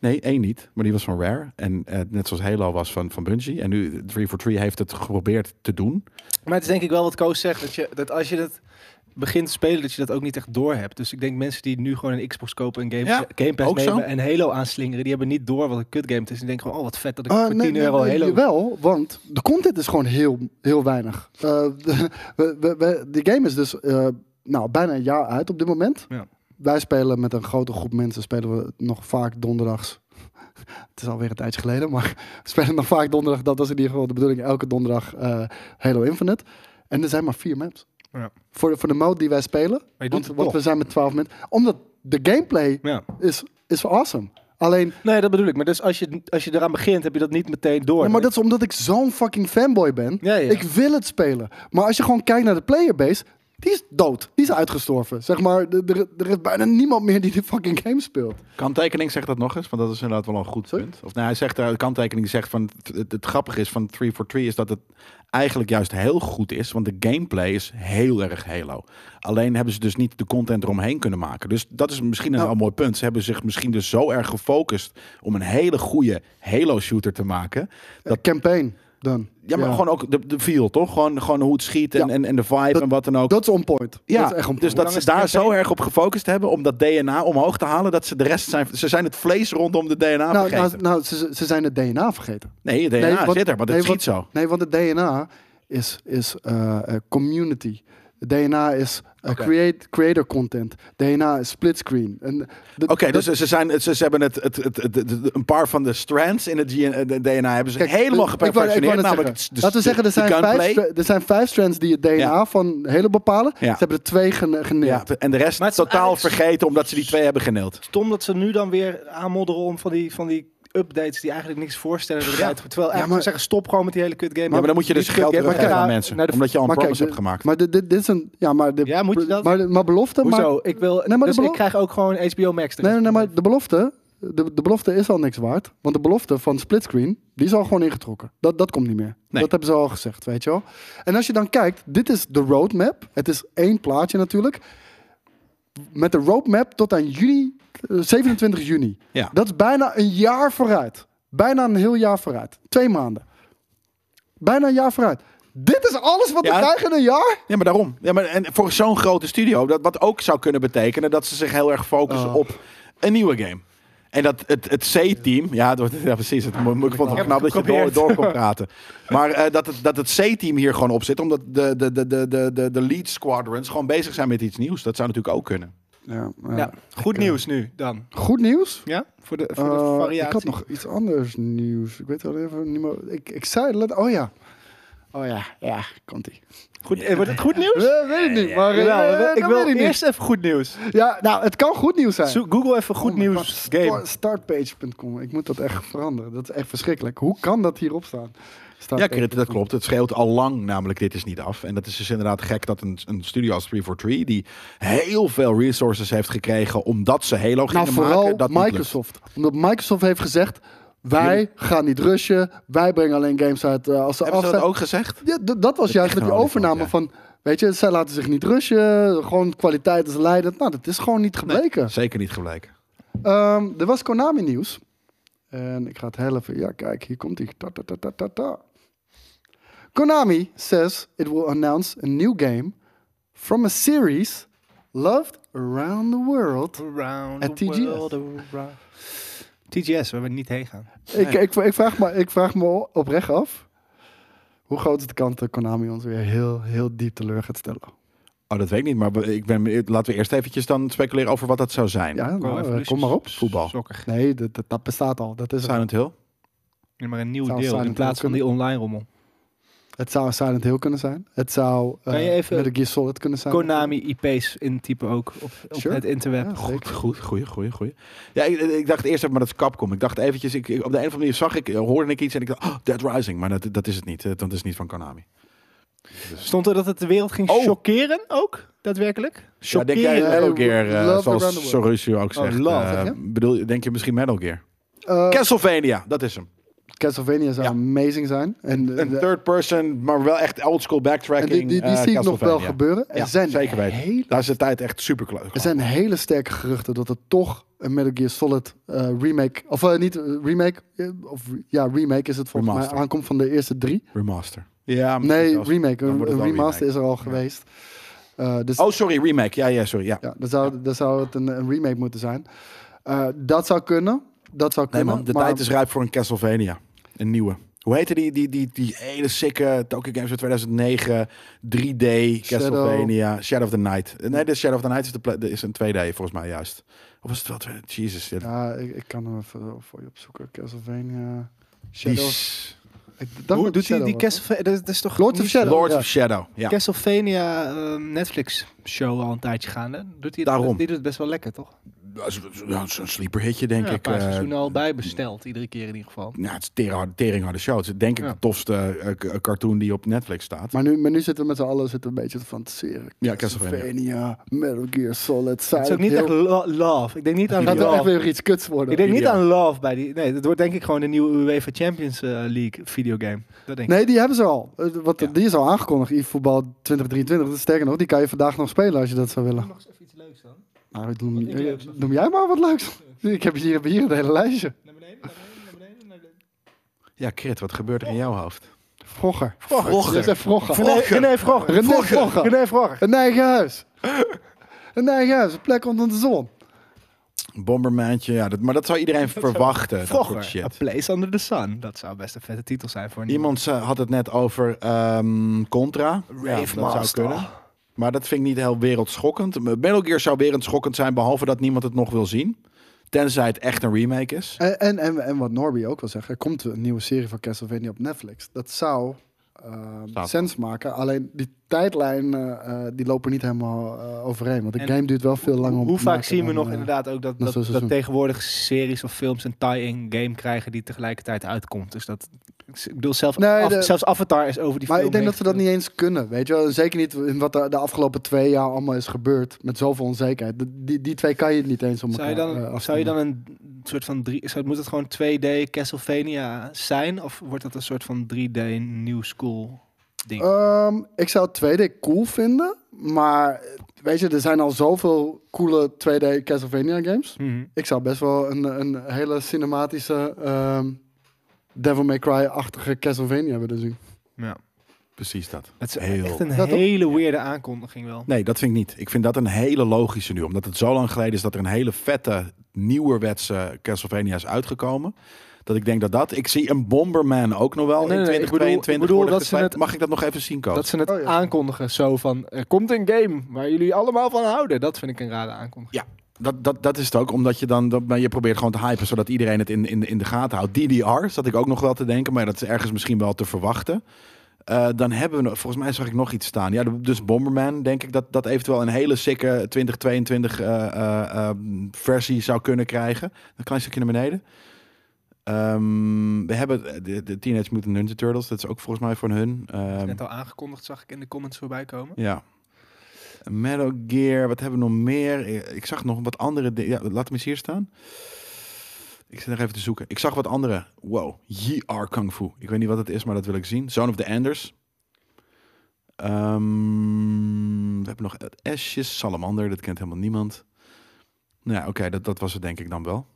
Speaker 3: Nee, één niet. Maar die was van Rare. En eh, net zoals Halo was van, van Bungie. En nu 343 heeft het geprobeerd te doen.
Speaker 1: Maar het is denk ik wel wat Koos zegt, dat, je, dat als je het begint te spelen, dat je dat ook niet echt door hebt. Dus ik denk mensen die nu gewoon een Xbox kopen, een Game,
Speaker 3: Ja,
Speaker 1: game Pass
Speaker 3: ook zo.
Speaker 1: nemen en Halo aanslingeren, die hebben niet door wat een kut game het is. Die denken gewoon, oh wat vet dat ik
Speaker 2: Ah,
Speaker 1: voor
Speaker 2: nee,
Speaker 1: 10
Speaker 2: nee,
Speaker 1: euro
Speaker 2: nee,
Speaker 1: Halo...
Speaker 2: Wel, want de content is gewoon heel, heel weinig. Eh, de, we, we- we- de game is dus eh, nou, bijna een jaar uit op dit moment.
Speaker 1: Ja.
Speaker 2: Wij spelen met een grote groep mensen, spelen we nog vaak donderdags. Het is alweer een tijdje geleden, maar we spelen nog vaak donderdag. Dat was in ieder geval de bedoeling, elke donderdag eh, Halo Infinite. En er zijn maar vier maps.
Speaker 1: Ja.
Speaker 2: Voor, de- voor de mode die wij spelen,
Speaker 1: Maar je doet
Speaker 2: want,
Speaker 1: het
Speaker 2: want
Speaker 1: toch.
Speaker 2: we zijn met twaalf mensen. Omdat de gameplay
Speaker 1: Ja.
Speaker 2: is, is awesome. Alleen
Speaker 1: Nee, dat bedoel ik. Maar dus als je, als je eraan begint, heb je dat niet meteen door.
Speaker 2: Ja, maar dat is omdat ik zo'n fucking fanboy ben.
Speaker 1: Ja, ja.
Speaker 2: Ik wil het spelen. Maar als je gewoon kijkt naar de playerbase, die is dood. Die is uitgestorven. Zeg maar, d- er er is bijna niemand meer die die fucking game speelt. Eh,
Speaker 3: Kanttekening zegt dat nog eens, want dat is inderdaad wel een goed
Speaker 2: Sorry?
Speaker 3: punt. Of nou, hij zegt, daar- de kanttekening zegt van het, het, het grappige is van 343 is dat het eigenlijk juist heel goed is, want de gameplay is heel erg Halo. Alleen hebben ze dus niet de content eromheen kunnen maken. Dus dat is misschien een
Speaker 2: Nou.
Speaker 3: heel mooi punt. Ze hebben zich misschien dus zo erg gefocust om een hele goede Halo shooter te maken, dat
Speaker 2: Dat campaign dan.
Speaker 3: Ja, maar gewoon ook de, de feel, toch? Gewoon, gewoon hoe het schiet en,
Speaker 2: Ja.
Speaker 3: en, en de vibe
Speaker 2: Dat-
Speaker 3: en wat dan ook.
Speaker 2: Dat is on point.
Speaker 3: ja,
Speaker 2: dat is echt on point.
Speaker 3: dus dat
Speaker 1: lang
Speaker 3: ze
Speaker 1: is de
Speaker 3: daar zo
Speaker 1: campaign?
Speaker 3: erg op gefocust hebben om dat DNA omhoog te halen, dat ze de rest zijn. Ze zijn het vlees rondom de DNA
Speaker 2: nou,
Speaker 3: vergeten.
Speaker 2: nou, nou, ze, ze zijn het DNA vergeten.
Speaker 3: nee, het DNA
Speaker 2: want-
Speaker 3: zit er, want het
Speaker 2: nee,
Speaker 3: schiet zo.
Speaker 2: Nee, want het DNA is, is eh, eh, community. Het DNA is eh,
Speaker 3: Oké.
Speaker 2: create, creator content. DNA is splitscreen. En d-
Speaker 3: Oké,
Speaker 2: dat-
Speaker 3: dus ze, zijn, ze, ze hebben het, het, het, het- het- een paar van de strands in het GN de DNA hebben ze
Speaker 2: Kijk,
Speaker 3: helemaal
Speaker 2: ik- ik wou- ik wou net
Speaker 3: geperfectioneerd.
Speaker 2: zeggen.
Speaker 3: namelijk het- de-
Speaker 2: Laten we zeggen, er
Speaker 3: de
Speaker 2: zijn,
Speaker 3: gunplay.
Speaker 2: vijf, stra- er zijn vijf strands die het DNA
Speaker 3: Ja.
Speaker 2: van Halo bepalen.
Speaker 3: Ja.
Speaker 2: Ze hebben er twee gene-
Speaker 3: Ja,
Speaker 2: geneerd.
Speaker 3: en de rest
Speaker 1: Maar het is
Speaker 3: totaal
Speaker 1: eigenlijk-
Speaker 3: vergeten omdat ze die twee hebben geneeld.
Speaker 1: stom dat ze nu dan weer aanmodderen om van die, van die updates die eigenlijk niks voorstellen eruit. te- Terwijl eigenlijk
Speaker 2: maar-
Speaker 1: zeggen, stop gewoon met die hele kut game.
Speaker 3: Ja, maar dan moet je dus geld
Speaker 1: hebben
Speaker 3: teruggeven aan mensen. Omdat je al een
Speaker 2: maar kijk,
Speaker 3: promise hebt
Speaker 2: de-
Speaker 3: gemaakt.
Speaker 2: Maar dit, dit, dit is een... Ja, maar, de,
Speaker 1: Ja, moet je dat?
Speaker 2: maar, de- maar belofte...
Speaker 1: Hoezo?
Speaker 2: Maar,
Speaker 1: ik wil,
Speaker 2: Nee, maar de
Speaker 1: dus ik
Speaker 2: belo-
Speaker 1: krijg ook gewoon HBO Max.
Speaker 2: nee, nee, nee, maar de belofte... De, de belofte is al niks waard. Want de belofte van splitscreen, die is al gewoon ingetrokken. Dat, dat komt niet meer.
Speaker 3: Nee.
Speaker 2: Dat hebben ze al gezegd, weet je wel. En als je dan kijkt, dit is de roadmap. Het is één plaatje natuurlijk. Met de roadmap tot aan juni, eh, 27 juni.
Speaker 3: Ja.
Speaker 2: Dat is bijna een jaar vooruit. Bijna een heel jaar vooruit. Twee maanden. Bijna een jaar vooruit. Dit is alles wat
Speaker 3: Ja.
Speaker 2: we krijgen in een jaar?
Speaker 3: Ja, maar daarom. Ja, maar en voor zo'n grote studio, dat, wat ook zou kunnen betekenen dat ze zich heel erg focussen
Speaker 2: Oh.
Speaker 3: op een nieuwe game. En dat het, het C-team, ja, het wordt- ja, precies, het, mo- mo- ik vond het wel
Speaker 1: heb
Speaker 3: knap
Speaker 1: het
Speaker 3: dat je door,
Speaker 1: geprobeerd.
Speaker 3: door kon praten. Maar eh, dat, het, dat het C-team hier gewoon op zit, omdat de, de, de, de, de, de, de lead squadrons gewoon bezig zijn met iets nieuws. Dat zou natuurlijk ook kunnen.
Speaker 2: Ja,
Speaker 1: Ja, goed nieuws nu dan.
Speaker 2: Goed nieuws.
Speaker 1: Ja? Voor de, voor de
Speaker 2: Eh,
Speaker 1: variatie.
Speaker 2: ik had nog iets anders nieuws. Ik weet al even niet meer. Ik, ik zei het let. Oh ja. Oh ja, ja, komt ie.
Speaker 1: Goed, eh, wordt het goed nieuws?
Speaker 2: weet ik niet, maar eh,
Speaker 1: Jawel,
Speaker 2: eh,
Speaker 1: Nou, ik
Speaker 2: dat
Speaker 1: wil
Speaker 2: weet ik
Speaker 1: eerst even goed nieuws.
Speaker 2: niet. Ja, nou, het kan goed nieuws zijn.
Speaker 1: Zoek Google even goed
Speaker 2: Oh my God,
Speaker 1: nieuws
Speaker 2: sta-
Speaker 1: game.
Speaker 2: Startpage.com. Ik moet dat echt veranderen. Dat is echt verschrikkelijk. Hoe kan dat hierop staan?
Speaker 3: Ja,
Speaker 2: Startpage.
Speaker 3: Krit, dat klopt. Het scheelt al lang namelijk dit is niet af. En dat is dus inderdaad gek dat een, een studio als 343, die heel veel resources heeft gekregen omdat ze Halo gingen
Speaker 2: Nou, vooral
Speaker 3: maken, dat niet lukt.
Speaker 2: Microsoft. Omdat Microsoft heeft gezegd, wij gaan niet rushen. Wij brengen alleen games uit eh, als ze af
Speaker 3: Hebben ze dat
Speaker 2: zijn.
Speaker 3: ook gezegd?
Speaker 2: Ja, d- dat was juist
Speaker 3: echt
Speaker 2: met die
Speaker 3: een olifant,
Speaker 2: overname
Speaker 3: ja.
Speaker 2: van... Weet je, zij laten zich niet rushen. Gewoon kwaliteit is leidend. Nou, dat is gewoon niet gebleken.
Speaker 3: Zeker niet gebleken.
Speaker 2: Ehm, er was Konami-nieuws. En ik ga het heel even... Ja, kijk, hier komt hij. Ta, ta, ta, ta, ta, ta. Konami says it will announce a new game from a series loved around the world.
Speaker 1: Around
Speaker 2: At TGS.
Speaker 1: around. TGS, waar we niet heen gaan.
Speaker 2: Ik, ik, ik, vraag me, ik vraag me oprecht af. Hoe groot is de kans dat Konami ons weer heel, heel diep teleur gaat stellen?
Speaker 3: Oh, dat weet ik niet. Maar we- ik ben, benieuwd. laten we eerst eventjes dan speculeren over wat dat zou zijn.
Speaker 2: Ja,
Speaker 1: Pro
Speaker 2: nou, eh,
Speaker 1: Evolution
Speaker 2: kom maar op.
Speaker 3: Voetbal.
Speaker 1: Soccer.
Speaker 2: Nee, dat, dat, dat bestaat al. Dat is het.
Speaker 3: Silent Hill.
Speaker 1: Ja, maar een nieuw
Speaker 2: Zou
Speaker 1: deel
Speaker 2: Silent
Speaker 1: in plaats
Speaker 2: Hill
Speaker 1: van die online rommel.
Speaker 2: Het zou Silent Hill kunnen zijn. Het zou eh
Speaker 1: Kan je even-
Speaker 2: Metal Gear Solid kunnen zijn.
Speaker 1: Konami IP's intypen ook op, op
Speaker 2: Sure.
Speaker 1: het interweb.
Speaker 2: Ja,
Speaker 3: Goed,
Speaker 2: zeker.
Speaker 3: goed, goeie, goeie, goeie. Ja, ik, ik dacht eerst even, maar dat is Capcom. Ik dacht eventjes, ik, ik- op de een of andere manier zag ik, eh, hoorde ik iets en ik dacht, oh, Dead Rising. Maar dat, dat is het niet. eh, Dat is niet van Konami.
Speaker 1: Stond er dat het de wereld ging
Speaker 3: Oh.
Speaker 1: shockeren ook, daadwerkelijk?
Speaker 3: Ja, denk jij
Speaker 1: Shockeren.
Speaker 2: eh,
Speaker 3: Metal Gear,
Speaker 2: Love
Speaker 3: eh,
Speaker 2: Around the
Speaker 3: zoals
Speaker 2: World. Oh,
Speaker 3: Sorusio ook zegt.
Speaker 1: love,
Speaker 3: eh,
Speaker 2: zeg je?
Speaker 3: bedoel, je- denk je misschien Metal Gear?
Speaker 2: Eh,
Speaker 3: Castlevania, dat is hem.
Speaker 2: Castlevania zou
Speaker 3: Ja.
Speaker 2: amazing zijn. En, de-
Speaker 3: Een
Speaker 2: de-
Speaker 3: third person, maar wel echt old school
Speaker 2: en
Speaker 3: backtracking.
Speaker 2: die, die, die
Speaker 3: eh,
Speaker 2: zie ik nog wel
Speaker 3: Castlevania.
Speaker 2: gebeuren. Er
Speaker 3: Ja,
Speaker 2: zijn
Speaker 3: zeker weten.
Speaker 2: hele
Speaker 3: Daar is de tijd echt super klaar.
Speaker 2: Er zijn hele sterke geruchten dat er toch een Metal Gear Solid eh, remake, of eh, niet eh, remake, eh, of re- ja, remake is het volgens
Speaker 3: Remaster.
Speaker 2: mij, aankomt van de eerste drie.
Speaker 3: Remaster. Ja, misschien
Speaker 2: Nee,
Speaker 3: zelfs.
Speaker 2: remake.
Speaker 3: Dan
Speaker 2: Een,
Speaker 3: wordt het
Speaker 2: een
Speaker 3: wel
Speaker 2: remaster
Speaker 3: remake.
Speaker 2: is er al geweest. Eh, dus
Speaker 3: Oh, sorry, remake. Ja, ja, sorry. Ja.
Speaker 2: ja, dan zou, dan zou het een, een remake moeten zijn. Eh, dat zou kunnen. Dat zou
Speaker 3: Nee
Speaker 2: kunnen.
Speaker 3: man, de
Speaker 2: maar-
Speaker 3: tijd is rijp voor een Castlevania. Een nieuwe. Hoe heette die, die, die, die hele sikke Tokyo Games van 2009 3D Castlevania Shadow of the Night. Nee, de Shadow of the Night is, de pla- de, is een 2D volgens mij juist. Of was het wel 2D? Jezus. Ja,
Speaker 2: Ja, ik, ik kan hem even voor je opzoeken. Castlevania.
Speaker 3: die
Speaker 2: Shadow.
Speaker 3: s-
Speaker 2: Ik dacht
Speaker 1: Hoe
Speaker 2: dat
Speaker 1: doet hij
Speaker 2: Shadow
Speaker 1: die
Speaker 2: was,
Speaker 1: Castlevania? Dat, is- dat is toch
Speaker 2: Lords of
Speaker 1: niet-
Speaker 2: Shadow.
Speaker 3: Lords
Speaker 2: Ja.
Speaker 3: of Shadow. Ja.
Speaker 1: Castlevania eh, Netflix show al een tijdje gaande. Doet hij
Speaker 3: Daarom.
Speaker 1: Het, die doet het best wel lekker, toch?
Speaker 3: Dat is- dat is een sleeper hitje denk
Speaker 1: ja,
Speaker 3: ik.
Speaker 1: Een paar
Speaker 3: eh,
Speaker 1: seizoenen al bijbesteld, iedere keer in ieder geval.
Speaker 3: ja, het is teringhard- teringhard show. Het is denk ik
Speaker 1: Ja.
Speaker 3: de tofste eh, k- cartoon die op Netflix staat.
Speaker 2: Maar nu, maar nu zitten we met z'n allen zitten we een beetje te fantaseren.
Speaker 3: Ja, Castlevania.
Speaker 2: Metal Gear Solid,
Speaker 1: Het is ook
Speaker 2: Silent
Speaker 1: niet
Speaker 2: Hill.
Speaker 1: echt lo- love. Ik denk niet aan
Speaker 2: Gaat wel echt
Speaker 1: love.
Speaker 2: weer iets kuts worden.
Speaker 1: Ik denk niet
Speaker 3: Ideaal.
Speaker 1: aan love bij die. Nee, dat wordt denk ik gewoon de nieuwe UEFA Champions eh, League videogame. Dat denk ik.
Speaker 2: Nee, die hebben ze al. Eh, Wat,
Speaker 3: Ja.
Speaker 2: Die is al aangekondigd, e-voetbal 2023. Dat is Sterker nog, die kan je vandaag nog spelen als je dat zou willen.
Speaker 1: Nog eens even iets leuks dan.
Speaker 2: Nou, noem,
Speaker 1: Wat ik leuk zou
Speaker 2: noem jij maar wat leuks. Ik heb hier, heb hier een hele lijstje.
Speaker 1: Naar beneden, naar beneden, naar beneden. Naar beneden.
Speaker 3: Ja, Krit, wat gebeurt er in jouw hoofd?
Speaker 2: Vroeger.
Speaker 3: Vroeger.
Speaker 2: Dit is Vroeger.
Speaker 1: René, René Vroger.
Speaker 2: René
Speaker 1: Vroger.
Speaker 2: Vroger.
Speaker 1: René Vroger.
Speaker 2: Een eigen huis. Een eigen huis. Een plek onder de zon.
Speaker 3: Bombermantje, ja, dat, maar dat zou iedereen verwachten. dat soort
Speaker 1: Vroger.
Speaker 3: Oh, shit.
Speaker 1: A Place Under the Sun. Dat zou best een vette titel zijn voor een
Speaker 3: Iemand ze- had het net over ehm, Contra. Ja, dat zou
Speaker 1: Master.
Speaker 3: kunnen. Maar dat vind ik niet heel wereldschokkend. Metal Gear zou wereldschokkend zijn, behalve dat niemand het nog wil zien. Tenzij het echt een remake is.
Speaker 2: En, en, en, en wat Norby ook wil zeggen. Er komt een nieuwe serie van Castlevania op Netflix. Dat zou eh,
Speaker 3: Staat.
Speaker 2: sens maken. Alleen die tijdlijn, eh, eh, die lopen niet helemaal eh, overeen. Want de
Speaker 1: En
Speaker 2: game duurt wel veel langer om
Speaker 1: Hoe
Speaker 2: te
Speaker 1: vaak
Speaker 2: maken
Speaker 1: zien we
Speaker 2: dan,
Speaker 1: nog
Speaker 2: eh,
Speaker 1: inderdaad ook
Speaker 2: dat
Speaker 1: dat, dat,
Speaker 2: zo'n
Speaker 1: dat
Speaker 2: seizoen.
Speaker 1: tegenwoordig series of films een tie-in game krijgen die tegelijkertijd uitkomt. Dus dat, ik bedoel, zelfs,
Speaker 2: Nee,
Speaker 1: af-
Speaker 2: de-
Speaker 1: zelfs Avatar is over die
Speaker 2: Maar
Speaker 1: film eh,
Speaker 2: ik denk
Speaker 1: heen
Speaker 2: dat ze dat niet eens kunnen, weet je wel. Zeker niet in wat er de afgelopen twee jaar allemaal is gebeurd. Met zoveel onzekerheid. De- Die, die twee kan je niet eens om
Speaker 1: Zou je,
Speaker 2: elkaar
Speaker 1: dan,
Speaker 2: eh,
Speaker 1: zou je
Speaker 2: afstemmen.
Speaker 1: dan een soort van drie, zou, moet het gewoon 2D Castlevania zijn? Of wordt dat een soort van 3D New School ding?
Speaker 2: Ehm, ik zou 2D cool vinden. Maar eh, weet je, er zijn al zoveel coole 2D Castlevania games.
Speaker 1: Mhm.
Speaker 2: Ik zou best wel een, een hele cinematische ehm, Devil May Cry-achtige Castlevania willen zien.
Speaker 1: ja.
Speaker 3: Precies dat.
Speaker 1: Het is
Speaker 3: Heel-
Speaker 1: echt een
Speaker 2: Dat toch?
Speaker 1: hele weirde aankondiging wel.
Speaker 3: Nee, dat vind ik niet. Ik vind dat een hele logische nu. Omdat het zo lang geleden is dat er een hele vette, nieuwerwetse Castlevania is uitgekomen. Dat ik denk dat dat... Ik zie een Bomberman ook nog wel
Speaker 1: Nee, nee,
Speaker 3: in
Speaker 1: nee, ik bedoel-
Speaker 3: 2022
Speaker 1: ik bedoel
Speaker 3: worden
Speaker 1: dat ze
Speaker 3: geslijt.
Speaker 1: het-
Speaker 3: Mag ik dat nog even zien komen?
Speaker 1: Dat ze het
Speaker 2: Oh ja.
Speaker 1: aankondigen zo van, er komt een game waar jullie allemaal van houden. Dat vind ik een rare aankondiging.
Speaker 3: Dat, dat, dat is het ook, omdat je dan, dat, maar je probeert gewoon te hypen, zodat iedereen het in, in, de- in de gaten houdt. DDR zat ik ook nog wel te denken, maar dat is ergens misschien wel te verwachten. Eh, dan hebben we, nog- volgens mij zag ik nog iets staan. Ja, de- dus Bomberman, denk ik dat dat eventueel een hele sikke 2022 eh, eh, eh, versie zou kunnen krijgen. Een klein stukje naar beneden. Ehm, we hebben eh, de, de Teenage Mutant Ninja Turtles, dat is ook volgens mij van hun.
Speaker 1: Dat is
Speaker 3: Ehm,
Speaker 1: net al aangekondigd, zag ik in de comments voorbij komen.
Speaker 3: ja. Metal Gear, wat hebben we nog meer? Eh, Ik zag nog wat andere dingen. Ja, laat hem eens hier staan. Ik zit nog even te zoeken. Ik zag wat andere. Wow, JR Kung Fu. Ik weet niet wat het is, maar dat wil ik zien. Zone of the Enders. Ehm, we hebben nog het Ashes Salamander. Dat kent helemaal niemand. Nou ja, oké, dat, dat was het denk ik dan wel.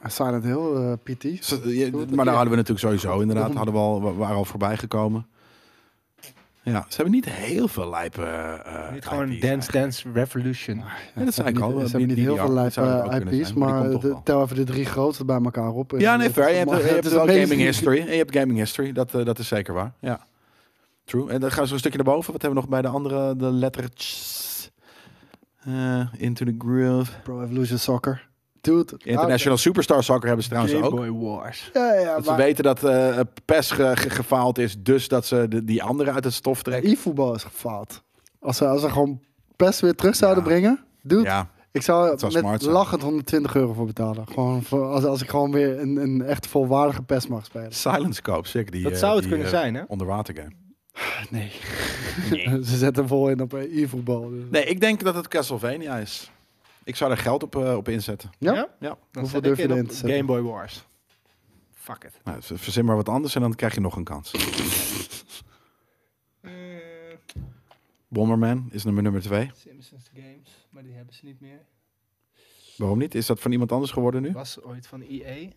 Speaker 2: Ah, Silent Hill, eh, PT.
Speaker 3: Zo- je- maar daar hadden we natuurlijk sowieso inderdaad. Hadden we al, wa- waren al voorbij gekomen. Ja, ze hebben niet heel veel lijpen. eh,
Speaker 1: Niet
Speaker 3: eh,
Speaker 1: gewoon
Speaker 3: IP's.
Speaker 1: Dance Dance Revolution.
Speaker 3: Ja, dat
Speaker 2: Ze
Speaker 3: zei ik
Speaker 2: hebben
Speaker 3: al. eh,
Speaker 2: niet, ze hebben niet heel veel lijp
Speaker 3: zou dat ook
Speaker 2: eh,
Speaker 3: kunnen
Speaker 2: IP's,
Speaker 3: zijn, maar die
Speaker 2: maar
Speaker 3: komt toch
Speaker 2: de-
Speaker 3: wel.
Speaker 2: tel even de drie grootste bij elkaar op. en
Speaker 3: Ja, nee,
Speaker 2: dat
Speaker 3: fair. Je
Speaker 2: is
Speaker 3: hebt,
Speaker 2: allemaal-
Speaker 3: je hebt
Speaker 2: het is
Speaker 3: wel
Speaker 2: amazing.
Speaker 3: gaming history. En je hebt gaming history. Dat, eh, dat is zeker waar. Ja. True. En dan gaan we zo een stukje naar boven. Wat hebben we nog bij de andere? De letter T's. Eh, Into the Groove.
Speaker 2: Pro Evolution Soccer. Dude.
Speaker 3: International Superstar Soccer hebben ze trouwens ook.
Speaker 1: Boy Wars.
Speaker 2: Ja, ja,
Speaker 3: Dat ze
Speaker 2: maar-
Speaker 3: weten dat eh PES ge- ge- gefaald is, dus dat ze de- die andere uit het stof trekken.
Speaker 2: e-voetbal is gefaald. Als ze, als ze gewoon PES weer terug zouden
Speaker 3: Ja.
Speaker 2: brengen. Dude,
Speaker 3: Ja,
Speaker 2: ik zou
Speaker 3: zou
Speaker 2: met
Speaker 3: smart zijn.
Speaker 2: lachend 120 euro voor betalen. Gewoon voor, als, als ik gewoon weer een, een echt volwaardige PES mag spelen.
Speaker 3: Silence Cope, zeker. Die,
Speaker 1: Dat
Speaker 3: eh,
Speaker 1: zou het
Speaker 3: die,
Speaker 1: kunnen
Speaker 3: eh,
Speaker 1: zijn, hè?
Speaker 3: Onderwater game.
Speaker 2: Nee. ze zetten vol in op eh, e-voetbal. dus.
Speaker 3: Nee, ik denk dat het Castlevania is. Ik zou er geld op, eh, op inzetten.
Speaker 2: Ja?
Speaker 3: Ja.
Speaker 1: Dan
Speaker 2: Hoeveel
Speaker 1: zet
Speaker 2: durf
Speaker 1: ik
Speaker 2: je
Speaker 1: in
Speaker 2: erin
Speaker 1: op
Speaker 2: te zetten?
Speaker 1: Game Boy Wars. Fuck it.
Speaker 3: Nou, ver- verzin maar wat anders en dan krijg je nog een kans. Bomberman is nummer nummer twee.
Speaker 1: Eh, Simpsons games, maar die hebben ze niet meer.
Speaker 3: Waarom niet? Is dat van iemand anders geworden nu?
Speaker 1: Was ooit van E EA.
Speaker 3: Ehm,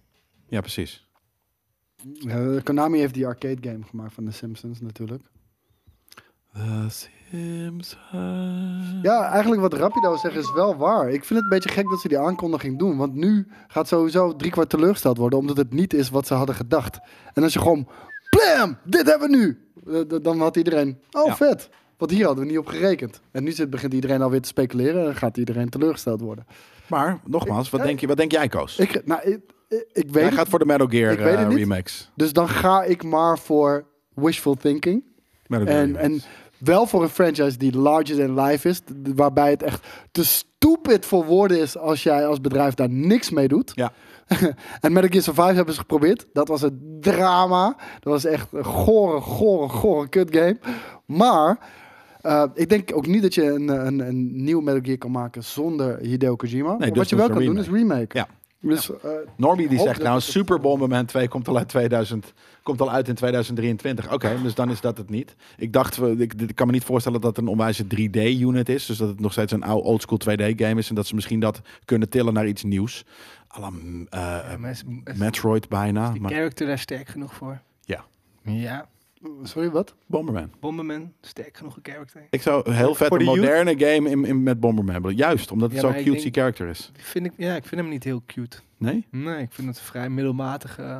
Speaker 3: Ja, precies.
Speaker 2: Ja, Konami heeft die arcade game gemaakt van The Simpsons natuurlijk.
Speaker 3: Mm.
Speaker 2: Ja, eigenlijk wat Rapido zegt is wel waar. Ik vind het een beetje gek dat ze die aankondiging doen. Want nu gaat sowieso drie kwart teleurgesteld worden. Omdat het niet is wat ze hadden gedacht. En als je gewoon... Blam! Dit hebben we nu! Eh, d- Dan had iedereen... Oh,
Speaker 3: Ja.
Speaker 2: vet! Want hier hadden we niet op gerekend. En nu zit, begint iedereen alweer te speculeren. En dan gaat iedereen teleurgesteld worden.
Speaker 3: Maar, nogmaals, wat denk, je, wat denk jij, Koos?
Speaker 2: Ik, nou, ik, ik- ik weet
Speaker 3: Jij
Speaker 2: het
Speaker 3: gaat voor de Metal Gear
Speaker 2: Ik weet het
Speaker 3: eh,
Speaker 2: niet.
Speaker 3: remakes.
Speaker 2: Dus dan ga ik maar voor wishful thinking.
Speaker 3: Metal Gear
Speaker 2: En, en
Speaker 3: remakes.
Speaker 2: wel voor een franchise die larger than life is. d- d- Waarbij het echt te stupid voor woorden is als jij als bedrijf daar niks mee doet.
Speaker 3: Ja.
Speaker 2: en Metal Gear Survive hebben ze geprobeerd. Dat was het drama. Dat was echt een gore, gore, gore kut game. Maar eh, ik denk ook niet dat je een, een, een nieuw Metal Gear kan maken zonder Hideo Kojima. Maar
Speaker 3: dus
Speaker 2: Wat je wel
Speaker 3: dus
Speaker 2: kan
Speaker 3: een
Speaker 2: doen is remake.
Speaker 3: Ja.
Speaker 2: Dus eh,
Speaker 3: Normie die
Speaker 2: hoop
Speaker 3: zegt
Speaker 2: dat
Speaker 3: nou,
Speaker 2: het-
Speaker 3: Super Bomberman 2 komt al, uit 2000, komt al uit in 2023. Oké,
Speaker 1: Ah.
Speaker 3: dus dan is dat het niet. Ik dacht, we- ik, ik kan me niet voorstellen dat het een onwijze 3D-unit is. Dus dat het nog steeds een oude oldschool 2D-game is. En dat ze misschien dat kunnen tillen naar iets nieuws. À la mm, eh, Metroid bijna.
Speaker 1: die
Speaker 3: Maar
Speaker 1: character daar sterk genoeg voor?
Speaker 3: Ja.
Speaker 1: Ja.
Speaker 2: sorry, wat?
Speaker 3: Bomberman.
Speaker 1: Bomberman, sterk genoeg een character.
Speaker 3: Ik zou heel vet
Speaker 1: Voor
Speaker 3: een
Speaker 1: de youth?
Speaker 3: moderne game in, in, met Bomberman hebben. Juist, omdat het
Speaker 1: Ja,
Speaker 3: zo'n
Speaker 1: maar ik
Speaker 3: cutesy
Speaker 1: denk-
Speaker 3: character is.
Speaker 1: Die vind ik, ja, ik vind hem niet heel cute.
Speaker 3: Nee?
Speaker 1: Nee, ik vind het vrij middelmatig. eh.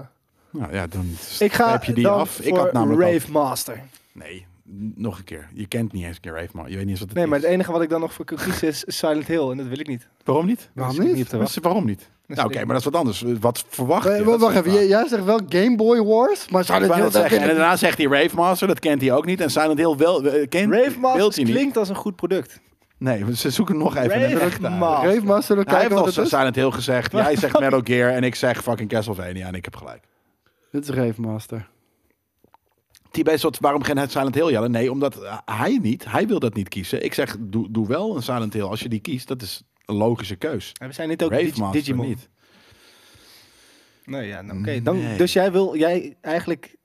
Speaker 3: Nou ja, dan
Speaker 1: Ik ga
Speaker 3: heb je die
Speaker 1: dan
Speaker 3: af.
Speaker 1: voor
Speaker 3: Ik had namelijk al-
Speaker 1: Rave Master.
Speaker 3: Nee, n- nog een keer. Je kent niet eens een keer Rave, maar je weet niet eens wat het
Speaker 1: Nee, maar
Speaker 3: is.
Speaker 1: het e- enige wat ik dan nog voor kan kiezen is Silent Hill. En dat wil ik niet.
Speaker 3: Waarom niet?
Speaker 1: Daar
Speaker 2: Waarom
Speaker 1: zit ik
Speaker 2: niet?
Speaker 1: op te
Speaker 3: Maar
Speaker 1: wachten.
Speaker 3: ze- waarom niet?
Speaker 1: Dus
Speaker 3: Nou, oké,
Speaker 1: ik-
Speaker 3: maar dat is wat anders. Wat verwacht
Speaker 2: Eh,
Speaker 3: je?
Speaker 2: wacht
Speaker 3: Dat is
Speaker 2: even,
Speaker 3: de
Speaker 2: jij,
Speaker 3: vraag.
Speaker 2: jij zegt wel Game Boy Wars, maar
Speaker 3: Ik
Speaker 2: Silent
Speaker 3: wou
Speaker 2: Hill
Speaker 3: net
Speaker 2: dat
Speaker 3: zeggen. En
Speaker 2: ken ik
Speaker 3: daarna zegt hij Rave Master, dat kent hij ook niet. En Silent Hill wel, eh, kent
Speaker 1: Rave
Speaker 3: wilt hij
Speaker 1: Master
Speaker 3: niet.
Speaker 1: klinkt als een goed product.
Speaker 3: Nee, ze zoeken nog even. een
Speaker 1: Rave
Speaker 3: recht uit.
Speaker 1: Master.
Speaker 2: Geef maar, zullen we
Speaker 3: Hij heeft
Speaker 2: kijken wat
Speaker 3: al
Speaker 2: het is?
Speaker 3: Silent Hill gezegd. Jij zegt Metal Gear en ik zeg fucking Castlevania en ik heb gelijk.
Speaker 2: Dit is Rave Master.
Speaker 3: Tibet soort waarom geen Silent Hill jellen? Nee, omdat eh, hij niet, hij wil dat niet kiezen. Ik zeg, doe, doe wel een Silent Hill. Als je die kiest, dat is een logische keus.
Speaker 1: En we zijn niet ook
Speaker 3: Rave
Speaker 1: Digi-
Speaker 3: Master
Speaker 1: Digimon.
Speaker 3: niet.
Speaker 1: Nou ja, nou, oké. dan
Speaker 3: Nee.
Speaker 1: Dus jij wil, jij eigenlijk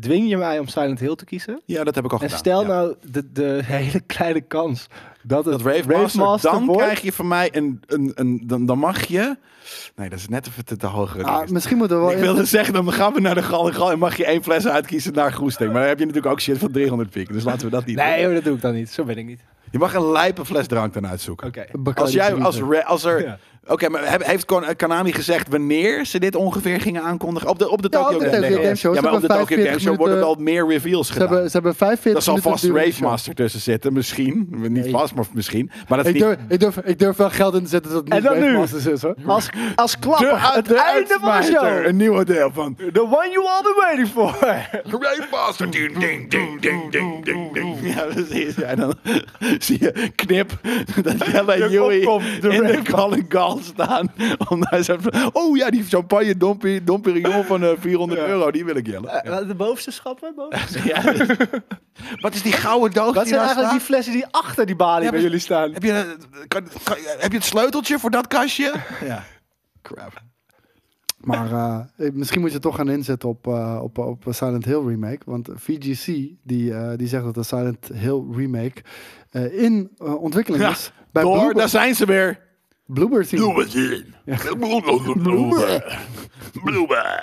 Speaker 1: dwing je mij om Silent Hill te kiezen.
Speaker 3: Ja, dat heb ik al
Speaker 1: en
Speaker 3: gedaan.
Speaker 1: stel
Speaker 3: ja.
Speaker 1: nou de, de hele kleine kans dat het
Speaker 3: dat Rave, Master, dan
Speaker 1: wordt.
Speaker 3: krijg je van mij een, een, een dan, dan mag je. Nee, dat is net even te, te hogere.
Speaker 2: Ah,
Speaker 3: lijst.
Speaker 2: misschien moeten we wel...
Speaker 3: ik wilde zeggen, dan gaan we naar de gal en gal en mag je één fles uitkiezen naar Groesting. Maar dan heb je natuurlijk ook shit van 300 piek. Dus laten we dat niet
Speaker 1: Nee
Speaker 3: doen.
Speaker 1: hoor, dat doe ik dan niet. Zo ben ik niet.
Speaker 3: Je mag een lijpe fles drank dan uitzoeken.
Speaker 1: Oké.
Speaker 2: Bacardi
Speaker 3: Als jij,
Speaker 2: Breezer.
Speaker 3: als, re- als er,
Speaker 1: Ja.
Speaker 3: oké, maar heb- heeft Kon- eh, Konami gezegd wanneer ze dit ongeveer gingen aankondigen? Op de, op de
Speaker 2: Ja,
Speaker 3: Tokyo
Speaker 2: op de
Speaker 3: Game,
Speaker 2: Tokyo
Speaker 3: Show.
Speaker 2: Game Show.
Speaker 3: Ja,
Speaker 2: Ze
Speaker 3: maar op de
Speaker 2: hebben
Speaker 3: Tokyo Game
Speaker 2: 45
Speaker 3: Show worden al
Speaker 2: minuten-
Speaker 3: meer reveals
Speaker 2: Ze
Speaker 3: gedaan.
Speaker 2: hebben, ze hebben 45
Speaker 3: dat zal
Speaker 2: minuten
Speaker 3: vast
Speaker 2: durende
Speaker 3: Rave
Speaker 2: show.
Speaker 3: Master tussen zitten, misschien. Niet
Speaker 2: Nee.
Speaker 3: vast, maar misschien. Maar dat is
Speaker 2: Ik durf,
Speaker 3: niet
Speaker 2: ik, durf, ik durf wel geld in te zetten dat het
Speaker 1: En
Speaker 2: niet
Speaker 1: dan
Speaker 2: Rave
Speaker 1: nu.
Speaker 2: Masters is, hoor.
Speaker 1: Als, als klapper, het einde van de
Speaker 3: uitsmijter,
Speaker 1: show.
Speaker 3: Een nieuw deel van
Speaker 1: The one you all been waiting for.
Speaker 3: Great Master. Ding, ding, ding, ding, ding, ding, ding. Ja, precies. Ja, en dan zie je knip dat Jelle en Joey
Speaker 1: opkomt, de
Speaker 3: in de
Speaker 1: Red
Speaker 3: Gal Gal staan. Om daar zo van, oh ja, die champagne dompie, domperignon van eh, 400
Speaker 1: Ja.
Speaker 3: euro, die wil ik Jelle.
Speaker 1: Eh, De bovenste schappen? Bovenste
Speaker 3: Ja. Wat is die gouden
Speaker 1: Dat
Speaker 3: doos die
Speaker 1: zijn
Speaker 3: daar
Speaker 1: eigenlijk die
Speaker 3: staat?
Speaker 1: flessen die achter die balie
Speaker 3: Ja,
Speaker 1: bij
Speaker 3: maar-
Speaker 1: jullie staan.
Speaker 3: Heb je, eh, kan- kan- heb je het sleuteltje voor dat kastje? Ja. Crap.
Speaker 2: Maar eh, eh, misschien moet je toch gaan inzetten op, eh, op, op een Silent Hill remake. Want VGC die, eh, die zegt dat de Silent Hill remake eh, in eh, ontwikkeling
Speaker 3: Ja,
Speaker 2: is. bij
Speaker 3: Door,
Speaker 2: Bloober-
Speaker 3: daar zijn ze weer.
Speaker 2: Bloober Team.
Speaker 3: Bloemen zien. Bloemen. Bloemen.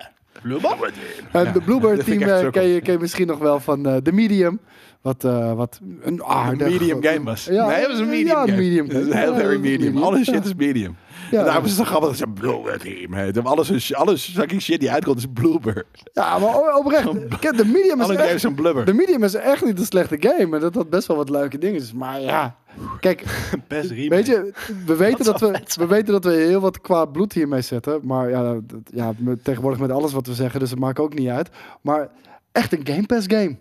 Speaker 2: Eh, De Bluebird
Speaker 3: dat vind
Speaker 2: team
Speaker 3: ik echt
Speaker 2: eh,
Speaker 3: sukkel.
Speaker 2: ken, je, ken je misschien nog wel van eh The Medium. Wat, eh, wat een aardig...
Speaker 3: medium game was. nee, het was een medium
Speaker 2: ja, een
Speaker 3: game.
Speaker 2: medium
Speaker 3: Het is
Speaker 2: game.
Speaker 3: heel
Speaker 2: Ja,
Speaker 3: erg
Speaker 2: een
Speaker 3: medium.
Speaker 2: medium.
Speaker 3: Alle
Speaker 2: Ja.
Speaker 3: shit is medium.
Speaker 2: Ja.
Speaker 3: Ja. Daarom is het zo grappig dat ze Bluebird team heet. Alles, is- alles fucking shit die uitkomt is Bluebird.
Speaker 2: Ja, maar o- oprecht. Kijk, The Medium is
Speaker 3: Alle games
Speaker 2: echt...
Speaker 3: zijn blubber.
Speaker 2: The Medium is echt niet een slechte game. En dat had best wel wat leuke dingen. Dus, Maar ja, kijk,
Speaker 1: Best remake.
Speaker 2: weet je, we weten, dat we, we weten dat we heel wat kwaad bloed hiermee zetten. Maar ja, dat- ja, met- tegenwoordig met alles wat we zeggen, dus het maakt ook niet uit. Maar echt een Game Pass game.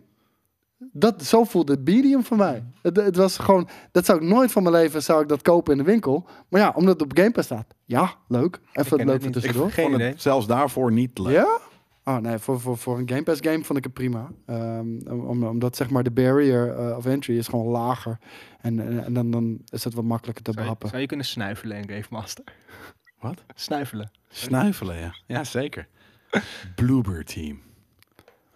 Speaker 2: Dat, zo voelde het medium voor mij. Het, het was gewoon, dat zou ik nooit van mijn leven zou ik dat kopen in de winkel. Maar ja, omdat het op Game Pass staat. Ja, leuk. Even
Speaker 1: ken
Speaker 2: het
Speaker 1: het
Speaker 2: leuk van
Speaker 1: niet.
Speaker 2: tussendoor.
Speaker 1: Geen
Speaker 3: Vond het
Speaker 1: idee.
Speaker 3: Zelfs daarvoor niet leuk.
Speaker 2: Ja? Oh nee, voor, voor, voor een Game Pass game vond ik het prima. Ehm, om, omdat zeg maar de barrier eh, of entry is gewoon lager. En, en, en dan, dan is het wat makkelijker te
Speaker 1: Zou je,
Speaker 2: behappen.
Speaker 1: zou je kunnen snuifelen in Game Master?
Speaker 3: Wat?
Speaker 1: Snuifelen.
Speaker 3: Snuifelen, ja. Ja, zeker. Bluebird team.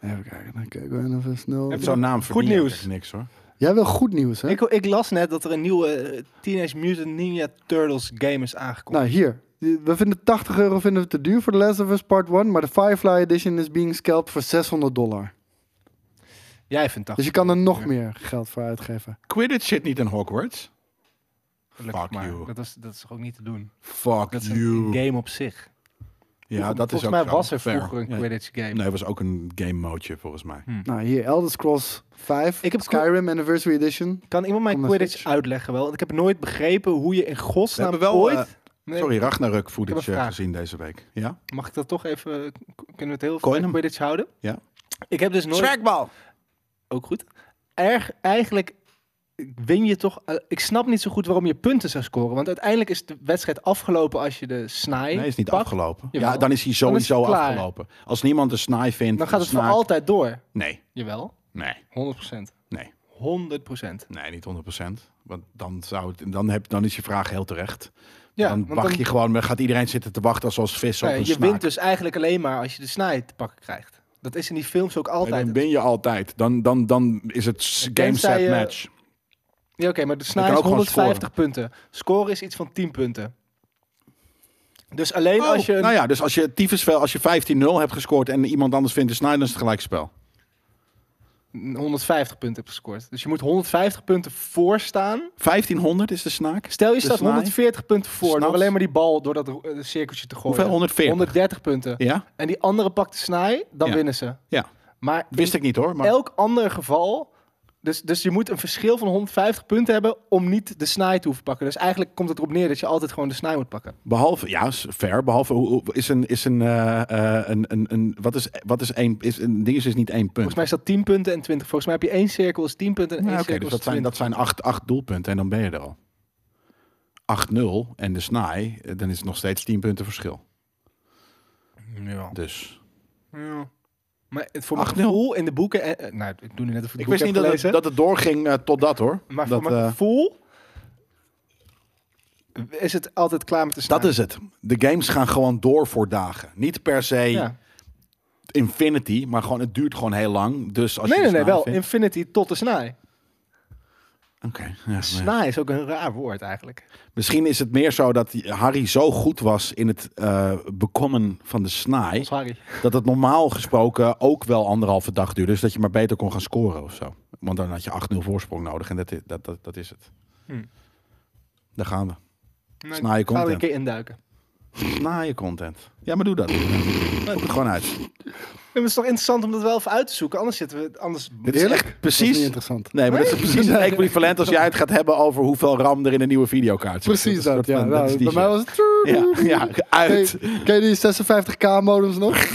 Speaker 2: Even kijken, dan kijken we even snel.
Speaker 1: Heb je
Speaker 3: Zo'n naam verdient
Speaker 1: nieuws.
Speaker 3: eigenlijk niks hoor.
Speaker 2: Jij wil goed nieuws, hè?
Speaker 1: Ik, ik las net dat er een nieuwe eh, Teenage Mutant Ninja Turtles game is aangekomen.
Speaker 2: Nou, hier. We vinden 80 euro vinden we te duur voor The Last of Us Part 1, maar de Firefly Edition is being scalped voor 600 dollar.
Speaker 1: Jij vindt dat.
Speaker 2: Dus je kan er nog meer geld voor uitgeven.
Speaker 3: Quidditch zit niet in Hogwarts.
Speaker 1: Gelukkig
Speaker 3: Fuck
Speaker 1: maar.
Speaker 3: you.
Speaker 1: Dat, is, dat is ook niet te doen.
Speaker 3: Fuck
Speaker 1: Dat is een-
Speaker 3: you.
Speaker 1: een game op zich.
Speaker 3: Ja,
Speaker 1: Volgens-
Speaker 3: dat is
Speaker 1: volgens
Speaker 3: ook
Speaker 1: mij
Speaker 3: zo.
Speaker 1: was er
Speaker 3: Fair.
Speaker 1: vroeger een
Speaker 3: Ja.
Speaker 1: Quidditch game.
Speaker 3: Nee, het was ook een game modeje volgens mij.
Speaker 2: Nou, hier Elder Scrolls 5,
Speaker 1: Ik heb
Speaker 2: Skyrim Anniversary Edition.
Speaker 1: Kan iemand mij
Speaker 2: Kom naar
Speaker 1: Quidditch
Speaker 2: Switch.
Speaker 1: uitleggen wel? Want ik heb nooit begrepen hoe je in
Speaker 3: We
Speaker 1: godsnaam
Speaker 3: hebben wel,
Speaker 1: ooit...
Speaker 3: eh,
Speaker 1: Nee,
Speaker 3: Sorry, Ragnarok
Speaker 1: Ik heb
Speaker 3: footage
Speaker 1: een
Speaker 3: eh,
Speaker 1: vraag.
Speaker 3: gezien deze week. Ja?
Speaker 1: Mag ik dat toch even... Kunnen we het heel
Speaker 3: Coin
Speaker 1: veel
Speaker 3: hem.
Speaker 1: Quidditch houden?
Speaker 3: Ja.
Speaker 1: Ik heb dus nooit...
Speaker 3: Trackbal!
Speaker 1: Ook goed. Erg, eigenlijk win je toch... eh, ik snap niet zo goed waarom je punten zou scoren. Want uiteindelijk is de wedstrijd afgelopen als je de snaai
Speaker 3: Nee, is niet
Speaker 1: pakt.
Speaker 3: afgelopen.
Speaker 1: Jawel.
Speaker 3: Ja, dan is hij
Speaker 1: Dan is
Speaker 3: sowieso
Speaker 1: het klaar.
Speaker 3: afgelopen. Als niemand een snaai vindt...
Speaker 1: Dan gaat het
Speaker 3: een
Speaker 1: voor
Speaker 3: snaak-
Speaker 1: altijd door.
Speaker 3: Nee,
Speaker 1: Jawel.
Speaker 3: nee,
Speaker 1: 100 procent.
Speaker 3: nee.
Speaker 1: 100 procent.
Speaker 3: Nee, niet 100%. Want dan, zou het, dan, heb, dan is je vraag heel terecht.
Speaker 1: Ja,
Speaker 3: dan
Speaker 1: want
Speaker 3: wacht je gewoon... dan gaat iedereen zitten te wachten zoals vis op
Speaker 1: Nee,
Speaker 3: een
Speaker 1: je
Speaker 3: snaak.
Speaker 1: wint dus eigenlijk alleen maar als je de snaai te pakken krijgt. Dat is in die films ook
Speaker 3: Nee,
Speaker 1: altijd.
Speaker 3: dan ben je altijd. Dan, dan, dan is het s- game
Speaker 1: Tenzij
Speaker 3: set
Speaker 1: je- Oh.
Speaker 3: match.
Speaker 1: Ja, oké, maar de snaai
Speaker 3: kan
Speaker 1: is
Speaker 3: ook gewoon
Speaker 1: 150 punten. Scoren is iets van 10 punten. Dus alleen
Speaker 3: Oh,
Speaker 1: als je... een-
Speaker 3: Nou ja, dus als je tyfusvel, als je 15-0 hebt gescoord en iemand anders vindt een snaai, dan is het gelijkspel.
Speaker 1: 150 punten hebt gescoord. Dus je moet 150 punten voor staan.
Speaker 3: 1500 is de snaak.
Speaker 1: Stel je
Speaker 3: De
Speaker 1: staat
Speaker 3: snaai.
Speaker 1: 140 punten voor. Door
Speaker 3: Snaps.
Speaker 1: alleen maar die bal door dat eh, cirkeltje te gooien.
Speaker 3: Hoeveel? 140.
Speaker 1: 130 punten.
Speaker 3: Ja,
Speaker 1: En die andere pakt de snaai, dan
Speaker 3: Ja.
Speaker 1: winnen ze.
Speaker 3: ja.
Speaker 1: Maar in
Speaker 3: Wist ik niet hoor. Maar
Speaker 1: elk ander geval... Dus, dus je moet een verschil van 150 punten hebben om niet de snaai te hoeven pakken. Dus eigenlijk komt het erop neer dat je altijd gewoon de snaai moet pakken.
Speaker 3: behalve, ja, is fair. Behalve hoe- hoe- is een, is een, eh, eh, een, een, een wat is, wat is één, is een ding is dus niet één punt.
Speaker 1: Volgens mij is dat 10 punten en 20. Volgens mij heb je één cirkel is 10 punten en
Speaker 3: Ja,
Speaker 1: één
Speaker 3: Oké,
Speaker 1: cirkel
Speaker 3: dus
Speaker 1: is
Speaker 3: dat zijn,
Speaker 1: 20.
Speaker 3: dat zijn acht, acht doelpunten en dan ben je er al. 8-0 en de snaai, eh, dan is het nog steeds 10 punten verschil.
Speaker 1: Ja.
Speaker 3: Dus
Speaker 1: Ja. Maar het- voor mijn
Speaker 3: 8-0.
Speaker 1: gevoel in de boeken... eh, eh, nou, ik doe nu net of ik, het
Speaker 3: ik
Speaker 1: boek
Speaker 3: wist
Speaker 1: heb
Speaker 3: niet dat
Speaker 1: gelezen.
Speaker 3: het, dat het doorging eh, tot dat hoor.
Speaker 1: Maar
Speaker 3: dat,
Speaker 1: voor mijn
Speaker 3: eh,
Speaker 1: gevoel is het altijd klaar met de snaar.
Speaker 3: dat is het. De games gaan gewoon door voor dagen. Niet per se
Speaker 1: Ja.
Speaker 3: infinity, maar gewoon het duurt gewoon heel lang. Dus als
Speaker 1: Nee,
Speaker 3: je
Speaker 1: nee,
Speaker 3: de
Speaker 1: nee,
Speaker 3: snaai
Speaker 1: wel.
Speaker 3: vindt-
Speaker 1: Infinity tot de snaai.
Speaker 3: Oké, ja, nee.
Speaker 1: Snaai is ook een raar woord eigenlijk.
Speaker 3: Misschien is het meer zo dat die- Harry zo goed was in het eh, bekommen van de snaai.
Speaker 1: Sorry.
Speaker 3: Dat het normaal gesproken ook wel anderhalve dag duurde. Dus dat je maar beter kon gaan scoren of zo. Want dan had je 8-0 voorsprong nodig. En dat, i- dat, dat, dat is het.
Speaker 1: Hm.
Speaker 3: Daar gaan we.
Speaker 1: Nee,
Speaker 3: Snaaien
Speaker 1: ik Ga er een
Speaker 3: content.
Speaker 1: keer induiken.
Speaker 3: Snaaien content. Ja, maar doe dat. Zoek het gewoon uit.
Speaker 1: Ja, maar Het is toch interessant om dat wel even uit te zoeken. Anders zitten we... Anders...
Speaker 3: Dit is echt
Speaker 2: Dat is niet
Speaker 3: precies...
Speaker 2: interessant.
Speaker 3: Nee, maar dat is precies het equivalent als jij het gaat hebben over hoeveel RAM er in een nieuwe videokaart zit.
Speaker 2: Precies
Speaker 3: is een
Speaker 2: dat,
Speaker 3: soort
Speaker 2: ja.
Speaker 3: van-
Speaker 2: Nou,
Speaker 3: is
Speaker 2: bij
Speaker 3: die
Speaker 2: mij was het...
Speaker 3: shit. Ja, ja, uit.
Speaker 2: Ken je- ken je die 56k modems nog?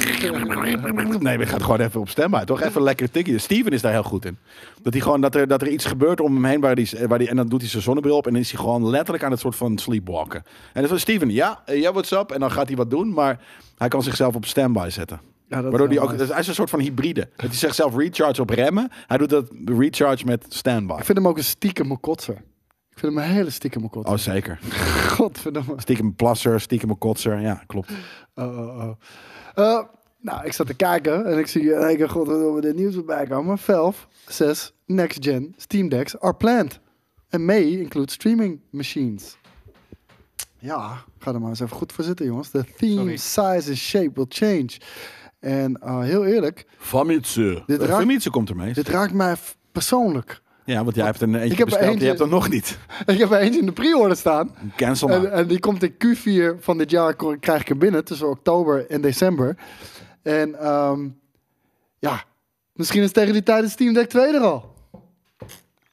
Speaker 3: Nee, we gaan gewoon even op stembaar. Toch even lekker tikkie. Steven is daar heel goed in. Dat, hij gewoon, dat, er, dat er iets gebeurt om hem heen. Waar die, waar die, en dan doet hij zijn zonnebril op. En dan is hij gewoon letterlijk aan het soort van sleepwalken. En dan van Steven, ja, eh, ja, what's up? En dan gaat hij wat doen. Maar hij kan zichzelf op standby zetten.
Speaker 2: Ja, dat
Speaker 3: Waardoor
Speaker 2: is
Speaker 3: hij
Speaker 2: wel
Speaker 3: ook. dus Hij is een soort van hybride. Dat hij zichzelf recharge op remmen. Hij doet dat recharge met standby.
Speaker 2: Ik vind hem ook een stiekeme kotser. Ik vind hem een hele stiekeme kotser.
Speaker 3: Oh, zeker.
Speaker 2: Godverdomme.
Speaker 3: Stiekem een plasser, stiekem een kotser. Ja, klopt.
Speaker 2: Oh, oh, oh. Eh, nou, ik zat te kijken en ik zie, hey, godverdomme, dit nieuws voorbij komen. Valve 6 Next Gen Steam Decks are planned. En may include streaming machines. Ja, ga er maar eens even goed voor zitten, jongens. The theme,
Speaker 1: Sorry.
Speaker 2: size and shape will change. En eh, heel eerlijk,
Speaker 3: Famitsu.
Speaker 2: Dit raakt-
Speaker 3: Famitsu komt ermee.
Speaker 2: dit raakt mij f- persoonlijk.
Speaker 3: Ja, want jij hebt er een eentje
Speaker 2: heb er
Speaker 3: besteld, die
Speaker 2: eentje-
Speaker 3: hebt er nog niet.
Speaker 2: Ik heb er eentje in de pre-order staan.
Speaker 3: Cancel maar.
Speaker 2: En, en die komt in Q4 van dit jaar, ko- krijg ik hem binnen, tussen oktober en december. En ehm, ja, misschien is tegen die tijd de Steam Deck 2 er al.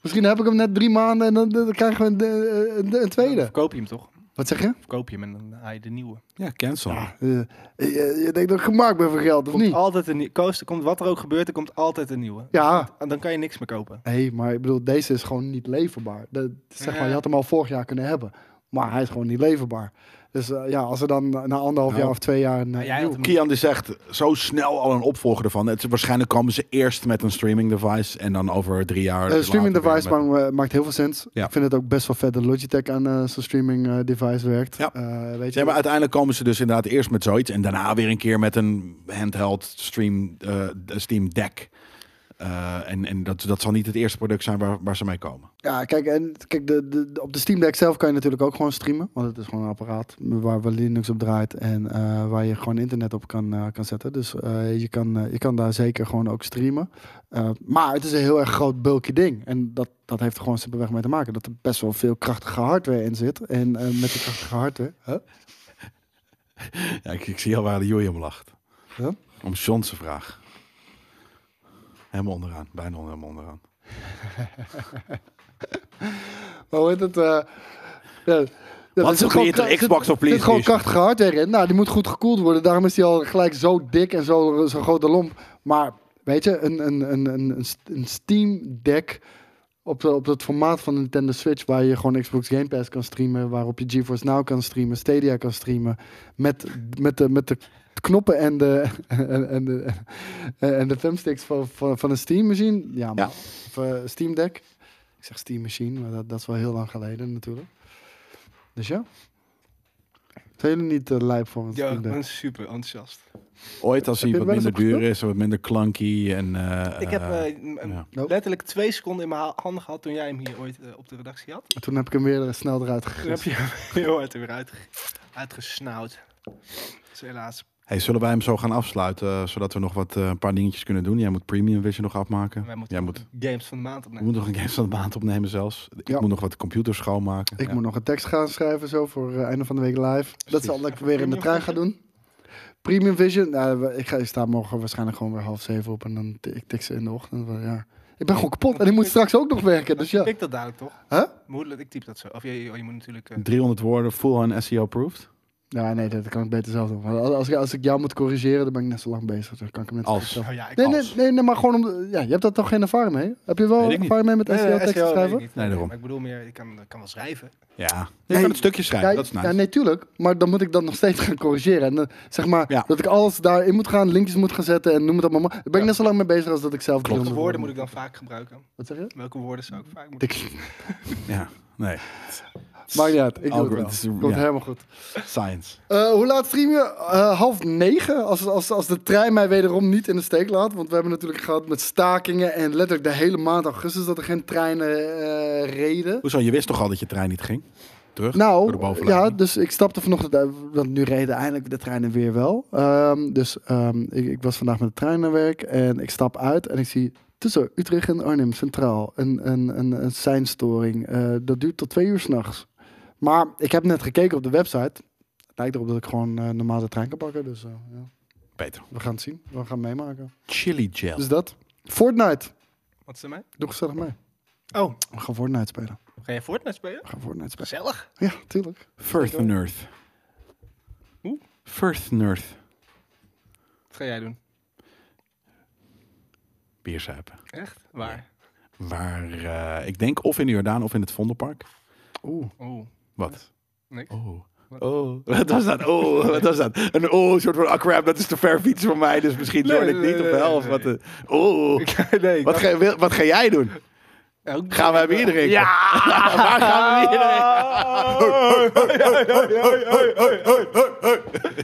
Speaker 2: Misschien heb ik hem net drie maanden en dan, dan krijgen we een, de- een, een
Speaker 1: Dan
Speaker 2: tweede.
Speaker 1: verkoop je hem toch?
Speaker 2: Wat zeg je?
Speaker 1: Verkoop je hem en dan haal je de nieuwe.
Speaker 3: ja, cancel.
Speaker 2: Eh, je, je denkt dat ik gemaakt ben voor geld, of
Speaker 1: Komt
Speaker 3: Hm.
Speaker 2: niet?
Speaker 1: altijd een nieuwe. Koos, er komt wat er ook gebeurt, er komt altijd een nieuwe.
Speaker 2: Ja,
Speaker 1: En dan kan je niks meer kopen.
Speaker 2: nee, maar ik bedoel, deze is gewoon niet leverbaar. Dat, zeg maar, je had hem al vorig jaar kunnen hebben. Maar hij is gewoon niet leverbaar. Dus eh, ja, als er dan na anderhalf
Speaker 3: Nou,
Speaker 2: jaar of twee jaar... een, eh,
Speaker 1: Nou, jij had
Speaker 2: nieuwe-
Speaker 1: hem-
Speaker 3: Kian die zegt zo snel al een opvolger ervan. Het, waarschijnlijk komen ze eerst met een streaming device en dan over drie jaar.
Speaker 2: Eh, streaming
Speaker 3: later weer
Speaker 2: device
Speaker 3: met-
Speaker 2: maakt, eh, maakt heel veel sens.
Speaker 3: Ja.
Speaker 2: Ik vind het ook best wel vet dat Logitech aan eh, zo'n streaming eh, device werkt.
Speaker 3: Ja.
Speaker 2: Eh, weet je,
Speaker 3: Ja, maar uiteindelijk komen ze dus inderdaad eerst met zoiets en daarna weer een keer met een handheld stream, eh, Steam Deck. Eh, en en dat, dat zal niet het eerste product zijn waar, waar ze mee komen.
Speaker 2: Ja, kijk, en, kijk de, de, de- op de Steam Deck zelf kan je natuurlijk ook gewoon streamen. Want het is gewoon een apparaat waar wel Linux op draait en eh, waar je gewoon internet op kan, eh, kan zetten. Dus eh, je, kan, eh, je kan daar zeker gewoon ook streamen. Eh, maar het is een heel erg groot bulky ding. En dat, dat heeft er gewoon simpelweg mee te maken. Dat er best wel veel krachtige hardware in zit. En eh, met die krachtige hardware... Huh?
Speaker 3: Ja, ik, ik zie al waar de Joey om lacht.
Speaker 2: Huh?
Speaker 3: Om Sean's vraag. Helemaal onderaan, bijna helemaal onderaan.
Speaker 2: Hoe heet het? eh, ja, ja, er zit
Speaker 3: Wat is het
Speaker 2: gewoon
Speaker 3: creator
Speaker 2: kra-
Speaker 3: Xbox
Speaker 2: zit- zit gewoon
Speaker 3: of PlayStation?
Speaker 2: krachtige hardware in. Nou, die moet goed gekoeld worden. Daarom is die al gelijk zo dik en zo- zo'n grote lomp. Maar weet je, een, een, een, een, een st- een Steam Deck op, de- op het formaat van Nintendo Switch... waar je gewoon Xbox Game Pass kan streamen... waarop je GeForce Now kan streamen, Stadia kan streamen... met, met, de, met de knoppen en de, en, en de, Eh, en de thumbsticks van, van, van een Steam Machine. Ja, man. Of eh, Steam Deck. Ik zeg Steam Machine, maar dat, dat is wel heel lang geleden natuurlijk. Dus ja. Zijn jullie niet eh, lijp voor een
Speaker 1: Ja,
Speaker 2: Steam
Speaker 1: ik
Speaker 2: Deck?
Speaker 1: ben super enthousiast.
Speaker 3: Ooit als
Speaker 2: Heb je
Speaker 3: hij
Speaker 2: er
Speaker 3: wat
Speaker 2: wel eens
Speaker 3: minder
Speaker 2: op
Speaker 3: duur is, wat minder clunky en... eh,
Speaker 1: ik heb
Speaker 3: eh,
Speaker 1: eh, m- m-
Speaker 3: ja.
Speaker 2: Nope.
Speaker 1: letterlijk twee seconden in mijn ha- handen gehad toen jij hem hier ooit eh, op de redactie had.
Speaker 2: Toen heb ik hem weer eh, snel eruit
Speaker 1: Toen heb
Speaker 2: gegrift.
Speaker 1: je hem heel hard er weer uitge- uitgesnauwd. Dat is helaas
Speaker 3: Hey, zullen wij hem zo gaan afsluiten, eh, zodat we nog wat, eh, een paar dingetjes kunnen doen? Jij moet Premium Vision nog afmaken.
Speaker 1: Wij moeten
Speaker 3: Jij moet,
Speaker 1: games van de maand
Speaker 3: we
Speaker 1: opnemen.
Speaker 3: moeten nog een Games van de Maand opnemen zelfs. Ik
Speaker 2: Ja.
Speaker 3: moet nog wat computers schoonmaken.
Speaker 2: Ik
Speaker 3: Ja.
Speaker 2: moet nog een tekst gaan schrijven zo voor eh, einde van de week live. Dat
Speaker 3: Precies.
Speaker 2: zal ik
Speaker 1: Even
Speaker 2: weer in de
Speaker 1: Premium
Speaker 2: trein gaan doen. Premium Vision. Nou, we- ik, ga, ik sta morgen waarschijnlijk gewoon weer half zeven op. En dan t- ik tik ze in de ochtend. want Ja. Ik ben gewoon kapot. En ik moet straks ook nog werken. Dus ja.
Speaker 1: Ik dat dadelijk toch?
Speaker 2: Huh?
Speaker 1: Moedelijk, ik typ dat zo. Of je, je, je moet natuurlijk... eh,
Speaker 3: 300 woorden, full on E SEO-proofed.
Speaker 2: Ja, nee, dat kan ik beter zelf doen. Want als- Als, ik- als ik jou moet corrigeren, dan ben ik net zo lang bezig. Dan kan ik hem net zo
Speaker 3: Als.
Speaker 2: goed zelf-
Speaker 1: oh ja, ik
Speaker 2: Nee,
Speaker 1: kan-
Speaker 2: nee,
Speaker 3: Als.
Speaker 2: nee, nee, maar gewoon om. de- Ja, je hebt daar toch geen ervaring mee? Heb je wel
Speaker 3: Weet ik niet.
Speaker 2: ervaring mee met
Speaker 1: Nee, nee,
Speaker 2: SEO-teksten
Speaker 1: SEO,
Speaker 2: schrijven?
Speaker 1: weet ik niet.
Speaker 3: Nee, daarom.
Speaker 1: Maar ik bedoel meer, ik kan, ik kan wel schrijven.
Speaker 3: Ja. Je
Speaker 2: Nee.
Speaker 3: kan het stukje schrijven,
Speaker 2: Ja,
Speaker 3: dat is nice.
Speaker 2: ja, nee, tuurlijk. Maar dan moet ik dat nog steeds gaan corrigeren. En eh, zeg maar
Speaker 3: Ja.
Speaker 2: dat ik alles daarin moet gaan, linkjes moet gaan zetten en noem het allemaal. maar. Daar ben ik net zo lang mee bezig als dat ik zelf
Speaker 3: Klopt.
Speaker 1: Welke
Speaker 2: 300
Speaker 1: woorden moet ik dan vaak gebruiken?
Speaker 2: Wat zeg je?
Speaker 1: Welke woorden zou ik vaak moeten
Speaker 2: Ik,
Speaker 3: Ja, nee.
Speaker 2: maakt niet uit. Ik doe
Speaker 3: Algoritme-
Speaker 2: het wel. Komt
Speaker 3: ja.
Speaker 2: helemaal goed.
Speaker 3: Science.
Speaker 2: Eh, hoe laat stream je? Eh, half negen. Als, als, als de trein mij wederom niet in de steek laat. Want we hebben natuurlijk gehad met stakingen. En letterlijk de hele maand augustus dat er geen treinen eh, reden.
Speaker 3: Hoezo, je wist toch al dat je trein niet ging? Terug? door de
Speaker 2: Nou,
Speaker 3: bovenleiding?
Speaker 2: ja, dus ik stapte vanochtend uit, want nu reden eindelijk de treinen weer wel. Ehm, dus ehm, ik, ik was vandaag met de trein naar werk en ik stap uit en ik zie tussen Utrecht en Arnhem Centraal een, een, een, een seinstoring. Eh, dat duurt tot twee uur s'nachts. Maar ik heb net gekeken op de website. Het lijkt erop dat ik gewoon eh, normaal de trein kan pakken. Dus eh, ja.
Speaker 3: Peter.
Speaker 2: we gaan het zien. We gaan het meemaken.
Speaker 3: Chili gel.
Speaker 2: Dus dat. Fortnite.
Speaker 1: Wat is er mee?
Speaker 2: Doe gezellig mee.
Speaker 1: Oh,
Speaker 2: We gaan Fortnite spelen.
Speaker 1: ga je Fortnite spelen?
Speaker 2: We gaan Fortnite spelen.
Speaker 1: Gezellig.
Speaker 2: Ja, tuurlijk.
Speaker 3: Firth Nerth.
Speaker 1: Hoe?
Speaker 3: Firth Nerth.
Speaker 1: Wat ga jij doen?
Speaker 3: Bierzuipen.
Speaker 1: Echt? Waar?
Speaker 3: Waar, eh, ik denk, of in de Jordaan of in het Vondelpark.
Speaker 2: Oeh.
Speaker 1: Oeh.
Speaker 3: Wat?
Speaker 1: Niks.
Speaker 3: Oh.
Speaker 1: Wat?
Speaker 3: Oh, wat was dat? Oh, wat was dat? Een oh, soort van, ah crap, dat is te ver fietsen voor mij, dus misschien
Speaker 1: Nee,
Speaker 3: join ik
Speaker 1: nee,
Speaker 3: niet op de
Speaker 1: nee,
Speaker 3: helft.
Speaker 1: nee.
Speaker 3: Wat, een- oh,
Speaker 1: nee, ik
Speaker 3: wat
Speaker 1: dacht-
Speaker 3: ga, wil- wat ga jij doen?
Speaker 1: Ja, ook-
Speaker 3: Gaan wij weer drinken? Ja! Waar gaan we weer drinken?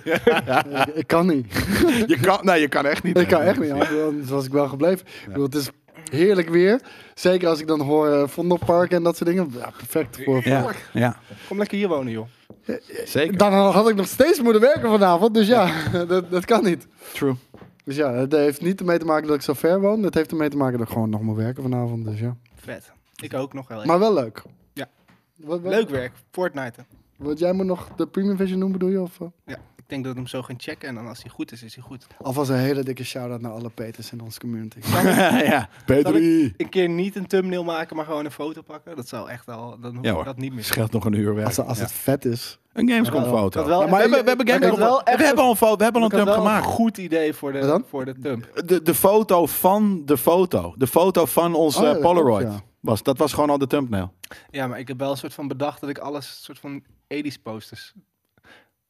Speaker 2: Ik, ik kan niet.
Speaker 3: Je kan, nee, je kan echt niet.
Speaker 2: Ik kan echt niet, anders dan was ik wel gebleven. Ik bedoel, het is heerlijk weer. Zeker als ik dan hoor eh, Vondelpark en dat soort dingen. Ja, perfect voor.
Speaker 3: Ja, ja,
Speaker 1: Kom lekker hier wonen, joh.
Speaker 3: zeker.
Speaker 2: Dan had ik nog steeds moeten werken vanavond, dus ja, dat, dat kan niet.
Speaker 3: True.
Speaker 2: Dus ja, het heeft niet ermee te maken dat ik zo ver woon. Het heeft ermee te maken dat ik gewoon nog moet werken vanavond. Dus ja.
Speaker 1: Vet. Ik ook nog wel even.
Speaker 2: Maar wel leuk.
Speaker 1: Ja.
Speaker 2: Wat, wat-
Speaker 1: Leuk werk. Fortnite.
Speaker 2: Wat jij moet nog de premium vision noemen, bedoel je? Of, eh?
Speaker 1: Ik denk dat we hem zo gaan checken en dan als hij goed is, is hij goed.
Speaker 2: Alvast een hele dikke shout-out naar alle Peters in onze community.
Speaker 3: ja, P3.
Speaker 1: Een keer niet een thumbnail maken, maar gewoon een foto pakken. Dat zou echt al... Dan hoef
Speaker 3: Ja,
Speaker 1: ik
Speaker 3: hoor.
Speaker 1: dat niet meer.
Speaker 3: Scheelt nog een uur weg.
Speaker 2: Als, als het vet is.
Speaker 3: Een Gamescom
Speaker 1: Ja, wel.
Speaker 3: foto.
Speaker 1: Dat wel.
Speaker 3: Ja, maar we, hebben- we hebben
Speaker 1: Maar
Speaker 3: Gamescom
Speaker 1: dat wel
Speaker 3: foto. We
Speaker 1: echt-
Speaker 3: hebben al een foto. We hebben al
Speaker 1: Ik
Speaker 3: een
Speaker 1: had
Speaker 3: thumb
Speaker 1: wel
Speaker 3: gemaakt.
Speaker 1: een goed idee voor de,
Speaker 2: Wat dan?
Speaker 1: voor de thumb.
Speaker 3: De, de foto van de foto. De foto van onze
Speaker 2: Oh ja,
Speaker 3: eh,
Speaker 2: dat
Speaker 3: Polaroid.
Speaker 2: klopt,
Speaker 3: was, dat was gewoon al de thumbnail.
Speaker 1: Ja, maar ik heb wel een soort van bedacht dat ik alles soort van 80s posters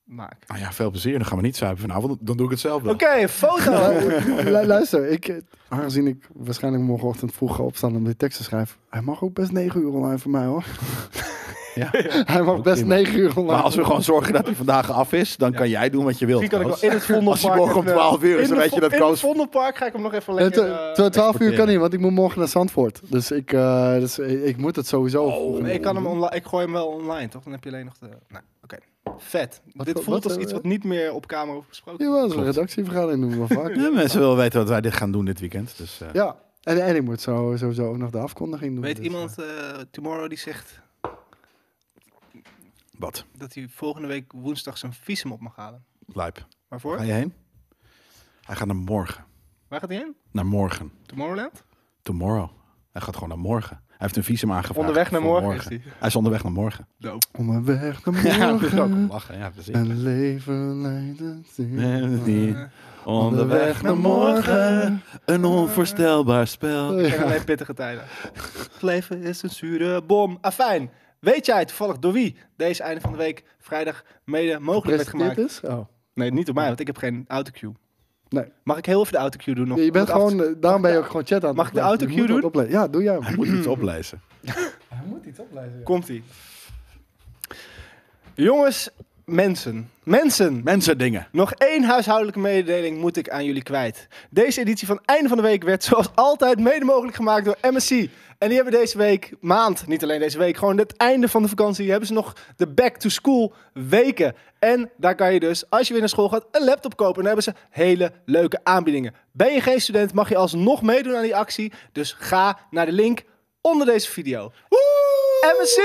Speaker 1: maak.
Speaker 3: Nou ja, veel plezier. Dan gaan we niet zuipen vanavond. Dan doe ik het zelf wel.
Speaker 1: Oké, foto!
Speaker 2: Eh, Lu- Luister, ik, eh, aangezien ik waarschijnlijk morgenochtend vroeg ga opstaan om die tekst te schrijven. Hij mag ook best 9 uur online voor mij hoor.
Speaker 3: Ja.
Speaker 2: Hij mag best
Speaker 3: prima.
Speaker 2: 9 uur online.
Speaker 3: Maar als we gewoon zorgen dat hij vandaag af is, dan
Speaker 1: Ja.
Speaker 3: kan jij doen wat je wilt.
Speaker 1: Misschien kan ik wel
Speaker 3: trouwens.
Speaker 1: in het Vondelpark...
Speaker 3: Als hij morgen om
Speaker 1: even-
Speaker 3: 12 uur is,
Speaker 1: in
Speaker 3: dan
Speaker 1: de
Speaker 3: weet
Speaker 1: vo-
Speaker 3: je dat
Speaker 1: In het
Speaker 3: Koos-
Speaker 1: Vondelpark ga ik hem nog even
Speaker 2: Eh,
Speaker 1: lekker...
Speaker 2: te-
Speaker 1: eh,
Speaker 2: te- 12 uur kan
Speaker 3: exporteren.
Speaker 2: niet, want ik moet morgen naar Zandvoort. Dus ik, eh, dus ik, ik moet het sowieso.
Speaker 3: Oh,
Speaker 2: vroeg
Speaker 1: Nee, ik, kan hem
Speaker 2: doen.
Speaker 1: onla- ik gooi hem wel online, toch? Dan heb je alleen nog de... Nou, oké. Vet. Dit
Speaker 2: voor-
Speaker 1: voelt
Speaker 2: wat,
Speaker 1: als
Speaker 2: eh,
Speaker 1: iets wat niet meer op camera wordt besproken.
Speaker 2: Jawel, dat is een redactievergadering doen we wel vaak.
Speaker 3: Ja, mensen willen weten wat wij dit gaan doen dit weekend. Dus, eh,
Speaker 2: ja, en, en ik moet zo, sowieso ook nog de afkondiging doen.
Speaker 1: Weet
Speaker 2: dus,
Speaker 1: iemand, eh, Tomorrow, die zegt
Speaker 3: Wat?
Speaker 1: dat hij volgende week woensdag zijn visum op mag halen.
Speaker 3: Lijp.
Speaker 1: Waarvoor?
Speaker 3: Ga je heen? Hij gaat naar morgen.
Speaker 1: Waar gaat hij heen?
Speaker 3: Naar morgen.
Speaker 1: Tomorrowland?
Speaker 3: Tomorrow. Hij gaat gewoon naar morgen. Hij heeft een visum aangevraagd.
Speaker 1: Onderweg naar
Speaker 3: voor
Speaker 1: morgen, is hij.
Speaker 3: Hij is onderweg naar morgen.
Speaker 1: Dope.
Speaker 2: eh, Om een weg naar
Speaker 3: Ja, dat is ook
Speaker 1: Hm.
Speaker 2: morgen.
Speaker 3: om lachen. Ja, precies.
Speaker 2: Een leven leiden.
Speaker 3: Nee, dat is niet.
Speaker 1: Eh,
Speaker 3: Onderweg naar morgen, een onvoorstelbaar spel.
Speaker 1: Ik ken alleen pittige tijden. Het leven is een zure bom. Afijn, weet jij toevallig door wie deze einde van de week vrijdag mede mogelijk werd
Speaker 2: Gepresenteerd
Speaker 1: gemaakt?
Speaker 2: is? Oh.
Speaker 1: Nee, niet door mij, want ik heb geen autocue.
Speaker 2: Nee.
Speaker 1: Mag ik heel even de autocue doen nog?
Speaker 2: Ja, je bent
Speaker 1: Om het af te-
Speaker 2: gewoon, eh, daarom ben je ook gewoon chat aan het
Speaker 1: Mag ik de
Speaker 2: oplezen.
Speaker 1: autocue
Speaker 2: Je moet
Speaker 1: doen?
Speaker 2: dat oplezen. Ja, doe jij hem.
Speaker 3: Hij moet iets oplezen.
Speaker 2: Hij moet iets oplezen.
Speaker 1: Komt-ie. Jongens, mensen. Mensen.
Speaker 3: Mensen dingen.
Speaker 1: Nog één huishoudelijke mededeling moet ik aan jullie kwijt. Deze editie van Einde van de Week werd zoals altijd mede mogelijk gemaakt door MSC. En die hebben deze week, maand, niet alleen deze week, gewoon het einde van de vakantie, hebben ze nog de back-to-school weken. En daar kan je dus, als je weer naar school gaat, een laptop kopen. En dan hebben ze hele leuke aanbiedingen. Ben je geen student, mag je alsnog meedoen aan die actie. Dus ga naar de link onder deze video. MSC!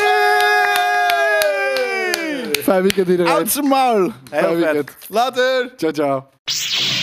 Speaker 2: Fijn weekend iedereen.
Speaker 3: Uit zijn muil.
Speaker 2: Fijn
Speaker 3: Heel
Speaker 2: weekend.
Speaker 3: vet. Later.
Speaker 2: Ciao, ciao.